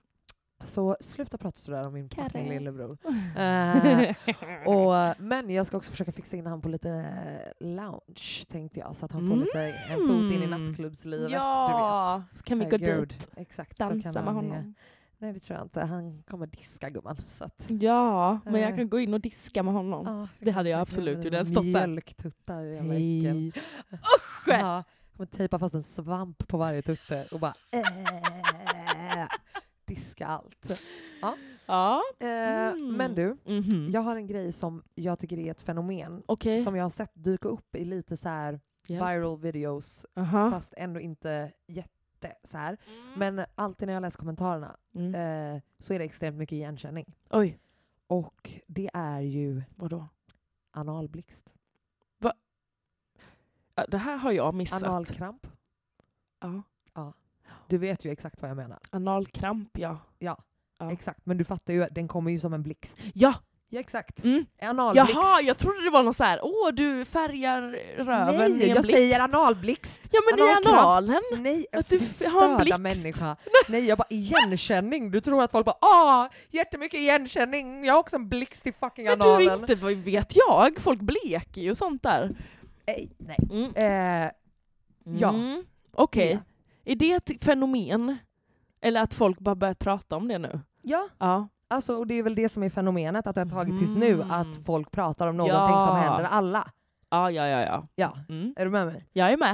Speaker 1: så sluta prata sådär om min
Speaker 2: Karre. *laughs*
Speaker 1: fucking lillebror. Eh, och, men jag ska också försöka fixa in honom på lite eh, lounge tänkte jag så att han får lite en fot in i
Speaker 2: Mm.
Speaker 1: nattklubbslivet.
Speaker 2: ja, så kan vi gå
Speaker 1: Herregud.
Speaker 2: dit
Speaker 1: Exakt, så kan
Speaker 2: dansa med
Speaker 1: han, eh,
Speaker 2: honom.
Speaker 1: Nej det tror jag inte, han kommer diska gumman. Så att,
Speaker 2: Ja, men
Speaker 1: Eh.
Speaker 2: jag kan gå in och diska med honom.
Speaker 1: ja,
Speaker 2: det hade jag
Speaker 1: säkert
Speaker 2: absolut
Speaker 1: med
Speaker 2: gjort, jag hade
Speaker 1: dina
Speaker 2: stått där.
Speaker 1: Mjölktuttar, jävla äckel. Usch! Ja, kommer tejpa fast en svamp på varje tutte och bara eh, diska allt.
Speaker 2: Ja.
Speaker 1: Eh,
Speaker 2: Mm.
Speaker 1: Men du,
Speaker 2: Mhm.
Speaker 1: Jag har en grej som jag tycker är ett fenomen
Speaker 2: Okej.
Speaker 1: som jag har sett dyka upp i lite så här
Speaker 2: Ja.
Speaker 1: viral videos
Speaker 2: Aha.
Speaker 1: fast ändå inte jätte så här. Men alltid när jag läser kommentarerna
Speaker 2: Mm.
Speaker 1: eh, så är det extremt mycket igenkänning.
Speaker 2: Oj,
Speaker 1: Och det är ju
Speaker 2: vadå?
Speaker 1: analblixt.
Speaker 2: Ja, Det här har jag missat.
Speaker 1: Analkramp.
Speaker 2: ja.
Speaker 1: Du vet ju exakt vad jag menar.
Speaker 2: Analkramp, ja.
Speaker 1: Ja,
Speaker 2: Ja.
Speaker 1: exakt. Men du fattar ju, den kommer ju som en blixt.
Speaker 2: Ja!
Speaker 1: Ja, exakt.
Speaker 2: Mm.
Speaker 1: Analblixt.
Speaker 2: Jaha, jag trodde det var någon så här. åh du färgar röven
Speaker 1: Nej,
Speaker 2: i en
Speaker 1: jag
Speaker 2: blixt.
Speaker 1: säger analblixt.
Speaker 2: Ja men i
Speaker 1: analkramp.
Speaker 2: analen!
Speaker 1: Nej,
Speaker 2: *laughs*
Speaker 1: jag
Speaker 2: Att du
Speaker 1: störda
Speaker 2: har en blixt. *laughs*
Speaker 1: människa. Nej, jag bara igenkänning. Du tror att folk bara ah, jättemycket igenkänning. Jag har också en blixt i fucking
Speaker 2: Men du
Speaker 1: analen.
Speaker 2: inte, vad vet jag? Folk bleker ju och sånt där.
Speaker 1: Nej, nej.
Speaker 2: Mm.
Speaker 1: Eh, Ja.
Speaker 2: Mm. Okej.
Speaker 1: Ja.
Speaker 2: Är det ett fenomen? Eller att folk bara börjat prata om det nu?
Speaker 1: ja,
Speaker 2: Ja.
Speaker 1: alltså, och det är väl det som är fenomenet att det har tagit tills nu
Speaker 2: Mm.
Speaker 1: att folk pratar om någonting
Speaker 2: Ja.
Speaker 1: som händer alla.
Speaker 2: Ja, ja, ja. ja.
Speaker 1: Ja,
Speaker 2: Mm.
Speaker 1: är du med mig?
Speaker 2: Jag är med.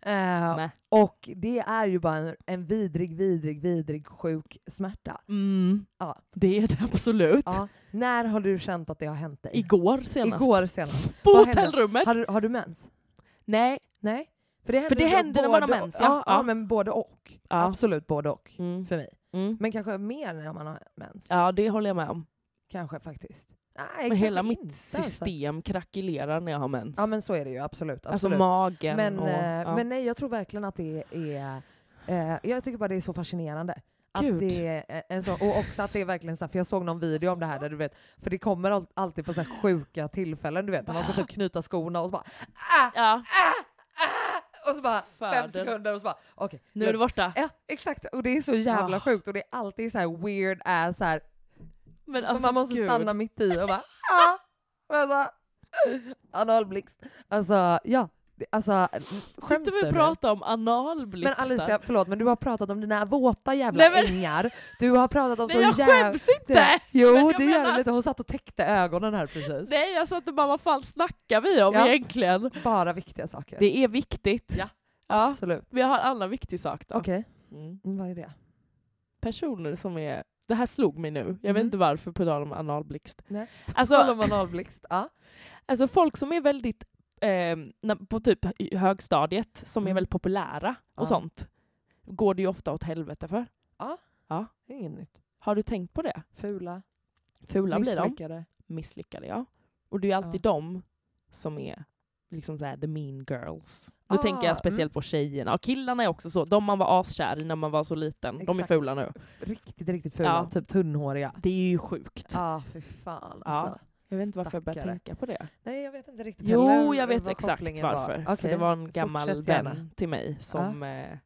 Speaker 1: Eh,
Speaker 2: med.
Speaker 1: och det är ju bara en, en vidrig, vidrig, vidrig sjuk smärta.
Speaker 2: Mm.
Speaker 1: Ja.
Speaker 2: Det är det absolut.
Speaker 1: Ja. När har du känt att det har hänt dig?
Speaker 2: Igår senast.
Speaker 1: Igår senast.
Speaker 2: På
Speaker 1: Vad hände?
Speaker 2: hotellrummet.
Speaker 1: Har, du- har du mens?
Speaker 2: Nej.
Speaker 1: Nej. För det händer,
Speaker 2: För det
Speaker 1: då
Speaker 2: händer när man har
Speaker 1: både-
Speaker 2: mens, ja.
Speaker 1: Ja, ja.
Speaker 2: Ja.
Speaker 1: men både och.
Speaker 2: Ja.
Speaker 1: Absolut både och
Speaker 2: Mm.
Speaker 1: för mig.
Speaker 2: Mm.
Speaker 1: Men kanske mer när man har mens.
Speaker 2: Ja, det håller jag med om.
Speaker 1: Kanske faktiskt. Nej,
Speaker 2: Men
Speaker 1: kanske
Speaker 2: hela
Speaker 1: inte,
Speaker 2: mitt
Speaker 1: alltså.
Speaker 2: system krackelerar när jag har mens.
Speaker 1: Ja men så är det ju absolut.
Speaker 2: alltså
Speaker 1: absolut.
Speaker 2: magen
Speaker 1: men,
Speaker 2: och...
Speaker 1: eh,
Speaker 2: ja.
Speaker 1: men nej jag tror verkligen att det är... Eh, jag tycker bara det är så fascinerande. Att
Speaker 2: Gud.
Speaker 1: det är en sån, och också att det är verkligen så här, för jag såg någon video om det här där du vet, för det kommer al- alltid på så här sjuka tillfällen du vet, när man ska typ knyta skorna och så bara ah,
Speaker 2: ja.
Speaker 1: ah, och så bara fem
Speaker 2: Föder.
Speaker 1: sekunder och så bara okej.
Speaker 2: Nu är det borta.
Speaker 1: Ja, exakt. Och det är så jävla
Speaker 2: Ah.
Speaker 1: sjukt och det är alltid så här weird ass så här.
Speaker 2: Men
Speaker 1: och
Speaker 2: alltså,
Speaker 1: man måste
Speaker 2: gud.
Speaker 1: stanna mitt i och bara ah, vänta. Analblixt. Alltså ja, det, alltså skäms
Speaker 2: Sitter vi
Speaker 1: du
Speaker 2: och
Speaker 1: nu?
Speaker 2: pratar om
Speaker 1: Men
Speaker 2: analblixtar?
Speaker 1: Alicia, förlåt men du har pratat om dina våta jävla
Speaker 2: Nej, men-
Speaker 1: ängar. Du har pratat om
Speaker 2: Nej,
Speaker 1: så
Speaker 2: jag
Speaker 1: jävla...
Speaker 2: skäms inte! Men
Speaker 1: Jo
Speaker 2: jag
Speaker 1: det gör du
Speaker 2: menar-
Speaker 1: lite, hon satt och täckte ögonen här precis.
Speaker 2: Nej, jag satt och bara vad fan snackar vi om
Speaker 1: Ja.
Speaker 2: egentligen?
Speaker 1: Bara viktiga saker.
Speaker 2: Det är viktigt.
Speaker 1: Ja.
Speaker 2: Ja,
Speaker 1: Absolut.
Speaker 2: vi har en annan viktig sak då.
Speaker 1: Okej,
Speaker 2: Mm.
Speaker 1: mm, vad är det?
Speaker 2: Personer som är... Det här slog mig nu, jag
Speaker 1: Mhm.
Speaker 2: vet inte varför, på tal om analblixt.
Speaker 1: Nej. Kolla om
Speaker 2: Alltså,
Speaker 1: analblixt. Ja.
Speaker 2: alltså folk som är väldigt, eh, när- på typ i högstadiet, som är
Speaker 1: Mm.
Speaker 2: väldigt populära och
Speaker 1: Ja.
Speaker 2: sånt, går det ju ofta åt helvete för.
Speaker 1: Det är Inget nytt.
Speaker 2: Har du tänkt på det?
Speaker 1: Fula,
Speaker 2: Fula blir de.
Speaker 1: misslyckade.
Speaker 2: misslyckade jag. Och det är ju alltid de som är liksom såhär the mean girls. Då
Speaker 1: Ah,
Speaker 2: tänker jag speciellt på tjejerna. Och killarna är också så. De man var askär i när man var så liten, de är
Speaker 1: Exakt.
Speaker 2: fula nu.
Speaker 1: Riktigt, riktigt fula.
Speaker 2: Ja.
Speaker 1: Typ tunnhåriga.
Speaker 2: Det är ju sjukt.
Speaker 1: Ja, för fan
Speaker 2: Ja.
Speaker 1: alltså.
Speaker 2: jag vet inte varför jag började
Speaker 1: stackare.
Speaker 2: tänka på det.
Speaker 1: Nej, jag vet inte riktigt
Speaker 2: Jo,
Speaker 1: heller
Speaker 2: jag vet
Speaker 1: vad
Speaker 2: exakt
Speaker 1: kopplingen
Speaker 2: varför. För
Speaker 1: Okej.
Speaker 2: det var en gammal
Speaker 1: fortsätt gärna.
Speaker 2: vän till mig som... Eh,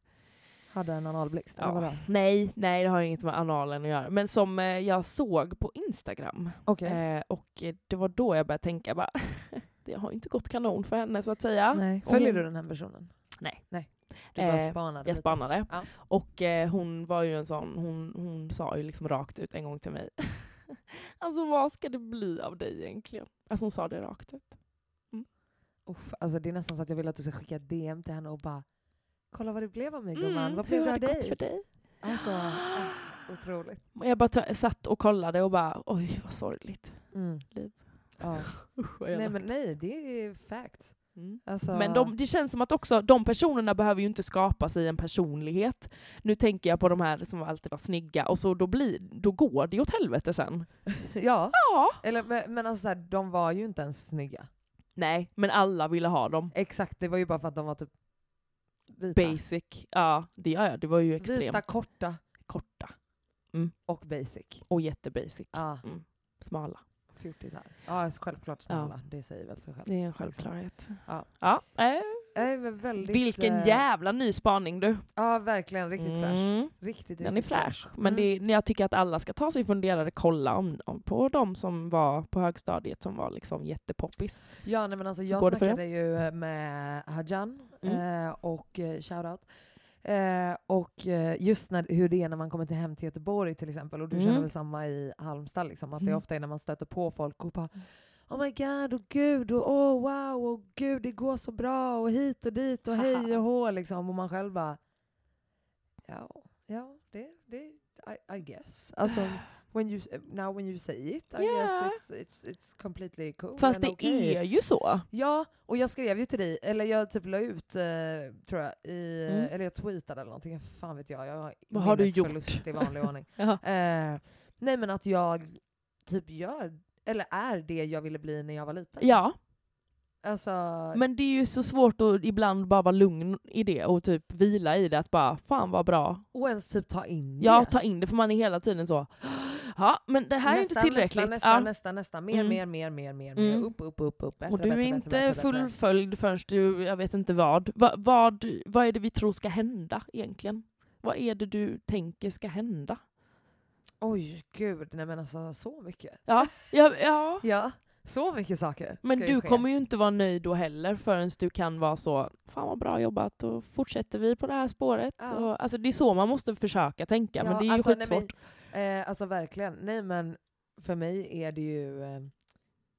Speaker 1: Hade en analblixt, eller
Speaker 2: ja.
Speaker 1: vadå?
Speaker 2: Nej, nej, det har ju inget med analen att göra. Men som eh, jag såg på Instagram.
Speaker 1: Okej.
Speaker 2: Eh, och eh, det var då jag började tänka bara, *laughs* det har ju inte gått kanon för henne så att säga.
Speaker 1: Nej.
Speaker 2: Och
Speaker 1: Följer
Speaker 2: hon-
Speaker 1: du den här personen?
Speaker 2: Nej.
Speaker 1: Nej. Du bara
Speaker 2: Eh,
Speaker 1: spanade
Speaker 2: Jag
Speaker 1: lite.
Speaker 2: spanade.
Speaker 1: Ja.
Speaker 2: Och eh, hon var ju en sån, hon, hon sa ju liksom rakt ut en gång till mig. *laughs* alltså vad ska det bli av dig egentligen? Alltså hon sa det rakt ut.
Speaker 1: Uff, alltså, det är nästan så att jag vill att du ska skicka ett DM till henne och bara Kolla vad det blev av mig gumman,
Speaker 2: Mm,
Speaker 1: vad
Speaker 2: hur
Speaker 1: blev det
Speaker 2: har
Speaker 1: av
Speaker 2: det gått
Speaker 1: dig?
Speaker 2: för dig? *gasps*
Speaker 1: Alltså, ah, otroligt.
Speaker 2: Och Jag bara t- satt och kollade och bara oj vad sorgligt.
Speaker 1: Mm.
Speaker 2: Liv. *laughs*
Speaker 1: Ja.
Speaker 2: Usch, vad
Speaker 1: Nej
Speaker 2: elakt.
Speaker 1: men nej, det är facts.
Speaker 2: Mm.
Speaker 1: Alltså,
Speaker 2: Men de, det känns som att också de personerna behöver ju inte skapa sig en personlighet. Nu tänker jag på de här som alltid var snygga och så då, blir, då går det ju åt helvete sen.
Speaker 1: *laughs* ja.
Speaker 2: Ja.
Speaker 1: Eller, men, men alltså, så här, de var ju inte ens snygga.
Speaker 2: Nej, men alla ville ha dem.
Speaker 1: Exakt, det var ju bara för att de var typ vita.
Speaker 2: Basic. Ja, det ja, ja, det var ju extremt
Speaker 1: Vita, korta
Speaker 2: korta.
Speaker 1: och basic.
Speaker 2: Och jättebasic.
Speaker 1: Ja,
Speaker 2: Mm. Smala.
Speaker 1: fjortisar. Ja, alltså, självklart smala. Det säger väl sig själv.
Speaker 2: Det är en
Speaker 1: liksom.
Speaker 2: självklarhet.
Speaker 1: Ja.
Speaker 2: Ja, eh,
Speaker 1: Nej, men väldigt,
Speaker 2: vilken
Speaker 1: eh,
Speaker 2: jävla ny spaning du.
Speaker 1: Ja, verkligen. Riktigt fräsch.
Speaker 2: Mm.
Speaker 1: Riktigt,
Speaker 2: Den är
Speaker 1: riktigt
Speaker 2: fräsch. Men det, är- jag tycker att alla ska ta sig funderare, kolla om, om, på de som var på högstadiet som var liksom jättepoppis.
Speaker 1: Ja, nej, men alltså jag
Speaker 2: Går det för
Speaker 1: snackade ju eh, med Hajan
Speaker 2: Mm.
Speaker 1: eh, och eh, shoutout. Eh, och eh, just när, hur det är när man kommer till hem till Göteborg till exempel, och du känner
Speaker 2: Mm.
Speaker 1: väl samma i Halmstad, liksom, att det
Speaker 2: Mm.
Speaker 1: ofta är när man stöter på folk och bara Oh my god, och gud, och oh wow, och gud det går så bra, och hit och dit, och hej och hå liksom. Och man själv bara Ja, ja det, det I, I guess. Alltså,
Speaker 2: *gasps*
Speaker 1: when you, now when you say it, I
Speaker 2: Yeah.
Speaker 1: guess it's, it's, it's completely cool
Speaker 2: Fast
Speaker 1: and
Speaker 2: det
Speaker 1: okay.
Speaker 2: är ju så.
Speaker 1: Ja, och jag skrev ju till dig, eller jag typ la ut, eh, tror jag, i,
Speaker 2: Mm.
Speaker 1: eller jag tweetade eller någonting, fan vet jag. jag har
Speaker 2: Vad har du gjort?
Speaker 1: minnesförlust i vanlig ordning.
Speaker 2: *laughs* Ja.
Speaker 1: Eh, nej men att jag typ gör, eller är det jag ville bli när jag var liten.
Speaker 2: Ja,
Speaker 1: Alltså,
Speaker 2: men det är ju så svårt att ibland bara vara lugn i det och typ vila i det att bara fan vad bra.
Speaker 1: och ens typ ta in
Speaker 2: Ja,
Speaker 1: det.
Speaker 2: ta in det för man är hela tiden så ja men det här är inte
Speaker 1: Nästa,
Speaker 2: tillräckligt. ja.
Speaker 1: Nästa, nästa, nästa, nästa. Mer,
Speaker 2: Mm.
Speaker 1: mer, mer, mer, mer,
Speaker 2: Mm.
Speaker 1: mer. Upp, upp, upp, upp. Bättre,
Speaker 2: och du är
Speaker 1: bättre,
Speaker 2: inte
Speaker 1: bättre, bättre, bättre.
Speaker 2: fullföljd förrän du, jag vet inte vad. Va, vad. Vad är det vi tror ska hända egentligen? Vad är det du tänker ska hända?
Speaker 1: Oj, gud. Nej men alltså så mycket.
Speaker 2: Ja, ja.
Speaker 1: Ja, så mycket saker.
Speaker 2: Ah. men
Speaker 1: ska ju
Speaker 2: du
Speaker 1: ske.
Speaker 2: kommer ju inte vara nöjd då heller förrän du kan vara så, fan vad bra jobbat, och fortsätter vi på det här spåret.
Speaker 1: Ja.
Speaker 2: Och, alltså det är så man måste försöka tänka, men
Speaker 1: Ja,
Speaker 2: det är ju
Speaker 1: alltså, nej,
Speaker 2: skitsvårt.
Speaker 1: men, eh, alltså verkligen. Nej men för mig är det ju... Eh,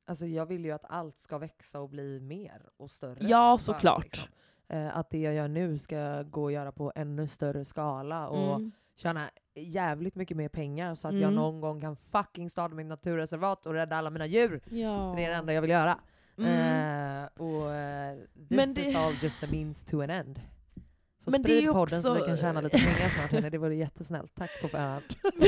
Speaker 1: alltså jag vill ju att allt ska växa och bli mer och större.
Speaker 2: Ja,
Speaker 1: Bara,
Speaker 2: såklart.
Speaker 1: Eh, att det jag gör nu ska jag gå och göra på ännu större skala och
Speaker 2: Mm.
Speaker 1: tjäna jävligt mycket mer pengar så att jag
Speaker 2: Mm.
Speaker 1: någon gång kan fucking starta mitt naturreservat och rädda alla mina djur.
Speaker 2: Ja.
Speaker 1: För det är det enda jag vill göra.
Speaker 2: Mm.
Speaker 1: Eh, och eh, this
Speaker 2: Men det-
Speaker 1: is all just a means to an end. Så
Speaker 2: Men det är
Speaker 1: sprid
Speaker 2: ju
Speaker 1: podden så vi
Speaker 2: också-
Speaker 1: kan tjäna lite pengar snart hörni, det vore jättesnällt. Tack för fan.
Speaker 2: *laughs*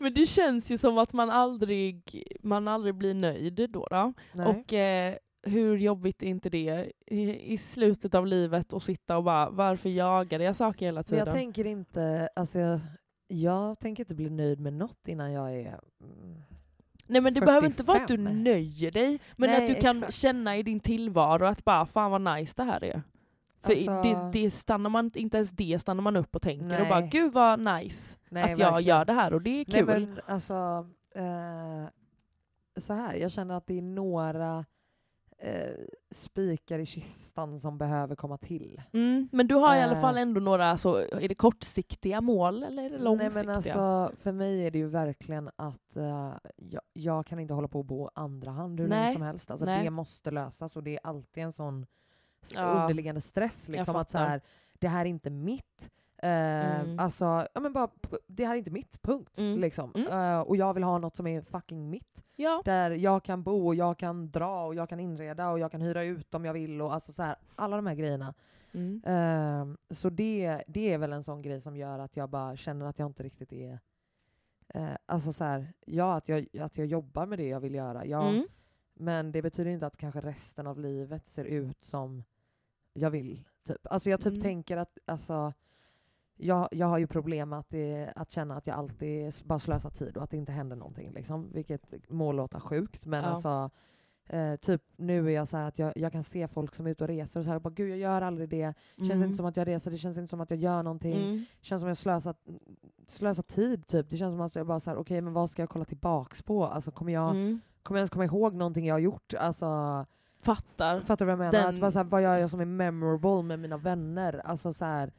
Speaker 2: Men det känns ju som att man aldrig, man aldrig blir nöjd då. då.
Speaker 1: Nej.
Speaker 2: Och eh, hur jobbigt är inte det i, i slutet av livet att sitta och bara varför jagade jag saker hela
Speaker 1: Men
Speaker 2: tiden?
Speaker 1: jag tänker inte, alltså jag, jag tänker inte bli nöjd med något innan jag är... mm,
Speaker 2: Nej men det behöver inte vara att du
Speaker 1: 45.
Speaker 2: nöjer dig, men
Speaker 1: Nej,
Speaker 2: att du kan
Speaker 1: exakt.
Speaker 2: känna i din tillvaro att bara fan vad nice det här är. För
Speaker 1: Alltså-
Speaker 2: det, det stannar man, inte ens det stannar man upp och tänker och
Speaker 1: Nej.
Speaker 2: bara gud vad nice
Speaker 1: Nej,
Speaker 2: att jag
Speaker 1: verkligen.
Speaker 2: gör det här och det är kul.
Speaker 1: Nej men alltså, eh, så här, jag känner att det är några eh, spikar i kistan som behöver komma till.
Speaker 2: Mm, men du har i alla
Speaker 1: Eh.
Speaker 2: fall ändå några, så, är det kortsiktiga mål eller är det långsiktiga?
Speaker 1: Nej men alltså, för mig är det ju verkligen att eh, jag, jag kan inte hålla på och bo andra hand hur
Speaker 2: Nej.
Speaker 1: länge som helst. Alltså,
Speaker 2: Nej.
Speaker 1: det måste lösas och det är alltid en sån s-
Speaker 2: Ja.
Speaker 1: underliggande stress.
Speaker 2: Jag
Speaker 1: Liksom, att så
Speaker 2: fattar.
Speaker 1: här, det här är inte mitt. Eh,
Speaker 2: Mm.
Speaker 1: Alltså, ja, men bara, p- det här är inte mitt, punkt.
Speaker 2: Mm.
Speaker 1: Liksom.
Speaker 2: Mm.
Speaker 1: Eh, och jag vill ha något som är fucking mitt.
Speaker 2: ja.
Speaker 1: Där jag kan bo och jag kan dra och jag kan inreda och jag kan hyra ut om jag vill. Och alltså, så här, alla de här grejerna.
Speaker 2: Mm.
Speaker 1: Ehm, så det, det är väl en sån grej som gör att jag bara känner att jag inte riktigt är... eh, alltså så här, ja att jag, att jag jobbar med det jag vill göra, ja.
Speaker 2: Mm.
Speaker 1: Men det betyder inte att kanske resten av livet ser ut som jag vill. Typ. Alltså jag typ
Speaker 2: Mm.
Speaker 1: tänker att, alltså, jag, jag har ju problem med att, det, att känna att jag alltid s- bara slösar tid och att det inte händer någonting. Liksom, vilket må låta sjukt men
Speaker 2: Ja.
Speaker 1: alltså, eh, typ nu är jag så här att jag, jag kan se folk som är ute och reser och så här, jag bara gud jag gör aldrig det. Känns
Speaker 2: Mm.
Speaker 1: inte som att jag reser, det känns inte som att jag gör någonting.
Speaker 2: Mm.
Speaker 1: Känns som att jag slösar, slösar tid typ. Det känns som att jag bara så här, okej men vad ska jag kolla tillbaks på? Alltså kommer jag,
Speaker 2: Mm.
Speaker 1: kommer jag ens komma ihåg någonting jag har gjort? Alltså,
Speaker 2: Fattar.
Speaker 1: Fattar du vad jag menar?
Speaker 2: Den-
Speaker 1: Att bara så här, vad gör jag som är memorable med mina vänner? Alltså så här,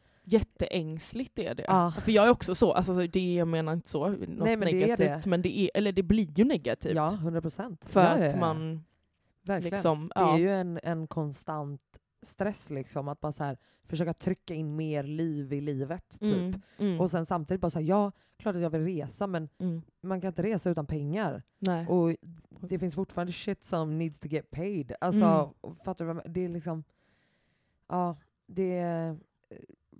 Speaker 2: Jätteängsligt är det.
Speaker 1: Ah.
Speaker 2: För jag är också så, alltså det är, jag menar inte så, något
Speaker 1: Nej, men det är
Speaker 2: negativt,
Speaker 1: det.
Speaker 2: men det är, eller det blir ju negativt.
Speaker 1: ja, 100 procent.
Speaker 2: Typ. För
Speaker 1: ja, ja,
Speaker 2: att
Speaker 1: ja.
Speaker 2: man
Speaker 1: Verkligen.
Speaker 2: liksom,
Speaker 1: Det är
Speaker 2: ja.
Speaker 1: ju en, en konstant stress liksom, att bara så här, försöka trycka in mer liv i livet. Typ.
Speaker 2: Mm, mm,
Speaker 1: Och sen samtidigt bara så här, ja, klart att jag vill resa men
Speaker 2: mm.
Speaker 1: man kan inte resa utan pengar.
Speaker 2: Nej.
Speaker 1: Och det finns fortfarande shit som needs to get paid. Alltså, fattar du vad jag menar? Det är liksom, ja, det är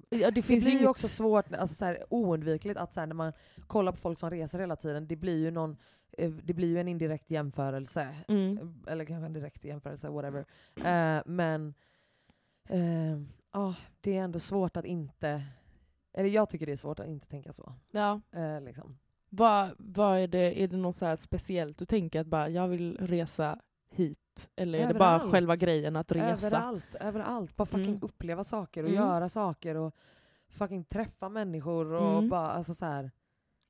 Speaker 2: ja, det
Speaker 1: Det
Speaker 2: finns
Speaker 1: blir
Speaker 2: ju
Speaker 1: ju
Speaker 2: inget-
Speaker 1: också svårt, alltså så här, oundvikligt att så här, när man kollar på folk som reser hela tiden, det blir ju någon eh, det blir ju en indirekt jämförelse.
Speaker 2: Mm.
Speaker 1: Eller kanske en direkt jämförelse, whatever. Eh, men eh, ah, det är ändå svårt att inte... Eller jag tycker det är svårt att inte tänka så.
Speaker 2: Ja.
Speaker 1: Eh, liksom.
Speaker 2: Vad, vad är det, är det något så här speciellt du tänker att bara, jag vill resa hit? Eller är det bara
Speaker 1: Överallt.
Speaker 2: själva grejen att resa?
Speaker 1: Överallt, överallt. Bara fucking
Speaker 2: Mm.
Speaker 1: uppleva saker och
Speaker 2: Mm.
Speaker 1: göra saker och fucking träffa människor och
Speaker 2: Mm.
Speaker 1: bara alltså så här.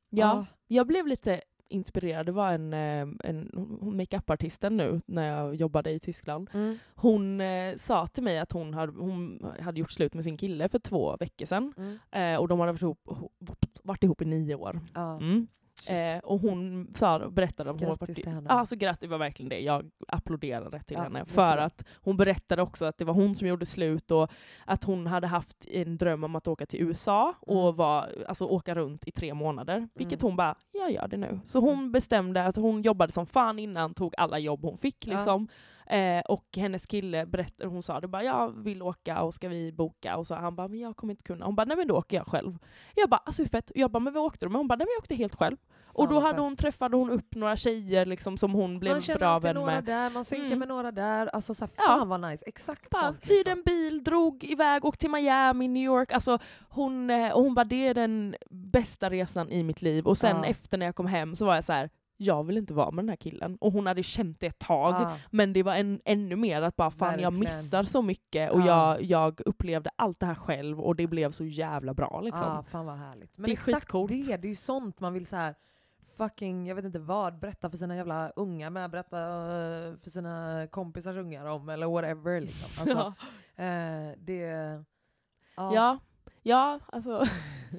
Speaker 2: Ja,
Speaker 1: ah,
Speaker 2: jag blev lite inspirerad. Det var en, eh, en hon- makeup-artisten nu när jag jobbade i Tyskland.
Speaker 1: mm,
Speaker 2: Hon eh, sa till mig att hon hade, hon hade gjort slut med sin kille för två veckor sedan.
Speaker 1: mm,
Speaker 2: Eh, och de hade varit ihop, varit ihop i nio år.
Speaker 1: ja.
Speaker 2: Mm.
Speaker 1: Shit.
Speaker 2: Eh, och hon sa, berättade om hon
Speaker 1: Grattis
Speaker 2: var varit-
Speaker 1: till henne.
Speaker 2: Ja, så grattis, Alltså, det var verkligen det. Jag applåderade till
Speaker 1: Ja,
Speaker 2: henne.
Speaker 1: jag
Speaker 2: För
Speaker 1: tror.
Speaker 2: att hon berättade också att det var hon som gjorde slut och att hon hade haft en dröm om att åka till USA
Speaker 1: Mm.
Speaker 2: och var, alltså, åka runt i tre månader. Vilket
Speaker 1: Mm.
Speaker 2: hon bara, jag gör det nu. Så hon bestämde, alltså, hon jobbade som fan innan, tog alla jobb hon fick.
Speaker 1: Ja.
Speaker 2: Liksom. Eh, och hennes kille berättade, hon sa det bara, jag vill åka och ska vi boka? Och så han bara, men jag kommer inte kunna. Hon bara, nej men då åker jag själv. Jag bara, alltså hur fett? Och Jag bara, men vad åkte du med? Hon bara, nej men jag åkte helt själv. och då
Speaker 1: vad
Speaker 2: hade
Speaker 1: fett.
Speaker 2: hon, träffade hon upp några tjejer liksom, som hon blev
Speaker 1: man känner
Speaker 2: bra
Speaker 1: alltid
Speaker 2: vän
Speaker 1: några
Speaker 2: med.
Speaker 1: där, man synkar
Speaker 2: Mm.
Speaker 1: med några där. Alltså så här,
Speaker 2: Ja.
Speaker 1: fan vad nice. Exakt
Speaker 2: Bara,
Speaker 1: sånt. liksom.
Speaker 2: hyrde en bil, drog iväg, åkte till Miami, New York. Alltså, hon, eh, och hon bara, det är den bästa resan i mitt liv. Och sen
Speaker 1: Ja.
Speaker 2: efter när jag kom hem så var jag så här, jag vill inte vara med den här killen. Och hon hade känt det ett tag.
Speaker 1: Ja.
Speaker 2: Men det var en, ännu mer att bara fan jag
Speaker 1: Verkligen.
Speaker 2: missar så mycket och
Speaker 1: Ja.
Speaker 2: jag, jag upplevde allt det här själv och det blev så jävla bra liksom.
Speaker 1: Ah, fan vad härligt. Men
Speaker 2: Det är
Speaker 1: exakt
Speaker 2: skitcoolt.
Speaker 1: det, det är ju sånt man vill så här fucking, jag vet inte vad, berätta för sina jävla unga med, berätta eh, för sina kompisars ungar om eller
Speaker 2: *laughs*
Speaker 1: whatever liksom. Alltså, eh, det... ja.
Speaker 2: ja. Ja, alltså.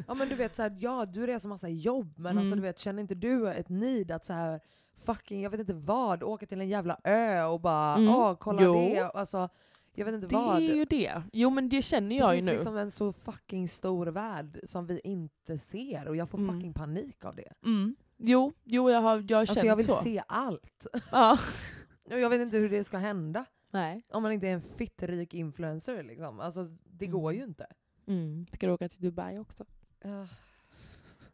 Speaker 1: Ja men du vet såhär, ja du reser massa jobb men alltså
Speaker 2: Mm.
Speaker 1: du vet känner inte du ett need att så här fucking jag vet inte vad, åka till en jävla ö och bara
Speaker 2: Mm.
Speaker 1: åh kolla
Speaker 2: Jo.
Speaker 1: det, alltså jag vet inte
Speaker 2: Det
Speaker 1: vad.
Speaker 2: är ju det. Jo men det känner jag
Speaker 1: det
Speaker 2: ju
Speaker 1: finns
Speaker 2: nu.
Speaker 1: liksom en så fucking stor värld som vi inte ser och jag får
Speaker 2: Mm.
Speaker 1: fucking panik av det.
Speaker 2: Mm. Jo, jo jag har jag har
Speaker 1: Alltså
Speaker 2: känt
Speaker 1: jag vill
Speaker 2: så.
Speaker 1: se allt. *laughs*
Speaker 2: Ja.
Speaker 1: Och jag vet inte hur det ska hända
Speaker 2: Nej.
Speaker 1: om man inte är en fittrik influencer liksom. Alltså det
Speaker 2: Mm.
Speaker 1: går ju inte.
Speaker 2: Mm. Ska du åka till Dubai också?
Speaker 1: Ah.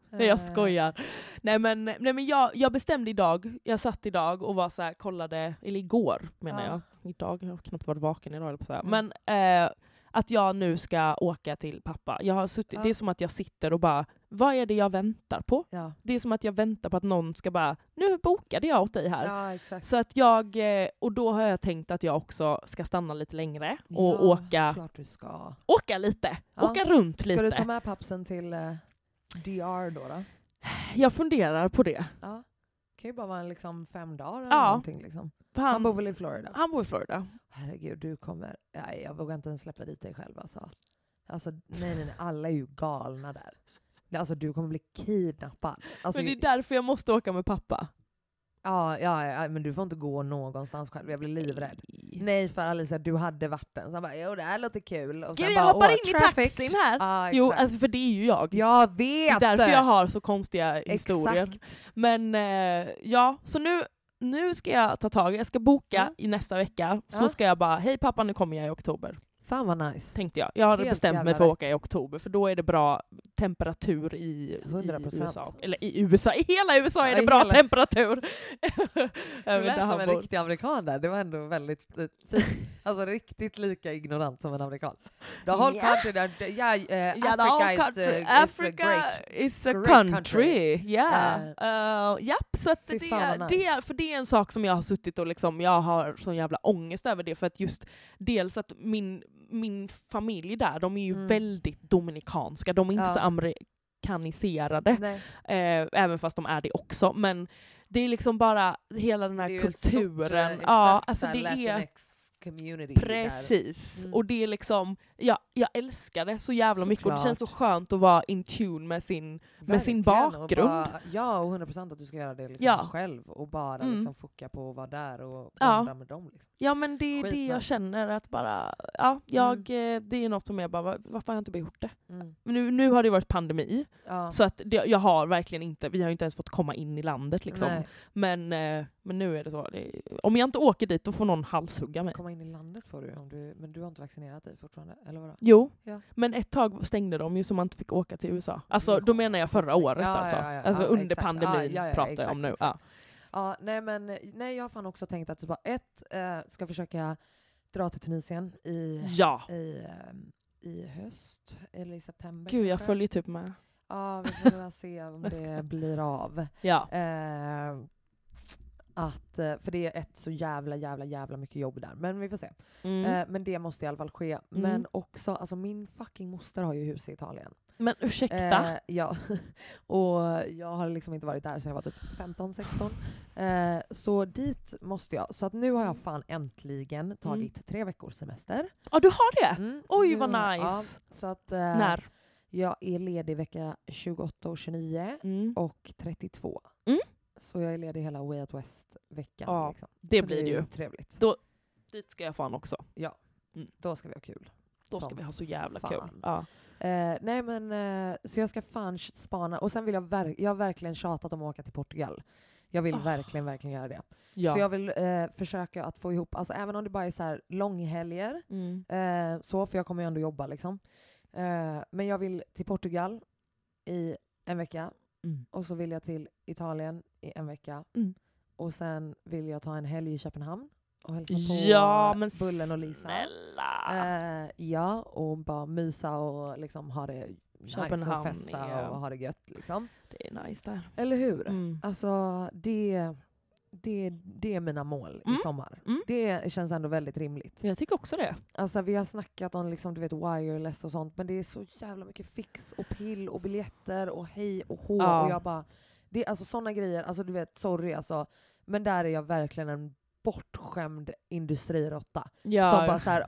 Speaker 2: Nej jag
Speaker 1: Eh,
Speaker 2: skojar. Nej men, nej, men jag, jag bestämde idag, jag satt idag och var så här, kollade, eller igår menar
Speaker 1: Ja.
Speaker 2: jag. Idag, jag har knappt varit vaken idag på så här.
Speaker 1: Mm.
Speaker 2: Men eh, att jag nu ska åka till pappa. Jag har suttit,
Speaker 1: Ja.
Speaker 2: Det är som att jag sitter och bara, vad är det jag väntar på?
Speaker 1: Eh, Ja,
Speaker 2: Det är som att jag väntar på att någon ska bara, nu bokade jag åt dig här.
Speaker 1: ja exakt.
Speaker 2: Så att jag, eh, och då har jag tänkt att jag också ska stanna lite längre och
Speaker 1: ja,
Speaker 2: åka,
Speaker 1: Klart du ska.
Speaker 2: åka lite,
Speaker 1: Ja.
Speaker 2: åka runt
Speaker 1: Ska du ta
Speaker 2: lite.
Speaker 1: med pappsen till eh, DR då? då?
Speaker 2: Jag funderar på det.
Speaker 1: Ja. Det kan ju bara vara en, liksom fem dagar eller
Speaker 2: Ja.
Speaker 1: någonting. Liksom.
Speaker 2: För
Speaker 1: Han bor väl i Florida? Alltså,
Speaker 2: Han bor i Florida.
Speaker 1: Herregud, du kommer... Nej, jag vågar inte ens släppa dit dig själv alltså. Alltså nej, nej, nej. Alla är ju galna där. Alltså du kommer bli kidnappad. Alltså,
Speaker 2: Men det är därför jag måste åka med pappa.
Speaker 1: ja, ja, ja, men du får inte gå någonstans själv. Jag blir livrädd. Nej för Alicia, du hade varit den. Så han bara jo det här låter kul. Och sen
Speaker 2: Gud, jag
Speaker 1: bara,
Speaker 2: hoppar
Speaker 1: "Åh,
Speaker 2: in i
Speaker 1: traffic."
Speaker 2: taxin här.
Speaker 1: Ja, exakt.
Speaker 2: jo, alltså, för det är ju jag.
Speaker 1: jag
Speaker 2: det är
Speaker 1: vet!
Speaker 2: därför jag har så konstiga historier.
Speaker 1: Exakt.
Speaker 2: Men eh, ja, så nu, nu ska jag ta tag i Jag ska boka
Speaker 1: Ja.
Speaker 2: i nästa vecka. Så
Speaker 1: Ja.
Speaker 2: ska jag bara, hej pappa nu kommer jag i oktober.
Speaker 1: Fan vad nice.
Speaker 2: Tänkte jag. Jag hade
Speaker 1: Helt
Speaker 2: bestämt mig
Speaker 1: jävla
Speaker 2: för att
Speaker 1: rätt.
Speaker 2: åka i oktober för då är det bra temperatur i, i
Speaker 1: 100%.
Speaker 2: USA. Eller i USA, i hela USA är
Speaker 1: Ja,
Speaker 2: det
Speaker 1: i
Speaker 2: bra
Speaker 1: hela- *laughs*
Speaker 2: temperatur.
Speaker 1: Du lät
Speaker 2: där
Speaker 1: som
Speaker 2: han
Speaker 1: en
Speaker 2: bor.
Speaker 1: riktig amerikan där. Det var ändå
Speaker 2: *laughs*
Speaker 1: väldigt eh, fint. Alltså riktigt lika ignorant som en amerikan. The whole
Speaker 2: Ja.
Speaker 1: country där, the- yeah, eh,
Speaker 2: Yeah, the
Speaker 1: Africa
Speaker 2: whole
Speaker 1: is,
Speaker 2: country.
Speaker 1: eh, is a
Speaker 2: Africa
Speaker 1: great.
Speaker 2: is a
Speaker 1: great
Speaker 2: country.
Speaker 1: country.
Speaker 2: Yeah. Uh, japp, så att
Speaker 1: Fy
Speaker 2: det,
Speaker 1: fan vad nice.
Speaker 2: det, för det är en sak som jag har suttit och liksom, jag har sån jävla ångest över det för att just dels att min, min familj där, de är ju
Speaker 1: Mm.
Speaker 2: väldigt dominikanska, de är inte
Speaker 1: Ja.
Speaker 2: så amerikaniserade.
Speaker 1: Nej,
Speaker 2: Eh, även fast de är det också. Men det är liksom bara hela den här
Speaker 1: det är ju ett stort, eh,
Speaker 2: kulturen.
Speaker 1: exakt
Speaker 2: ja, alltså
Speaker 1: såhär
Speaker 2: det är
Speaker 1: Latinx community där.
Speaker 2: Precis.
Speaker 1: Mm.
Speaker 2: Och det är liksom, ja, jag älskar det så jävla mycket och det känns så
Speaker 1: Såklart.
Speaker 2: skönt att vara in tune med sin... med sin
Speaker 1: Verkligen, och
Speaker 2: bakgrund.
Speaker 1: Bara, ja, och 100 procent att du ska göra det liksom
Speaker 2: Ja.
Speaker 1: själv och bara
Speaker 2: Mm.
Speaker 1: liksom foka på att vara där och
Speaker 2: Ja.
Speaker 1: bonda med dem. Liksom.
Speaker 2: Ja men det är det
Speaker 1: Skitnice.
Speaker 2: jag känner att bara, ja, jag, eh, det är något som jag bara, "Va- varför har jag inte bara gjort det?
Speaker 1: Mm.
Speaker 2: Men nu, nu har det varit pandemi,
Speaker 1: Ja.
Speaker 2: så att det, jag har verkligen inte, vi har ju inte ens fått komma in i landet liksom.
Speaker 1: Nej,
Speaker 2: Men, eh, men nu är det så, det, om jag inte åker dit då får någon halshugga mig.
Speaker 1: komma in i landet får du, om du, men du har inte vaccinerat dig fortfarande? Eller vadå?
Speaker 2: Jo,
Speaker 1: Ja.
Speaker 2: men ett tag stängde de ju så man inte fick åka till USA. Alltså
Speaker 1: Mm.
Speaker 2: då menar jag förra året
Speaker 1: Ja,
Speaker 2: alltså.
Speaker 1: ja, ja, ja.
Speaker 2: alltså
Speaker 1: Ja,
Speaker 2: under
Speaker 1: exakt.
Speaker 2: pandemin
Speaker 1: Ja, ja, ja,
Speaker 2: pratar jag
Speaker 1: exakt,
Speaker 2: om nu.
Speaker 1: exakt. Ja, nej, men, nej, jag har fan också tänkt att typ bara ett, eh, ska försöka dra till Tunisien i,
Speaker 2: Ja.
Speaker 1: i, ehm, i höst, eller i september
Speaker 2: Gud, jag
Speaker 1: kanske.
Speaker 2: följer typ med.
Speaker 1: Ja, vi får väl se
Speaker 2: *laughs*
Speaker 1: om
Speaker 2: Jag skojar.
Speaker 1: det blir av.
Speaker 2: Ja.
Speaker 1: Eh, att, eh, för det är ett så jävla, jävla, jävla mycket jobb där. Men vi får se.
Speaker 2: Mm.
Speaker 1: Eh, men det måste i alla fall ske. Men också, alltså min fucking moster har ju hus i Italien.
Speaker 2: Men ursäkta.
Speaker 1: Eh, ja. *laughs* Och jag har liksom inte varit där sedan jag var typ 15-16. Eh, så dit måste jag. Så att nu har jag
Speaker 2: Mm.
Speaker 1: fan äntligen tagit tre veckors semester.
Speaker 2: Ja, du har det?
Speaker 1: Mm,
Speaker 2: Mm. Äh, Oj,
Speaker 1: nu
Speaker 2: vad
Speaker 1: har jag-
Speaker 2: nice.
Speaker 1: Ja, så att eh,
Speaker 2: När?
Speaker 1: jag är ledig vecka 28 och 29
Speaker 2: Mm.
Speaker 1: och 32.
Speaker 2: Mm.
Speaker 1: Så jag är ledig hela Way Out West-veckan.
Speaker 2: Ja,
Speaker 1: liksom.
Speaker 2: Det
Speaker 1: så
Speaker 2: blir det ju.
Speaker 1: Trevligt.
Speaker 2: Då- Dit ska jag fan också.
Speaker 1: Då ska vi ha kul.
Speaker 2: Då ska
Speaker 1: Som
Speaker 2: vi ha så jävla
Speaker 1: fan.
Speaker 2: kul. Ja.
Speaker 1: Eh, nej men, eh, så jag ska fan spana. Och sen vill jag, verk- jag har verkligen tjatat om att åka till Portugal. Jag vill
Speaker 2: Ah.
Speaker 1: verkligen, verkligen göra det.
Speaker 2: ja.
Speaker 1: Så jag vill eh, försöka att få ihop, alltså även om det bara är så här långhelger,
Speaker 2: mm.
Speaker 1: eh, så, för jag kommer ju ändå jobba liksom. Eh, men jag vill till Portugal i en vecka,
Speaker 2: Mm.
Speaker 1: och så vill jag till Italien i en vecka.
Speaker 2: Mm.
Speaker 1: Och sen vill jag ta en helg i Köpenhamn och hälsa liksom på
Speaker 2: ja, men
Speaker 1: Bullen och Lisa.
Speaker 2: snälla.
Speaker 1: Eh, ja, och bara mysa och liksom ha det nice och
Speaker 2: Köpenhamn
Speaker 1: festa
Speaker 2: är-
Speaker 1: och ha det gött. Liksom.
Speaker 2: Det är nice där.
Speaker 1: Eller hur?
Speaker 2: Mm.
Speaker 1: Alltså det, det, det är mina mål
Speaker 2: Mm.
Speaker 1: i sommar.
Speaker 2: Mm.
Speaker 1: Det känns ändå väldigt rimligt.
Speaker 2: Jag tycker också det.
Speaker 1: Alltså, vi har snackat om liksom, du vet, wireless och sånt, men det är så jävla mycket fix och pill och biljetter och hej och hå.
Speaker 2: Ja.
Speaker 1: Och jag bara, det är alltså sådana grejer, alltså du vet, sorry alltså. Men där är jag verkligen en bortskämd industriråtta.
Speaker 2: Ja.
Speaker 1: Som bara så här,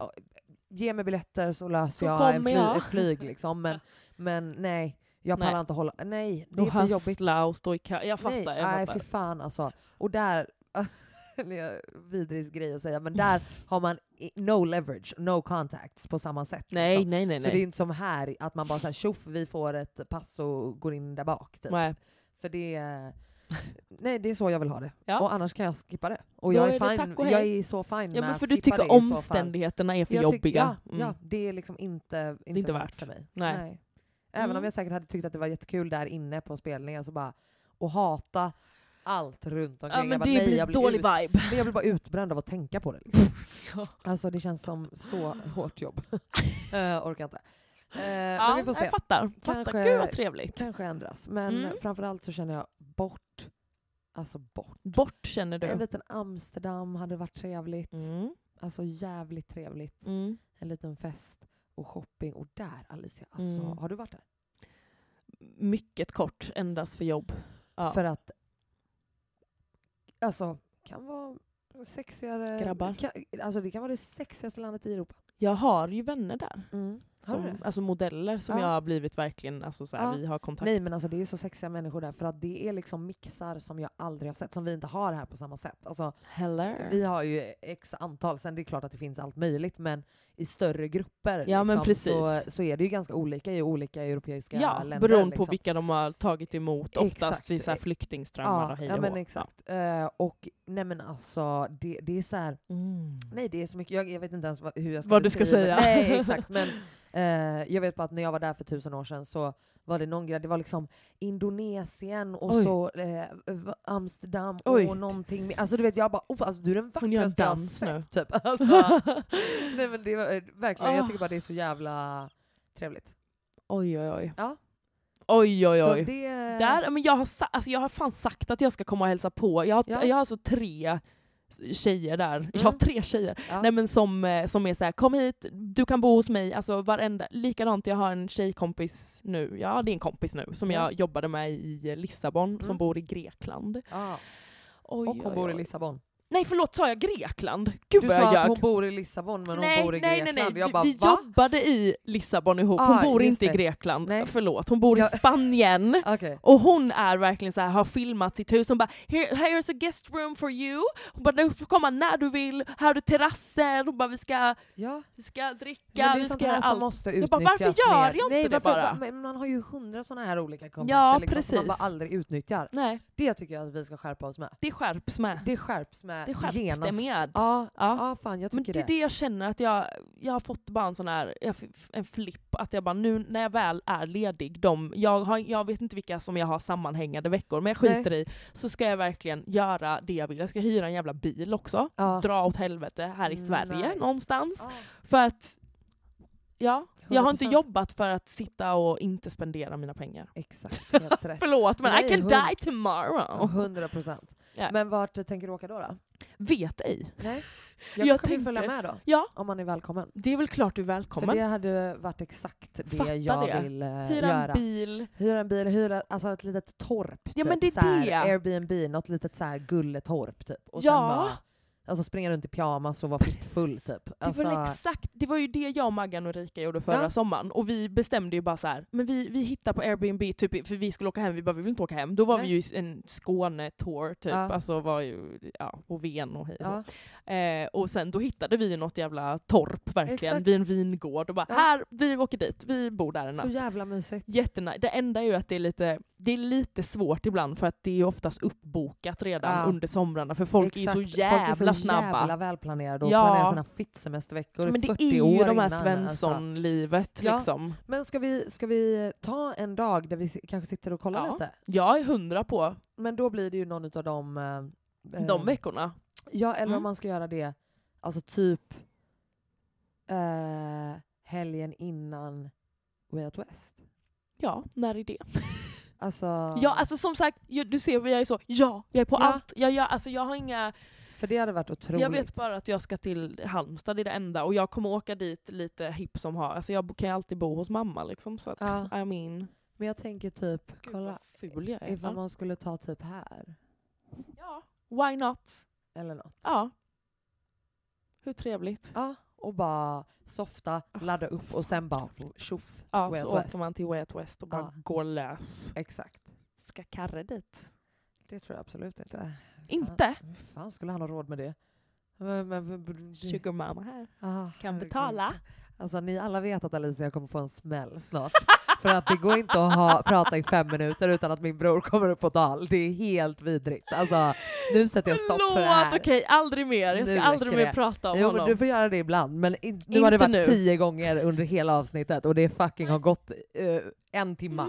Speaker 1: ge mig biljetter så löser
Speaker 2: Så
Speaker 1: jag, en
Speaker 2: kommer
Speaker 1: fly,
Speaker 2: jag.
Speaker 1: ett flyg
Speaker 2: *laughs*
Speaker 1: liksom. Men, men nej, jag pallar
Speaker 2: Nej.
Speaker 1: inte hålla, nej det
Speaker 2: och
Speaker 1: är för jobbigt.
Speaker 2: hustla och stå i kö. Jag fattar,
Speaker 1: nej,
Speaker 2: jag
Speaker 1: nej,
Speaker 2: fattar.
Speaker 1: fy fan alltså. Och där, *laughs* det är en vidrig grej att säga,
Speaker 2: *laughs*
Speaker 1: men där har man i- no leverage, no contacts på samma sätt.
Speaker 2: nej,
Speaker 1: liksom.
Speaker 2: nej, nej.
Speaker 1: Så det är ju
Speaker 2: nej.
Speaker 1: inte som här, att man bara såhär tjoff vi får ett pass och går in där bak. Typ.
Speaker 2: nej.
Speaker 1: För det, nej det är så jag vill ha det.
Speaker 2: Ja.
Speaker 1: Och annars kan jag skippa det. Och
Speaker 2: Då
Speaker 1: jag
Speaker 2: är
Speaker 1: är,
Speaker 2: det
Speaker 1: fine,
Speaker 2: tack och hej.
Speaker 1: jag är så fine
Speaker 2: Ja,
Speaker 1: med
Speaker 2: men för
Speaker 1: att
Speaker 2: du
Speaker 1: skippa
Speaker 2: tycker
Speaker 1: det i så fall.
Speaker 2: omständigheterna är för
Speaker 1: Jag tyck-
Speaker 2: jobbiga.
Speaker 1: Ja,
Speaker 2: Mm.
Speaker 1: ja, det är liksom inte, inte,
Speaker 2: inte
Speaker 1: värt
Speaker 2: värt.
Speaker 1: för mig.
Speaker 2: Nej.
Speaker 1: Även
Speaker 2: Mm.
Speaker 1: om jag säkert hade tyckt att det var jättekul där inne på spelningen, så bara och hata allt runt omkring.
Speaker 2: Ja, men
Speaker 1: jag bara,
Speaker 2: det
Speaker 1: nej,
Speaker 2: blir
Speaker 1: jag blir
Speaker 2: dålig
Speaker 1: ut-
Speaker 2: vibe.
Speaker 1: Nej, jag blir bara utbränd av att tänka på det. liksom.
Speaker 2: *laughs*
Speaker 1: Alltså det känns som så hårt jobb. Eh, orkar inte. Eh, men
Speaker 2: Ja,
Speaker 1: vi får se.
Speaker 2: Jag fattar. fattar.
Speaker 1: Kanske-
Speaker 2: Gud vad trevligt.
Speaker 1: Kanske ändras. Men
Speaker 2: Mm.
Speaker 1: framförallt så känner jag bort. Alltså bort.
Speaker 2: Bort känner
Speaker 1: En
Speaker 2: du.
Speaker 1: liten Amsterdam hade varit trevligt.
Speaker 2: Mm.
Speaker 1: Alltså jävligt trevligt.
Speaker 2: Mm.
Speaker 1: en liten fest och shopping. Och där Alicia, alltså,
Speaker 2: Mm.
Speaker 1: har du varit där?
Speaker 2: Mycket kort, endast för jobb. Ja.
Speaker 1: För att, alltså, kan vara sexigare.
Speaker 2: Grabbar.
Speaker 1: Kan, alltså det kan vara det sexigaste landet i Europa. Mm.
Speaker 2: Jag har ju vänner där.
Speaker 1: Har du
Speaker 2: Som,
Speaker 1: det?
Speaker 2: alltså modeller som
Speaker 1: Ja.
Speaker 2: jag har blivit verkligen, alltså så här,
Speaker 1: Ja.
Speaker 2: vi har kontakt.
Speaker 1: Nej men alltså det är så sexiga människor där för att det är liksom mixar som jag aldrig har sett, som vi inte har här på samma sätt. Alltså,
Speaker 2: Heller.
Speaker 1: vi har ju x antal, sen det är klart att det finns allt möjligt men i större grupper liksom,
Speaker 2: Ja, men
Speaker 1: Så,
Speaker 2: precis.
Speaker 1: så är det ju ganska olika i olika europeiska
Speaker 2: ja,
Speaker 1: länder.
Speaker 2: beroende
Speaker 1: liksom.
Speaker 2: på vilka de har tagit emot. Oftast
Speaker 1: Exakt.
Speaker 2: vid så här flyktingströmmar och hej
Speaker 1: ja
Speaker 2: och
Speaker 1: men
Speaker 2: hå.
Speaker 1: exakt. Eh, och nej men alltså, det, det är så här,
Speaker 2: Ja. Mm.
Speaker 1: nej det är så mycket, jag, jag vet inte ens vad, hur jag ska
Speaker 2: Vad du ska
Speaker 1: beskriva-
Speaker 2: säga. *laughs*
Speaker 1: Nej exakt, men eh, jag vet bara att när jag var där för tusen år sedan så var det någon grej, det var liksom Indonesien och
Speaker 2: Oj.
Speaker 1: så eh, v- Amsterdam
Speaker 2: Oj.
Speaker 1: och någonting mer. Alltså du vet, jag bara oh, alltså, du är den
Speaker 2: Hon gör en
Speaker 1: vackraste jag har
Speaker 2: dans nu.
Speaker 1: sett typ. *laughs* Alltså,
Speaker 2: *laughs*
Speaker 1: nej men det var, eh, verkligen, jag
Speaker 2: Ah.
Speaker 1: tycker bara det är så jävla trevligt.
Speaker 2: Oj oj oj.
Speaker 1: Ja.
Speaker 2: Oj oj
Speaker 1: Så
Speaker 2: oj.
Speaker 1: det,
Speaker 2: Där, men jag, har sa, alltså jag har fan sagt att jag ska komma och hälsa på. Jag har,
Speaker 1: Ja. Mm.
Speaker 2: jag har alltså tre tjejer där. Jag har tre tjejer.
Speaker 1: Ja.
Speaker 2: Nej, men som, eh, som är så här, kom hit, du kan bo hos mig. Alltså varenda, likadant, jag har en tjejkompis nu, ja det är en kompis nu, som
Speaker 1: Ja.
Speaker 2: jag jobbade med i eh, Lissabon, som
Speaker 1: Mm.
Speaker 2: bor i Grekland.
Speaker 1: ja.
Speaker 2: Oj,
Speaker 1: Och hon
Speaker 2: oj,
Speaker 1: bor i
Speaker 2: oj.
Speaker 1: Lissabon.
Speaker 2: Nej förlåt, sa jag Grekland? Gud
Speaker 1: Du
Speaker 2: vad
Speaker 1: sa
Speaker 2: jag
Speaker 1: att
Speaker 2: ljög.
Speaker 1: hon bor i Lissabon men
Speaker 2: nej,
Speaker 1: hon bor i
Speaker 2: nej,
Speaker 1: Grekland.
Speaker 2: nej, nej,
Speaker 1: Jag bara
Speaker 2: vi
Speaker 1: va?
Speaker 2: jobbade i Lissabon ihop, hon
Speaker 1: Ah,
Speaker 2: bor
Speaker 1: just
Speaker 2: inte i
Speaker 1: det.
Speaker 2: Grekland.
Speaker 1: Nej.
Speaker 2: Förlåt, hon bor i
Speaker 1: Ja. *laughs*
Speaker 2: Spanien.
Speaker 1: Okej.
Speaker 2: Och hon är verkligen så här, har filmat sitt hus, hon bara Here, “Here's a guest room for you”. Hon bara “Du får komma när du vill, här har du terrasser”. Hon bara “Vi ska,
Speaker 1: Ja.
Speaker 2: vi ska dricka,
Speaker 1: Men det
Speaker 2: vi
Speaker 1: är sånt
Speaker 2: ska
Speaker 1: här
Speaker 2: göra
Speaker 1: som
Speaker 2: allt”.
Speaker 1: måste
Speaker 2: Jag
Speaker 1: utnyttjas
Speaker 2: bara, varför gör
Speaker 1: mer.
Speaker 2: jag inte
Speaker 1: Nej,
Speaker 2: det
Speaker 1: varför,
Speaker 2: bara?
Speaker 1: Men man har ju hundra såna här olika kontakter
Speaker 2: Ja,
Speaker 1: liksom, som man
Speaker 2: precis.
Speaker 1: bara aldrig utnyttjar.
Speaker 2: Nej,
Speaker 1: Det tycker jag att vi ska skärpa oss med.
Speaker 2: det skärps med.
Speaker 1: Det skärps med med
Speaker 2: Det skärps
Speaker 1: genast.
Speaker 2: det med.
Speaker 1: Ja,
Speaker 2: Ja.
Speaker 1: ja. fan jag
Speaker 2: Men
Speaker 1: tycker
Speaker 2: det är det jag känner, att jag, jag har fått bara en sån här jag f- en flipp, att jag bara nu när jag väl är ledig, de, jag, har, jag vet inte vilka som jag har sammanhängande veckor, men jag skiter i, så ska jag verkligen göra det jag vill. Jag ska hyra en jävla bil också,
Speaker 1: Ja. Mm,
Speaker 2: dra åt helvete här i Sverige
Speaker 1: Nice.
Speaker 2: någonstans.
Speaker 1: Ja.
Speaker 2: För att, ja, jag har inte
Speaker 1: 100%.
Speaker 2: jobbat för att sitta och inte spendera mina pengar. *laughs*
Speaker 1: Exakt, helt rätt.
Speaker 2: Förlåt men
Speaker 1: Nej,
Speaker 2: I can
Speaker 1: hund-
Speaker 2: die tomorrow.
Speaker 1: 100 procent.
Speaker 2: Ja.
Speaker 1: Men vart eh, tänker du åka då? då?
Speaker 2: Vet ej. *laughs*
Speaker 1: Nej. Jag,
Speaker 2: Jag
Speaker 1: kommer ju följa
Speaker 2: tänker-
Speaker 1: med då,
Speaker 2: Ja,
Speaker 1: om man är välkommen.
Speaker 2: det är väl klart du är
Speaker 1: För
Speaker 2: välkommen.
Speaker 1: det hade varit exakt det
Speaker 2: Fatta
Speaker 1: jag
Speaker 2: det.
Speaker 1: vill eh,
Speaker 2: Hyra
Speaker 1: göra.
Speaker 2: en bil.
Speaker 1: hyra en bil, hyra alltså ett litet torp. typ
Speaker 2: Ja, men det är
Speaker 1: så här,
Speaker 2: det.
Speaker 1: Airbnb, något litet så här gulletorp typ. Och sen
Speaker 2: Ja.
Speaker 1: bara, alltså springa runt i pyjamas och vara full typ.
Speaker 2: Det
Speaker 1: Alltså,
Speaker 2: var väl exakt, det var ju det jag, Maggan och Rika gjorde förra
Speaker 1: Ja.
Speaker 2: sommaren. Och vi bestämde ju bara så här, men vi, vi hittar på Airbnb, typ, för vi skulle åka hem, vi bara vi vill inte åka hem. Då var
Speaker 1: Nej.
Speaker 2: vi ju i en Skåne-tour typ,
Speaker 1: Ja.
Speaker 2: alltså var ju, ja, och Ven och hej och hå.
Speaker 1: ja,
Speaker 2: Eh, och sen då hittade vi ju något jävla torp verkligen,
Speaker 1: Exakt.
Speaker 2: vid en vingård och bara
Speaker 1: Ja.
Speaker 2: här, vi åker dit, vi bor där en
Speaker 1: Så
Speaker 2: natt.
Speaker 1: jävla mysigt.
Speaker 2: Jättenice. Det enda är ju att det är, lite, det är lite svårt ibland för att det är ju oftast uppbokat redan
Speaker 1: Ja.
Speaker 2: under somrarna för folk är ju
Speaker 1: Exakt.
Speaker 2: så jävla
Speaker 1: Folk är så
Speaker 2: snabba.
Speaker 1: jävla välplanerade och
Speaker 2: Ja.
Speaker 1: planerar sina fittsemesterveckor i
Speaker 2: Men det
Speaker 1: 40
Speaker 2: är ju
Speaker 1: år
Speaker 2: de här
Speaker 1: innan, Alltså.
Speaker 2: Svensson-livet
Speaker 1: Ja.
Speaker 2: liksom.
Speaker 1: Men ska vi, ska vi ta en dag där vi si- kanske sitter och kollar
Speaker 2: Ja.
Speaker 1: lite?
Speaker 2: Jag är hundra på
Speaker 1: Men då blir det ju någon av de... eh,
Speaker 2: de
Speaker 1: eh,
Speaker 2: veckorna.
Speaker 1: Ja, eller
Speaker 2: Mm.
Speaker 1: om man ska göra det alltså typ eh, helgen innan Way Out West.
Speaker 2: Ja, när är det?
Speaker 1: Alltså,
Speaker 2: Ja, alltså som sagt, ju- du ser jag är så, ja, jag är på
Speaker 1: Ja.
Speaker 2: allt. Jag, jag, alltså, jag har inga,
Speaker 1: för det hade varit otroligt.
Speaker 2: jag vet bara att jag ska till Halmstad, det är det enda. Och jag kommer åka dit lite hipp som har, alltså jag bo- kan ju alltid bo hos mamma liksom. Så att,
Speaker 1: Ja.
Speaker 2: I mean,
Speaker 1: Men jag tänker typ,
Speaker 2: gud
Speaker 1: kolla
Speaker 2: vad ful jag är.
Speaker 1: ifall man skulle ta typ här
Speaker 2: Ja, why not?
Speaker 1: eller något.
Speaker 2: Ja. Hur trevligt.
Speaker 1: Ja, och bara softa,
Speaker 2: Ah.
Speaker 1: ladda upp och sen bara tjoff.
Speaker 2: Ja,
Speaker 1: Way
Speaker 2: så
Speaker 1: Out West.
Speaker 2: åker man till Way Out West och bara
Speaker 1: Ja.
Speaker 2: går lös.
Speaker 1: Exakt.
Speaker 2: Ska Karre dit?
Speaker 1: Det tror jag absolut inte.
Speaker 2: Inte?
Speaker 1: Hur fan skulle han ha råd med det? Men, men, men-
Speaker 2: Sugar mama här.
Speaker 1: Ah,
Speaker 2: Kan
Speaker 1: herregud.
Speaker 2: betala.
Speaker 1: Alltså ni alla vet att Alicia kommer få en smäll snart. *laughs* För att det går inte att ha, prata i fem minuter utan att min bror kommer upp på dal. Det är helt vidrigt. Alltså nu sätter jag stopp för det här.
Speaker 2: Förlåt, okej, aldrig mer. Jag
Speaker 1: Nu
Speaker 2: ska aldrig
Speaker 1: räcker
Speaker 2: mer
Speaker 1: det.
Speaker 2: prata om
Speaker 1: Jo men
Speaker 2: honom.
Speaker 1: du får göra det ibland men in, nu
Speaker 2: Inte
Speaker 1: har det varit
Speaker 2: nu.
Speaker 1: tio gånger under hela avsnittet och det fucking har gått eh, en timma.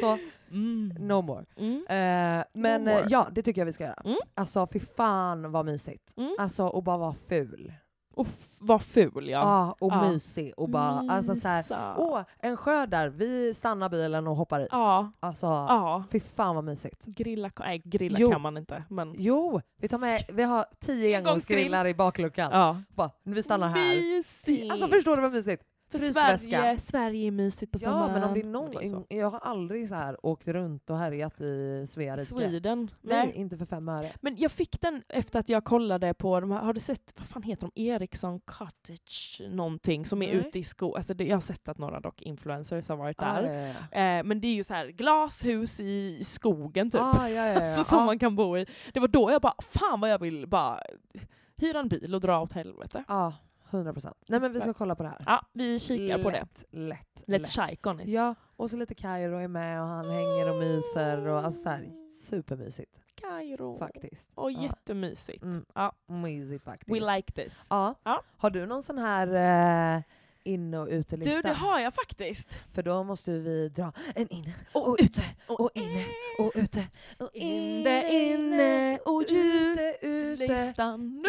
Speaker 1: Så
Speaker 2: Mm.
Speaker 1: no more.
Speaker 2: Mm.
Speaker 1: Eh,
Speaker 2: No
Speaker 1: men
Speaker 2: more.
Speaker 1: eh, ja, det tycker jag vi ska göra.
Speaker 2: Mm.
Speaker 1: Alltså fy fan vad mysigt.
Speaker 2: Mm.
Speaker 1: Alltså och bara vara ful.
Speaker 2: Och f- vad ful
Speaker 1: Ja.
Speaker 2: ja.
Speaker 1: och
Speaker 2: Ja.
Speaker 1: mysig och bara alltså så här,
Speaker 2: Mysa.
Speaker 1: Åh, en sjö där. Vi stannar bilen och hoppar i.
Speaker 2: Ja,
Speaker 1: Alltså,
Speaker 2: ja.
Speaker 1: fy fan vad mysigt.
Speaker 2: Grilla, ka- nej, grilla
Speaker 1: Jo.
Speaker 2: kan man inte. Men,
Speaker 1: Jo, vi tar med, vi har
Speaker 2: *laughs*
Speaker 1: tio
Speaker 2: Engångsgrill.
Speaker 1: engångsgrillar i bakluckan.
Speaker 2: ja.
Speaker 1: Bara, vi stannar här.
Speaker 2: Mysigt!
Speaker 1: Alltså förstår du vad mysigt?
Speaker 2: För
Speaker 1: frysväska.
Speaker 2: Sverige, Sverige är mysigt på
Speaker 1: Ja,
Speaker 2: sommaren.
Speaker 1: men om det är någon,
Speaker 2: Men det är så.
Speaker 1: jag har aldrig så här åkt runt och härjat i Svea rike.
Speaker 2: Sweden.
Speaker 1: Nej,
Speaker 2: Nej.
Speaker 1: inte för fem öre.
Speaker 2: Men jag fick den efter att jag kollade på de här, har du sett, vad fan heter de, Ericsson Cottage någonting som är
Speaker 1: Nej.
Speaker 2: ute i skog. Alltså det, jag har sett att några dock influencers har varit där.
Speaker 1: Ah, ja, ja, ja.
Speaker 2: Eh, men det är ju så här glashus i skogen typ.
Speaker 1: Ah, ja, ja, ja.
Speaker 2: *laughs* Alltså, som
Speaker 1: Ah.
Speaker 2: man kan bo i. Det var då jag bara, fan vad jag vill bara hyra en bil och dra åt helvete.
Speaker 1: Ja, 100 Ah, procent. Nej men vi ska kolla på det här.
Speaker 2: Ja, vi kikar på det.
Speaker 1: Lätt, lätt,
Speaker 2: Let's
Speaker 1: lätt.
Speaker 2: shike on it.
Speaker 1: Ja, och så lite Kairo är med och han hänger och myser och alltså så här,
Speaker 2: Mm.
Speaker 1: supermysigt
Speaker 2: Kairo.
Speaker 1: faktiskt.
Speaker 2: Och
Speaker 1: Ja.
Speaker 2: jättemysigt.
Speaker 1: Mm.
Speaker 2: Ja,
Speaker 1: Mysigt faktiskt.
Speaker 2: we like this.
Speaker 1: ja.
Speaker 2: Ja.
Speaker 1: Har du någon sån här eh, in och utelista?
Speaker 2: Du, det har jag faktiskt.
Speaker 1: För då måste ju vi dra en inne
Speaker 2: Och
Speaker 1: och ute och inne och ute och
Speaker 2: Inne, inne och ut.
Speaker 1: ute, ute.
Speaker 2: Listan.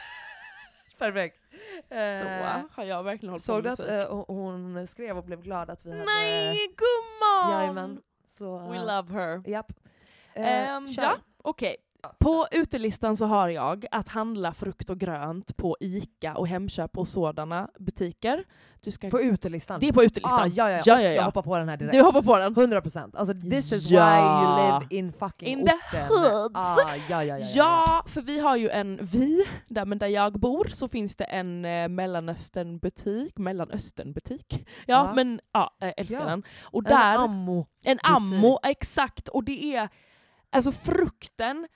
Speaker 2: *laughs*
Speaker 1: *laughs* Perfekt.
Speaker 2: Så
Speaker 1: Eh,
Speaker 2: har jag verkligen hållit på
Speaker 1: såg du
Speaker 2: med
Speaker 1: att
Speaker 2: musik.
Speaker 1: eh, hon- hon skrev och blev glad att vi hade...
Speaker 2: Nej, gumman!
Speaker 1: Jajamän. Så,
Speaker 2: We
Speaker 1: eh,
Speaker 2: love her.
Speaker 1: Japp. Eh,
Speaker 2: Ehm,
Speaker 1: kör.
Speaker 2: ja, okej. På utelistan så har jag att handla frukt och grönt på ICA och Hemköp och sådana butiker. Du ska...
Speaker 1: På utelistan.
Speaker 2: det är på utelistan.
Speaker 1: Ah, ja, ja, ja.
Speaker 2: Ja, ja,
Speaker 1: Jag
Speaker 2: ja.
Speaker 1: hoppar på den här direkt.
Speaker 2: Du hoppar på den.
Speaker 1: 100 procent. Alltså this is why you
Speaker 2: Ja.
Speaker 1: live in fucking
Speaker 2: In the
Speaker 1: orten.
Speaker 2: hoods.
Speaker 1: Ah, ja, ja, ja, ja, ja.
Speaker 2: Ja, för vi har ju en, vi, där, men där jag bor så finns det en eh, mellanösternbutik, mellanösternbutik. Ja,
Speaker 1: Ja.
Speaker 2: men ja, jag älskar
Speaker 1: Ja.
Speaker 2: den. Och
Speaker 1: En
Speaker 2: där,
Speaker 1: ammo.
Speaker 2: En ammo, exakt. Och det är, alltså frukten,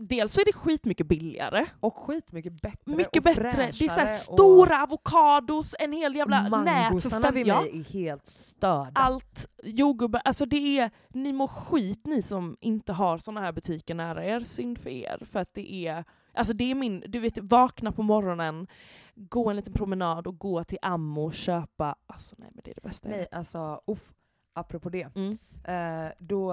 Speaker 2: dels så är det skitmycket billigare.
Speaker 1: Och skitmycket bättre
Speaker 2: Mycket
Speaker 1: och
Speaker 2: bättre. Det är så här
Speaker 1: fräschare
Speaker 2: stora avokados, en hel
Speaker 1: och
Speaker 2: jävla nät för
Speaker 1: Mangosarna
Speaker 2: fem,
Speaker 1: vid
Speaker 2: ja,
Speaker 1: mig är helt störda.
Speaker 2: Allt, jordgubbar, alltså det är, ni mår skit ni som inte har såna här butiker nära er. Synd för er. För att det är, Alltså det är min, du vet vakna på morgonen, gå en liten promenad och gå till Ammo och köpa, alltså nej men det är det bästa jag
Speaker 1: Nej,
Speaker 2: vet.
Speaker 1: alltså uff. Apropå det.
Speaker 2: Mm.
Speaker 1: Eh, då,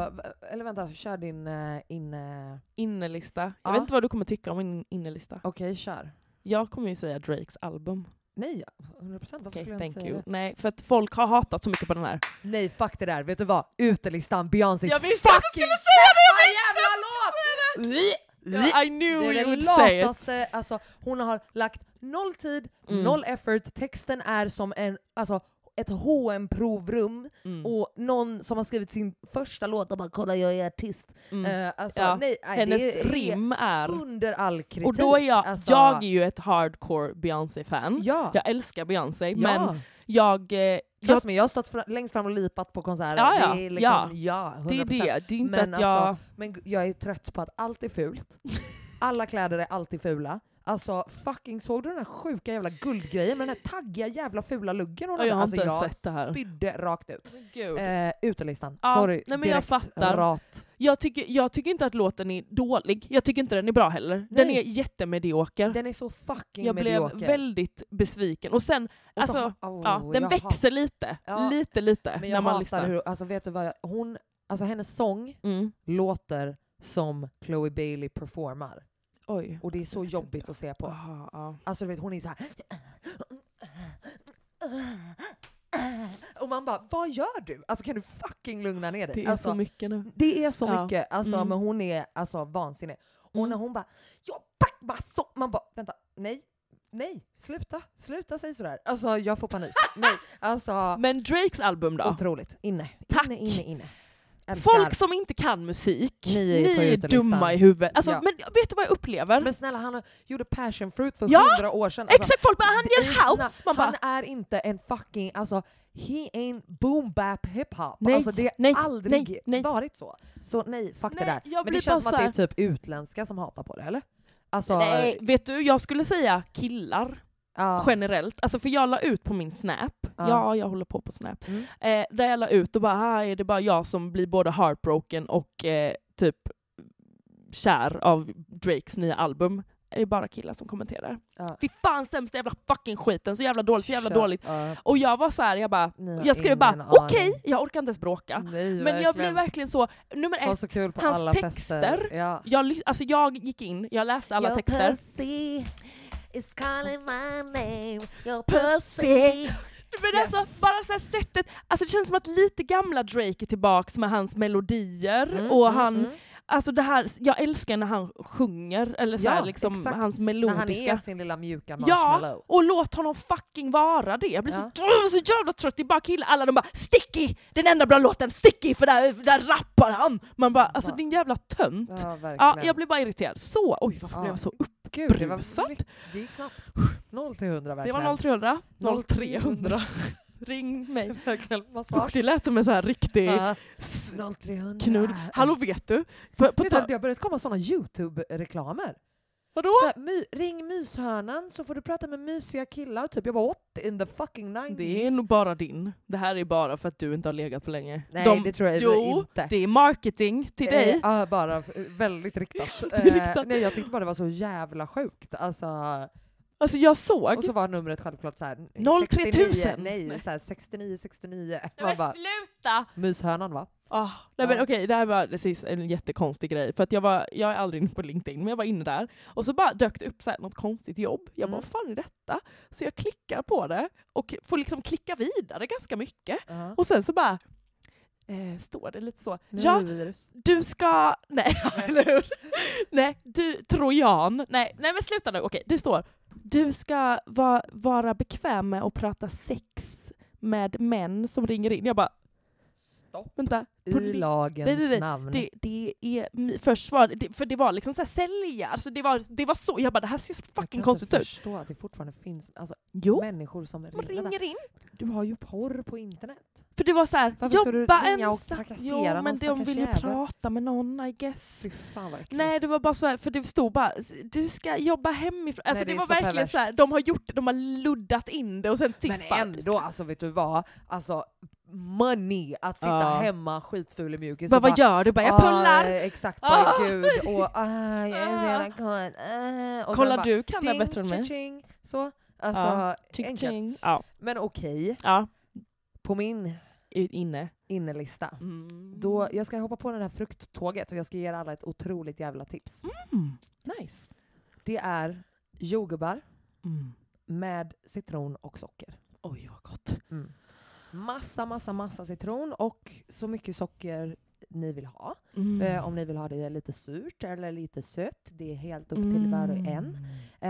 Speaker 1: eller vänta, kör din eh, in... eh,
Speaker 2: Innerlista. Jag
Speaker 1: Ja.
Speaker 2: vet inte vad du kommer tycka om min innerlista.
Speaker 1: Okej, kör.
Speaker 2: Jag kommer ju säga Drakes album.
Speaker 1: Nej, 100 procent. Varför
Speaker 2: Okej,
Speaker 1: skulle jag
Speaker 2: thank
Speaker 1: inte säga
Speaker 2: you.
Speaker 1: det?
Speaker 2: Nej, för att folk har hatat så mycket på den
Speaker 1: *laughs*
Speaker 2: här.
Speaker 1: Nej, fuck det där. Vet du vad? Utelistan, Beyoncés
Speaker 2: Jag visste att du
Speaker 1: fucking
Speaker 2: skulle säga det! Jag
Speaker 1: fettan
Speaker 2: visste
Speaker 1: jävla
Speaker 2: att du
Speaker 1: låt!
Speaker 2: skulle säga det! Ja, I knew you
Speaker 1: Det är
Speaker 2: would
Speaker 1: den
Speaker 2: say it.
Speaker 1: lataste, alltså hon har lagt noll tid,
Speaker 2: Mm.
Speaker 1: noll effort, texten är som en, alltså, ett hm provrum
Speaker 2: Mm.
Speaker 1: och någon som har skrivit sin första låt och bara “kolla jag är artist”.
Speaker 2: Mm.
Speaker 1: Eh, alltså,
Speaker 2: Ja,
Speaker 1: nej, nej,
Speaker 2: Hennes
Speaker 1: det är
Speaker 2: rim är...
Speaker 1: under all kritik.
Speaker 2: Och då är jag,
Speaker 1: alltså.
Speaker 2: jag är ju ett hardcore Beyoncé-fan.
Speaker 1: Ja.
Speaker 2: Jag älskar Beyoncé,
Speaker 1: ja.
Speaker 2: men jag... eh, jag
Speaker 1: Trust me, jag har stått fra, längst fram och lipat på konserter.
Speaker 2: Ja, ja,
Speaker 1: det är liksom,
Speaker 2: ja.
Speaker 1: ja. 100%.
Speaker 2: det är det, det är inte
Speaker 1: Men
Speaker 2: att jag...
Speaker 1: alltså, Men g- jag är trött på att allt är fult. Alla kläder är alltid fula. Alltså fucking såg du den här sjuka jävla guldgrejen med den här taggiga jävla fula luggen hon
Speaker 2: Ja, jag har
Speaker 1: alltså,
Speaker 2: inte ens
Speaker 1: jag
Speaker 2: sett det här.
Speaker 1: spydde rakt ut.
Speaker 2: Gud.
Speaker 1: Eh, utelistan.
Speaker 2: Ja,
Speaker 1: Sorry.
Speaker 2: nej, men jag
Speaker 1: direkt
Speaker 2: fattar.
Speaker 1: Rat.
Speaker 2: Jag, tycker, jag tycker inte att låten är dålig, jag tycker inte den är bra heller. Den
Speaker 1: Nej.
Speaker 2: är jättemedioker.
Speaker 1: Den är så fucking
Speaker 2: jag blev
Speaker 1: medioker.
Speaker 2: väldigt besviken. Och sen,
Speaker 1: Och så-
Speaker 2: alltså,
Speaker 1: oh,
Speaker 2: ja, den
Speaker 1: jag
Speaker 2: växer lite.
Speaker 1: Ja.
Speaker 2: Lite, lite,
Speaker 1: hat- Men
Speaker 2: när
Speaker 1: jag
Speaker 2: man
Speaker 1: hatar
Speaker 2: lyssnar.
Speaker 1: hur, alltså vet du vad, jag, hon, alltså hennes sång
Speaker 2: Mm.
Speaker 1: låter som Chloe Bailey performar.
Speaker 2: Oj.
Speaker 1: Och det är så
Speaker 2: vet inte
Speaker 1: jobbigt
Speaker 2: jag.
Speaker 1: att se på.
Speaker 2: Aha, ja.
Speaker 1: Alltså du vet, hon är så här. Och man bara, vad gör du? Alltså kan du fucking lugna ner dig?
Speaker 2: Det är
Speaker 1: alltså,
Speaker 2: så mycket nu.
Speaker 1: det är så
Speaker 2: Ja.
Speaker 1: mycket, alltså,
Speaker 2: Mm.
Speaker 1: men hon är alltså vansinnig. Och
Speaker 2: Mm.
Speaker 1: när hon bara, jag back massor, man bara, vänta, nej, nej, sluta, sluta säg sådär. Alltså jag
Speaker 2: *laughs*
Speaker 1: får panik. nej, alltså
Speaker 2: Men Drakes album då?
Speaker 1: otroligt. Inne,
Speaker 2: Tack.
Speaker 1: inne, inne, inne. Älskar.
Speaker 2: Folk som inte kan musik,
Speaker 1: Ni
Speaker 2: ni
Speaker 1: är
Speaker 2: är,
Speaker 1: på utelistan.
Speaker 2: dumma i huvudet. Alltså,
Speaker 1: Ja.
Speaker 2: Men vet du vad jag upplever?
Speaker 1: Men snälla, han gjorde passion fruit för
Speaker 2: Ja,
Speaker 1: hundra år sedan. Alltså,
Speaker 2: Exakt, folk bara han
Speaker 1: Det
Speaker 2: gör
Speaker 1: är snabbt.
Speaker 2: house! Man bara,
Speaker 1: han är inte en fucking, alltså he ain't boom bap hiphop.
Speaker 2: Nej,
Speaker 1: alltså det har
Speaker 2: nej,
Speaker 1: aldrig
Speaker 2: nej, nej.
Speaker 1: varit så. Så nej, fuck
Speaker 2: Nej,
Speaker 1: det där.
Speaker 2: jag
Speaker 1: Men det
Speaker 2: blir
Speaker 1: känns
Speaker 2: bara
Speaker 1: som att det är
Speaker 2: så
Speaker 1: typ utländska som hatar på det eller? Alltså,
Speaker 2: nej. Vet du, jag skulle säga killar
Speaker 1: ja.
Speaker 2: generellt. Alltså för jag la ut på min snap,
Speaker 1: Ja.
Speaker 2: ja jag håller på på snap,
Speaker 1: Mm.
Speaker 2: eh, där jag la ut och bara här är det bara jag som blir både heartbroken och eh, typ kär av Drakes nya album. Det är bara killar som kommenterar.
Speaker 1: Ja.
Speaker 2: Fy fan sämsta jävla fucking skiten, så jävla dåligt, så jävla
Speaker 1: Shut
Speaker 2: dåligt.
Speaker 1: up.
Speaker 2: Och jag var så här, jag bara,
Speaker 1: Ni har
Speaker 2: jag skrev
Speaker 1: ingen
Speaker 2: bara
Speaker 1: aning.
Speaker 2: okej, jag orkar inte ens bråka.
Speaker 1: Nej,
Speaker 2: Men jag blev verkligen så, nummer
Speaker 1: Var
Speaker 2: ett,
Speaker 1: så kul på
Speaker 2: hans
Speaker 1: alla fester.
Speaker 2: texter.
Speaker 1: Ja.
Speaker 2: jag, ly- alltså jag gick in, jag läste alla
Speaker 4: Your
Speaker 2: texter.
Speaker 4: pussy is calling my name. Your pussy.
Speaker 2: Men alltså, bara så här sättet, alltså det känns som att lite gamla Drake är tillbaks med hans melodier
Speaker 1: Mm,
Speaker 2: och han, alltså det här, jag älskar när han sjunger, eller så
Speaker 1: Ja,
Speaker 2: här, liksom
Speaker 1: exakt.
Speaker 2: hans
Speaker 1: När han
Speaker 2: melodiska.
Speaker 1: är sin lilla mjuka
Speaker 2: Ja,
Speaker 1: marshmallow.
Speaker 2: och låt honom fucking vara det. Jag blir så, Åh, så jävla trött, det är bara killar, alla de bara “Sticky! Den enda bra låten, Sticky! För där, där rappar han!” Man bara, alltså
Speaker 1: Va?
Speaker 2: din jävla tönt.
Speaker 1: Ja,
Speaker 2: Ja,
Speaker 1: verkligen.
Speaker 2: jag blir bara irriterad. Så, oj varför
Speaker 1: Ja.
Speaker 2: blev jag så
Speaker 1: Gud, det,
Speaker 2: brusad.
Speaker 1: var, mycket- det gick snabbt. 0 till 100
Speaker 2: Det
Speaker 1: verkligen.
Speaker 2: var 0300. 0300.
Speaker 1: *laughs* 0300.
Speaker 2: Ring mig.
Speaker 1: Verkligen,
Speaker 2: Usch,
Speaker 1: massage.
Speaker 2: det lät som en sån här riktig
Speaker 1: Ja.
Speaker 2: s-
Speaker 1: 0300.
Speaker 2: knull. Hallå vet du? På, på
Speaker 1: Vet du,
Speaker 2: ta-
Speaker 1: att det har börjat komma såna Youtube-reklamer.
Speaker 2: vadå?
Speaker 1: Så här, My, ring myshörnan så får du prata med mysiga killar. Typ. Jag bara what in the fucking 90s?
Speaker 2: Det är nog bara din. Det här är bara för att du inte har legat på länge.
Speaker 1: Nej,
Speaker 2: De-
Speaker 1: det tror jag
Speaker 2: jo,
Speaker 1: inte.
Speaker 2: det är marketing till
Speaker 1: Eh,
Speaker 2: dig.
Speaker 1: ja, bara eh, väldigt riktat.
Speaker 2: *laughs* Det är riktat.
Speaker 1: Eh, nej, jag tyckte bara det var så jävla sjukt. Alltså,
Speaker 2: Alltså jag såg...
Speaker 1: och så var numret självklart såhär...
Speaker 2: 03000.
Speaker 1: 69, Nej, såhär 69 69.
Speaker 2: Nej men
Speaker 1: Man bara,
Speaker 2: sluta!
Speaker 1: myshörnan va?
Speaker 2: Ah, nej, men
Speaker 1: Ja.
Speaker 2: okej, det här var precis en jättekonstig grej. För att jag, var, jag är aldrig inne på LinkedIn, men jag var inne där. Och så bara dök det upp så här, något konstigt jobb. Jag bara,
Speaker 1: Mm.
Speaker 2: vad fan är detta? Så jag klickar på det och får liksom klicka vidare ganska mycket.
Speaker 1: Ja.
Speaker 2: Och sen så bara eh, står det lite så.
Speaker 1: Nu är
Speaker 2: Ja,
Speaker 1: vi vidare.
Speaker 2: du ska... *laughs* Nej, eller hur? Nej, du trojan. Nej, nej men sluta nu. Okej, det står du ska va, vara bekväm med att prata sex med män som ringer in. Jag bara,
Speaker 1: Stopp
Speaker 2: vänta.
Speaker 1: i
Speaker 2: på li-
Speaker 1: lagens
Speaker 2: nej, nej, nej.
Speaker 1: namn.
Speaker 2: det, det är mi- försvar, det, för det var liksom såhär sälja, alltså det var, det var så, jag bara det här ser så
Speaker 1: Jag kan
Speaker 2: fucking
Speaker 1: inte
Speaker 2: konstigt ut.
Speaker 1: förstå att det fortfarande finns alltså,
Speaker 2: Jo,
Speaker 1: människor som
Speaker 2: man
Speaker 1: Vänta,
Speaker 2: ringer in.
Speaker 1: Du har ju porr på internet.
Speaker 2: För det var såhär,
Speaker 1: Varför ska du
Speaker 2: jobba
Speaker 1: ringa och
Speaker 2: ensam.
Speaker 1: trakassera
Speaker 2: Jo
Speaker 1: någon
Speaker 2: men de
Speaker 1: stackars
Speaker 2: vill ju
Speaker 1: jävel?
Speaker 2: prata med någon I guess.
Speaker 1: Fy fan vad äckligt.
Speaker 2: Nej det var bara så här, för det stod bara du ska jobba hemifrån. Alltså
Speaker 1: Nej, det
Speaker 2: det,
Speaker 1: är
Speaker 2: var
Speaker 1: så
Speaker 2: verkligen
Speaker 1: perverst.
Speaker 2: så här, de har gjort det, de har luddat in det och sen sist
Speaker 1: Men ändå, alltså vet du vad? Alltså money att sitta
Speaker 2: Ja.
Speaker 1: hemma skitful i mjukis
Speaker 2: Bara,
Speaker 1: och bara
Speaker 2: vad gör du? Bara, jag
Speaker 1: Ah,
Speaker 2: pullar!
Speaker 1: exakt, bara
Speaker 2: Ah.
Speaker 1: gud. Och ah, jag är så jävla kåt. Ah. Och sen
Speaker 2: Kolla
Speaker 1: bara,
Speaker 2: du kan det
Speaker 1: ding,
Speaker 2: bättre än mig.
Speaker 1: tja-tjing, Så. Alltså,
Speaker 2: Ja. Ching,
Speaker 1: enkelt.
Speaker 2: ching. Ja,
Speaker 1: Men okej,
Speaker 2: ja,
Speaker 1: på min
Speaker 2: ut- inne.
Speaker 1: innelista.
Speaker 2: Mm.
Speaker 1: Då, jag ska hoppa på det här frukttåget och jag ska ge er alla ett otroligt jävla tips.
Speaker 2: Mm. Nice.
Speaker 1: Det är jordgubbar
Speaker 2: Mm.
Speaker 1: med citron och socker.
Speaker 2: Oj vad gott.
Speaker 1: Mm. Massa, massa, massa citron och så mycket socker ni vill ha.
Speaker 2: Mm.
Speaker 1: Eh, om ni vill ha det lite surt eller lite sött, det är helt upp till var och
Speaker 2: Mm.
Speaker 1: en.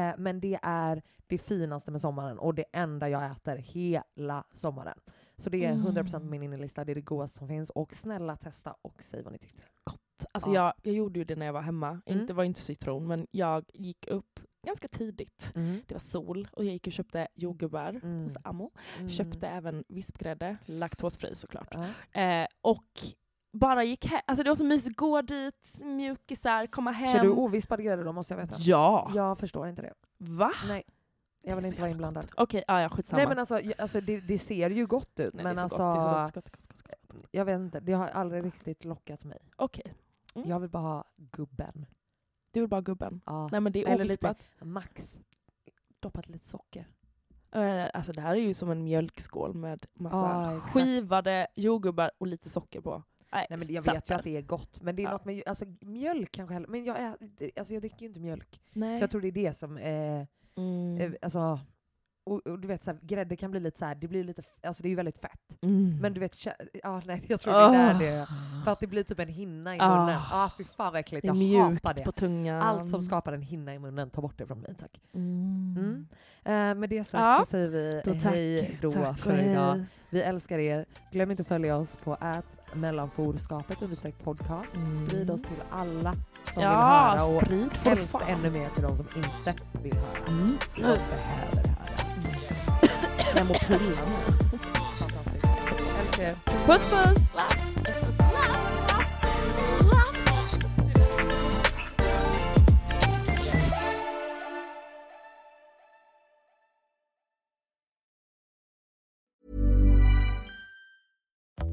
Speaker 1: Eh, men det är det finaste med sommaren och det enda jag äter hela sommaren. Så det är 100%
Speaker 2: Mm.
Speaker 1: på min innelista, det är det godaste som finns. Och snälla testa och säg vad ni tyckte.
Speaker 2: Alltså
Speaker 1: Ja.
Speaker 2: jag, jag gjorde ju det när jag var hemma.
Speaker 1: Mm.
Speaker 2: Inte var inte citron, men jag gick upp ganska tidigt. Det var sol och jag gick och köpte jordgubbar
Speaker 1: Mm.
Speaker 2: hos Ammo.
Speaker 1: Mm.
Speaker 2: Köpte även vispgrädde, laktosfri såklart.
Speaker 1: Ja.
Speaker 2: Eh, och bara gick hem. Alltså det var så mysigt. Gå dit, mjukisar, komma hem.
Speaker 1: Kör du ovispad grädde då måste jag veta?
Speaker 2: Ehm, Ja!
Speaker 1: Jag förstår inte det.
Speaker 2: Va?
Speaker 1: Nej. Jag
Speaker 2: Det är
Speaker 1: vill
Speaker 2: så
Speaker 1: inte vara
Speaker 2: jävla
Speaker 1: inblandad.
Speaker 2: gott. Okej, ja, ja, skitsamma.
Speaker 1: Nej men alltså, j- alltså det, det ser ju gott ut
Speaker 2: Nej,
Speaker 1: men
Speaker 2: det är så
Speaker 1: alltså,
Speaker 2: gott, det är så gott, gott, gott, gott, gott.
Speaker 1: jag vet inte, det har aldrig riktigt lockat mig.
Speaker 2: Okej, Mm.
Speaker 1: Jag vill bara ha gubben.
Speaker 2: du vill bara ha gubben.
Speaker 1: Ja.
Speaker 2: Nej men det är
Speaker 1: Eller lite-
Speaker 2: ovispat.
Speaker 1: Max, doppat lite socker.
Speaker 2: Eh, Alltså det här är ju som en mjölkskål med massa
Speaker 1: Ja, exakt.
Speaker 2: skivade jordgubbar och lite socker på.
Speaker 1: Nej men jag
Speaker 2: satt
Speaker 1: vet ju
Speaker 2: där.
Speaker 1: att det är gott, men det är
Speaker 2: Ja.
Speaker 1: något med alltså, mjölk kanske heller. Men jag, är, det- alltså, jag dricker ju inte mjölk.
Speaker 2: Nej.
Speaker 1: Så jag tror det är det som, eh,
Speaker 2: Mm.
Speaker 1: eh, alltså, och, och du vet såhär, grädde kan bli lite såhär, det blir lite, f- alltså det är ju väldigt fett.
Speaker 2: Mm.
Speaker 1: Men du vet, kä- ja nej jag tror det är där
Speaker 2: Ah.
Speaker 1: det är. För att det blir typ en hinna i
Speaker 2: Ah.
Speaker 1: munnen. Ja ah, fy fan vad äckligt,
Speaker 2: det är
Speaker 1: jag hatar
Speaker 2: mjukt
Speaker 1: det.
Speaker 2: på tungan.
Speaker 1: Allt som skapar en hinna i munnen, ta bort det från mig tack.
Speaker 2: Mm.
Speaker 1: Mm. Eh, med det sagt
Speaker 2: Ja.
Speaker 1: så säger vi
Speaker 2: Då tack.
Speaker 1: hej då
Speaker 2: tack och
Speaker 1: för idag.
Speaker 2: hej.
Speaker 1: Vi älskar er. Glöm inte att följa oss på ät mellanforskapet understreck podcast.
Speaker 2: Mm.
Speaker 1: Sprid oss till alla som
Speaker 2: Ja,
Speaker 1: vill höra och
Speaker 2: sprid för
Speaker 1: helst
Speaker 2: fan.
Speaker 1: ännu mer till de som inte vill höra.
Speaker 2: Mm.
Speaker 1: De behöver höra.
Speaker 2: Jag mår pulla nu.
Speaker 1: Fantastiskt. Älskar er.
Speaker 2: Puss puss!